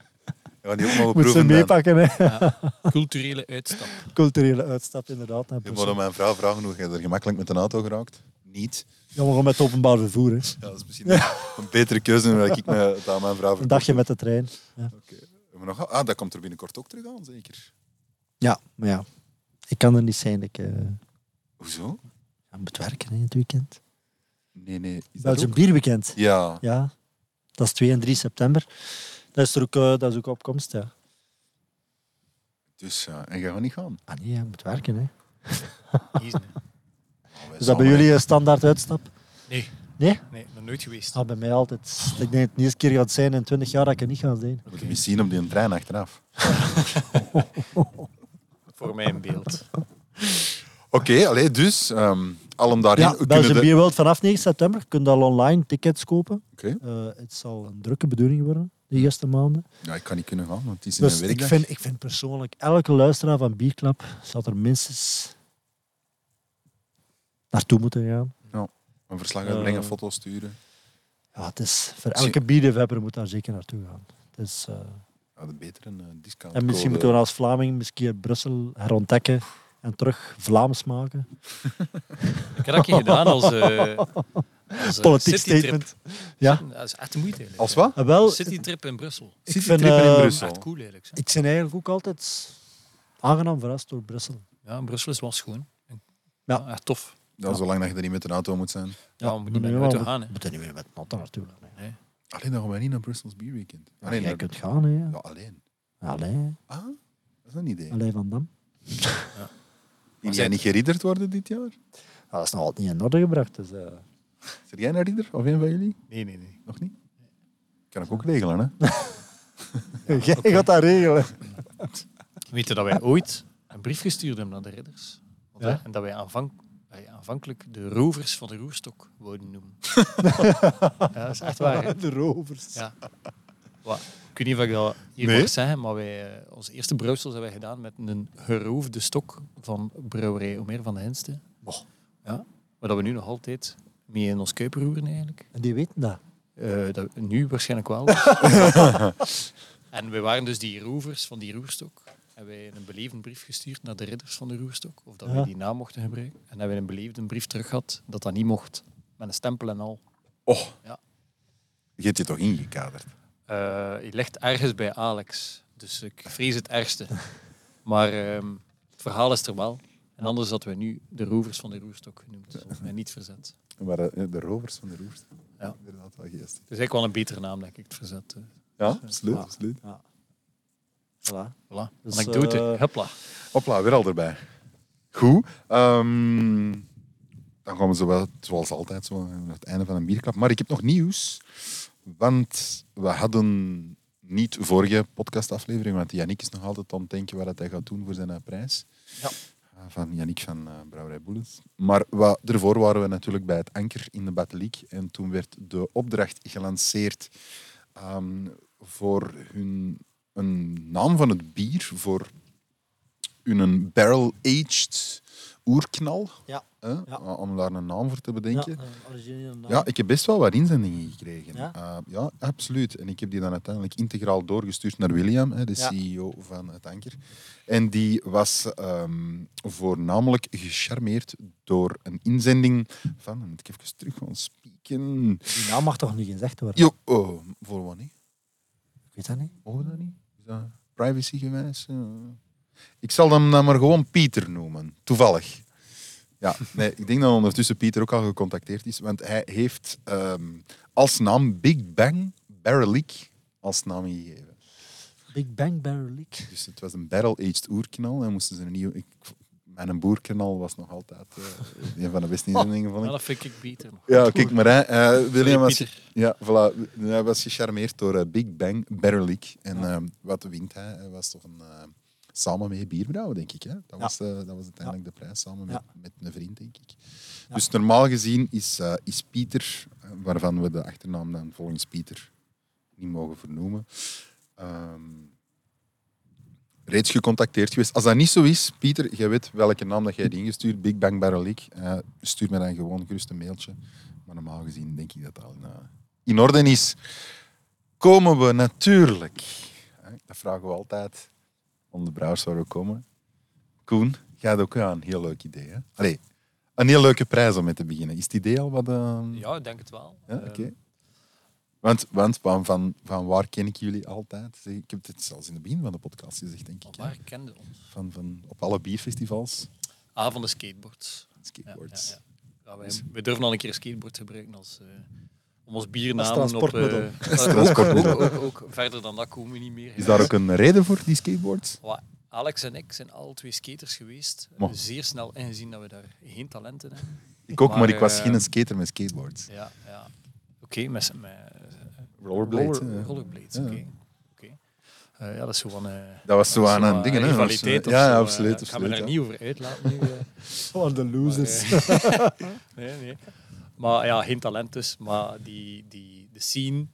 C: We gaan die ook mogen
B: moet ze
C: proeven. dan.
B: meepakken. Hè.
A: Culturele uitstap.
B: Culturele uitstap inderdaad. Naar
C: Je
B: Brussel.
C: moet aan mijn vrouw vragen hoe je er gemakkelijk met een auto geraakt. Niet.
B: ja, we gaan met openbaar vervoer. Hè.
C: Ja, dat is misschien een betere keuze dan dat ik me, het aan mijn vrouw
B: Een
C: verkoop.
B: dagje met de trein. Ja,
C: Maar nog, ah, dat komt er binnenkort ook terug aan, zeker.
B: ja maar ja, ik kan er niet zijn. Ik eh,
C: Hoezo?
B: ja, moet werken hè, in het weekend.
C: Nee, nee. Is dat
B: Belgium
C: ook?
B: Bierweekend.
C: Ja.
B: Ja, dat is 2 en 3 september. Dat is er ook, eh, dat is ook opkomst, ja.
C: Dus, ja, en jij gaat niet gaan.
B: Ah nee, je moet werken. Hè.
A: Kiezen, hè.
C: Oh, wij
B: Is dat bij
C: samen-
B: jullie een standaard uitstap?
A: Nee.
B: Nee?
A: Nee, nog nooit geweest.
B: Ah, bij mij altijd. Ik denk dat het de eerste keer gaat zijn in 20 jaar dat ik het niet ga zijn.
C: We moeten eens zien op die trein achteraf.
A: Voor mij in beeld.
C: Oké, allee, dus, ehm allen daarin.
B: Ja,
C: we
B: Belgium
C: kunnen de...
B: Beer World vanaf 9 september. Je kunt al online tickets kopen.
C: Oké.
B: Eh, het zal een drukke bedoeling worden, de
A: Hm.
B: eerste maanden.
C: Ja, ik kan niet kunnen gaan, want het is in
B: Dus
C: mijn
B: ik
C: werkdag.
B: vind, ik vind persoonlijk, elke luisteraar van Bierklap zou er minstens naartoe moeten gaan.
C: Een verslag uitbrengen,
B: Eh,
C: foto's sturen.
B: Ja, het is, voor elke bierliefhebber moet daar zeker naartoe gaan. Het is, eh,
C: Ja, de betere eh, discount.
B: en misschien moeten we als Vlaming misschien Brussel herontdekken en terug Vlaams maken.
A: Eh, Ik heb dat een keer gedaan als, eh als eh,
B: Politiek
A: citytrip.
B: statement. Ja.
A: Dat is echt de moeite eigenlijk.
C: Als wat?
B: En wel,
A: Citytrip in Brussel.
B: ik
C: Citytrip
B: vind,
C: in
B: eh,
A: Dat
C: Brussel.
A: is echt cool eigenlijk. zo.
B: ik ben eigenlijk ook altijd aangenaam verrast door Brussel.
A: Ja, Brussel is wel schoon. En-
B: Ja.
A: Ja, echt tof.
C: Ja, zolang dat je er niet met een auto moet zijn.
A: Ja, we moeten niet met
B: nee, ja,
A: de auto
B: we-
A: gaan. Hè.
B: We moeten niet meer met noten naartoe gaan. hè.
C: Alleen dan gaan wij niet naar Brussels Beer Weekend. Alleen,
B: Jij
C: naar-
B: kunt gaan, hè. ja.
C: ja, alleen.
B: Allee,
C: Ah, dat is een idee.
B: Allee van Dam.
C: Wil jij niet geridderd worden dit jaar?
B: Ah, dat is nog altijd niet in orde gebracht. Dus, eh,
C: Is er jij een ridder of een van jullie?
A: Nee, nee, nee.
C: Nog niet? Kan ik ook regelen, hè?
B: Jij gaat dat regelen.
A: Weet je dat wij ooit een brief gestuurd hebben naar de ridders? Want,
B: Ja.
A: hè, En dat wij, aanvank- wij aanvankelijk de rovers van de roerstok wouden noemen. ja, dat is echt waar. hè.
B: De rovers.
A: Ja. Wat, ik weet niet of ik dat hier
C: Nee.
A: mag zeggen, maar wij, eh, onze eerste brouwsels hebben wij gedaan met een geroofde stok van brouwerij Omer van de Henste. Ja. Maar dat we nu nog altijd mee in ons kuip roeren eigenlijk.
B: En die weten dat.
A: Eh, dat, nu waarschijnlijk wel. en we waren dus die rovers van die roerstok. Hebben wij een beleefde brief gestuurd naar de ridders van de roerstok. Of dat
B: Ja.
A: we die naam mochten gebruiken. En hebben we een beleefde brief terug gehad dat dat niet mocht. Met een stempel en al.
C: Oh.
A: Ja.
C: Je hebt je toch ingekaderd?
A: Eh, je ligt ergens bij Alex. Dus ik vrees het ergste. Maar ehm, het verhaal is er wel. En anders hadden we nu de rovers van de roerstok genoemd. En niet verzet.
C: Maar eh, de rovers van de roers.
A: Ja.
C: Inderdaad, wel geestig.
A: Het is eigenlijk wel een betere naam, denk ik, het verzet. eh.
C: Ja, absoluut.
B: Ja.
C: absoluut.
B: Voilà.
A: Voilà.
B: Dus,
A: Anekdote.
B: eh,
A: Hupla.
C: Hopla, weer al erbij. Goed. ehm, dan gaan we zo wel, zoals altijd zo naar het einde van een bierklap. Maar ik heb nog nieuws. Want we hadden niet vorige podcastaflevering, want Yannick is nog altijd aan het denken wat hij gaat doen voor zijn eh, prijs.
A: Ja.
C: Eh, Van Yannick van eh, Brouwerij Boelens. Maar wa- daarvoor waren we natuurlijk bij het anker in de Batteliek. En toen werd de opdracht gelanceerd ehm, voor hun een naam van het bier voor hun barrel-aged oerknal.
B: Ja.
C: Hè?
B: Ja.
C: Om daar een naam voor te
B: Ja, eh,
C: bedenken.
B: een originele naam.
C: Ja, ik heb best wel wat inzendingen gekregen.
B: Nou. Ja?
C: Eh, ja, absoluut. En ik heb die dan uiteindelijk integraal doorgestuurd naar William, hè, de
B: Ja.
C: CEO van het Anker. En die was ehm, voornamelijk gecharmeerd door een inzending van... Dan moet ik even terug gaan spieken.
B: Die naam mag toch niet gezegd worden?
C: Jo, oh, voor wat niet?
B: Ik weet dat niet.
C: Mogen we dat niet? Is dat privacy-gewijs? eh? Ik zal hem dan maar gewoon Pieter noemen. Toevallig. Ja, nee, ik denk dat ondertussen Pieter ook al gecontacteerd is. Want hij heeft ehm, als naam Big Bang Barrel Leak als naam gegeven.
B: Big Bang Barrel Leak.
C: Dus het was een barrel-aged oerknal. En moesten ze een nieuw... Ik, mijn boerknal was nog altijd eh, een van de beste inzendingen, vond
A: Ja,
C: ik.
A: dat vind ik beter. nog.
C: Ja, kijk maar. Hè. Eh, William
A: Sorry,
C: was,
A: Pieter.
C: ja, voilà. hij was gecharmeerd door eh, Big Bang Barrel Leak. En ehm, wat wint hij? Hij was toch een... eh, samen met bierbrouwen, denk ik. Hè? Dat, was, eh, dat was uiteindelijk de prijs, samen met,
B: Ja.
C: met een vriend, denk ik.
B: Ja.
C: Dus normaal gezien is, eh, is Pieter, eh, waarvan we de achternaam dan volgens Pieter niet mogen vernoemen, ehm, reeds gecontacteerd geweest. Als dat niet zo is, Pieter, jij weet welke naam dat jij hebt ingestuurd, Big Bang Barrel Leak, eh, stuur me dan gewoon gerust een mailtje. Maar normaal gezien denk ik dat dat al in, eh, in orde is. Komen we natuurlijk, hè, dat vragen we altijd, om de brouwers waar we komen. Koen, gaat ook aan. Heel leuk idee, hè? Allee, een heel leuke prijs om mee te beginnen. Is het idee al wat... ehm,
A: Ja, ik denk het wel.
C: ja,
A: Eh,
C: oké. Want, want van, van, van waar ken ik jullie altijd? Zeg, Ik heb dit zelfs in het begin van de podcast gezegd, denk ik.
A: want
C: hè.
A: waar kende ons?
C: Van, van, op alle bierfestivals,
A: Avonden skateboards. Ja,
C: skateboards.
A: ja, ja. Ja, wij, wij durven al een keer een skateboard gebruiken als, eh, om ons biernamen
B: Als transportmiddel.
A: op... eh, ook, ook, ook, ook verder dan dat komen we niet meer.
C: Is daar ook een reden voor, die skateboards?
A: Wa- Alex en ik zijn alle twee skaters geweest. eh,
C: Maar-
A: Zeer snel ingezien dat we daar geen talent in hebben.
C: Ik ook, maar,
A: Maar,
C: ik was
A: eh,
C: geen skater met skateboards.
A: Ja, ja. Oké, met, z'n- met eh,
C: Rollerblades.
A: roller-
C: hè.
A: rollerblades.
C: Ja.
A: Oké. oké. Eh, ja, dat is zo van. eh,
C: Dat was zo aan
A: zo'n,
C: een
A: eh,
C: ding, hè? Dat was zo-
A: rivaliteit of
C: Ja,
A: zo,
C: ja,
A: eh,
C: absoluut.
A: Ik ga me
C: absoluut,
A: daar
C: ja.
A: niet over uitlaten nu. eh.
B: Oh, de losers.
A: Maar, eh, nee, nee. Maar ja, geen talent dus. Maar die, die, de scene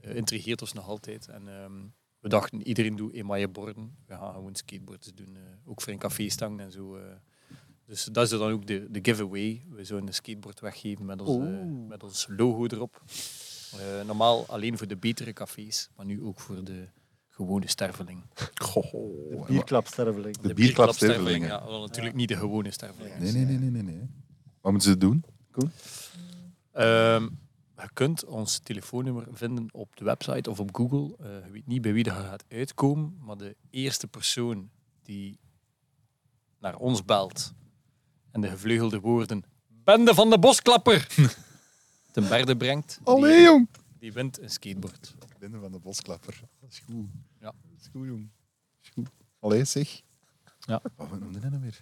A: eh, intrigeert ons nog altijd. En ehm, we dachten, iedereen doet emaille borden. We gaan gewoon skateboards doen. eh, ook voor een caféstang en zo. eh. Dus dat is dan ook de, de giveaway. We zouden een skateboard weggeven met ons, eh,
B: Oeh.
A: met ons logo erop. Eh, normaal alleen voor de betere cafés, maar nu ook voor de gewone sterveling.
C: Goh,
B: De
C: oh, maar-
B: bierklapsterveling.
C: De
A: bierklap
C: bierklapstervelingen.
A: Ja, wel natuurlijk niet de gewone stervelingen.
C: Nee, nee, nee, nee, nee, nee. Wat moeten ze doen?
A: Ehm, je kunt ons telefoonnummer vinden op de website of op Google. Eh, je weet niet bij wie dat gaat uitkomen, maar de eerste persoon die naar ons belt en de gevleugelde woorden Bende van de Bosklapper ten berde brengt, die,
C: jong!
A: die wint een skateboard.
C: Binnen van de bosklapper. Dat is goed.
A: Ja.
C: Dat is goed, jong. Dat is goed. Allee, zeg.
A: Ja. Ah.
C: Oh, wat noemde hij nou weer?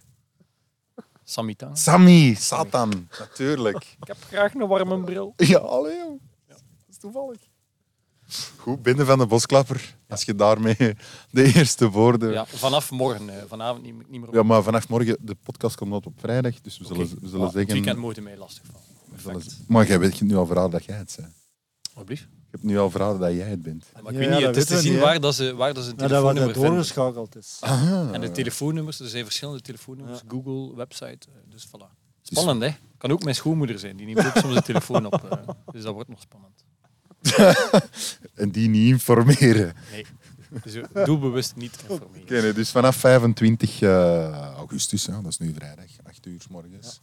A: Samitang.
C: Sammy, Satan. Natuurlijk.
A: Ik heb graag een warme bril.
C: Ja, allee, jong. Dat is toevallig. Goed, binnen van de bosklapper. Als je daarmee de eerste woorden...
A: Ja, vanaf morgen. eh, vanavond niet, niet meer op.
C: Ja, maar vanaf morgen, de podcast komt uit op vrijdag, dus we zullen,
A: Oké.
C: we
A: Ah,
C: zullen
A: Het weekend
C: zeggen...
A: moet je mij lastigvallen.
C: we zullen-
A: Perfect.
C: maar jij weet je hebt nu al verraden dat jij het bent.
A: Alsjeblieft.
C: Je hebt nu al verraden dat jij het bent.
A: Maar
B: Ja,
A: ik weet
B: ja,
A: niet,
B: dat
A: het is te
B: weten we
A: zien
B: niet, hè.
A: waar dat ze, waar dat ze een
B: Ja, Nou, dat
A: telefoonnummer
B: wat
A: vinden.
B: doorgeschakeld dus. is.
C: Ah.
A: En de telefoonnummers, er zijn verschillende telefoonnummers, Google, website, eh, dus voilà.
C: Dus-
A: Spannend, hè? Kan ook mijn schoonmoeder zijn, die neemt ook soms de telefoon op. eh, dus dat wordt nog spannend.
C: En die niet informeren.
A: Nee, dus eh, doelbewust niet informeren.
C: Oké, nee, dus vanaf 25 eh, augustus, hè, dat is nu vrijdag, 8 uur 's morgens.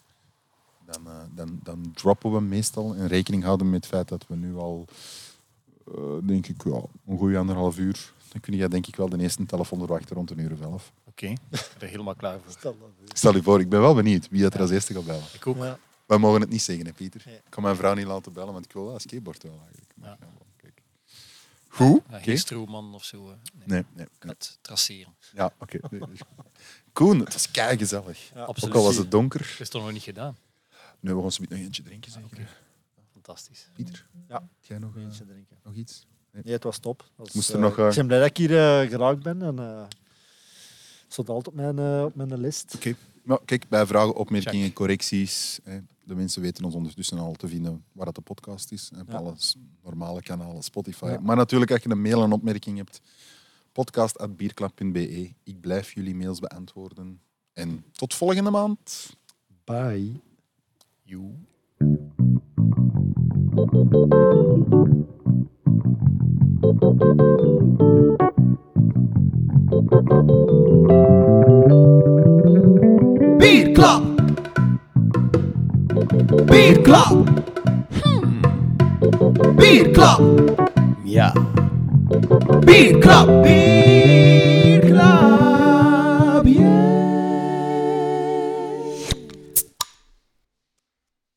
C: Dan, eh, dan, dan droppen we meestal en rekening houden met het feit dat we nu al, eh, denk ik, ja, een goede anderhalf uur. Dan kun je denk ik wel de eerste telefoon verwachten rond een uur of elf.
A: Oké, ik ben er helemaal klaar voor.
B: Stel dat weer.
C: Stel je voor, ik ben wel benieuwd wie dat er als eerste gaat bellen.
A: Ik ook.
B: Ja.
C: Wij mogen het niet zeggen, hè, Pieter.
B: Nee.
C: Ik kan mijn vrouw niet laten bellen, want ik wil wel een skateboard wel eigenlijk. Maar
A: Ja.
C: ja, bon, kijk. Goed?
A: Ja,
C: Oké.
A: geen stroomman of zo. eh, Nee,
C: Nee, nee, nee.
A: Dat traceren.
C: Ja, oké. Nee, dat is goed. Koen, het was kei gezellig.
A: Absoluut.
C: Ook al was het donker.
A: Dat is toch nog niet gedaan?
C: Nu, we gaan zo meteen nog eentje drinken, zeker.
A: Fantastisch.
C: Pieter?
B: Ja.
C: Heb jij nog, eh,
B: Eentje drinken.
C: nog iets?
B: Nee, het was top. Dat was,
C: Moest er
B: eh,
C: nog, eh,
B: Ik ben blij dat ik hier eh, geraakt ben. En, eh stond altijd op mijn, eh, op mijn list.
C: Oké. Nou, kijk, bij vragen, opmerkingen,
A: Check.
C: correcties. Hè, de mensen weten ons ondertussen al te vinden waar dat de podcast is. En op
B: Ja.
C: alle s- normale kanalen, Spotify.
B: Ja.
C: Maar natuurlijk, als je een mail en opmerking hebt, podcast.bierklap.be. Ik blijf jullie mails beantwoorden. En tot volgende maand.
B: Bye.
A: You.
E: Bierklap. Bierklap. Bierklap.
A: Ja.
E: Bierklap. Bierklap.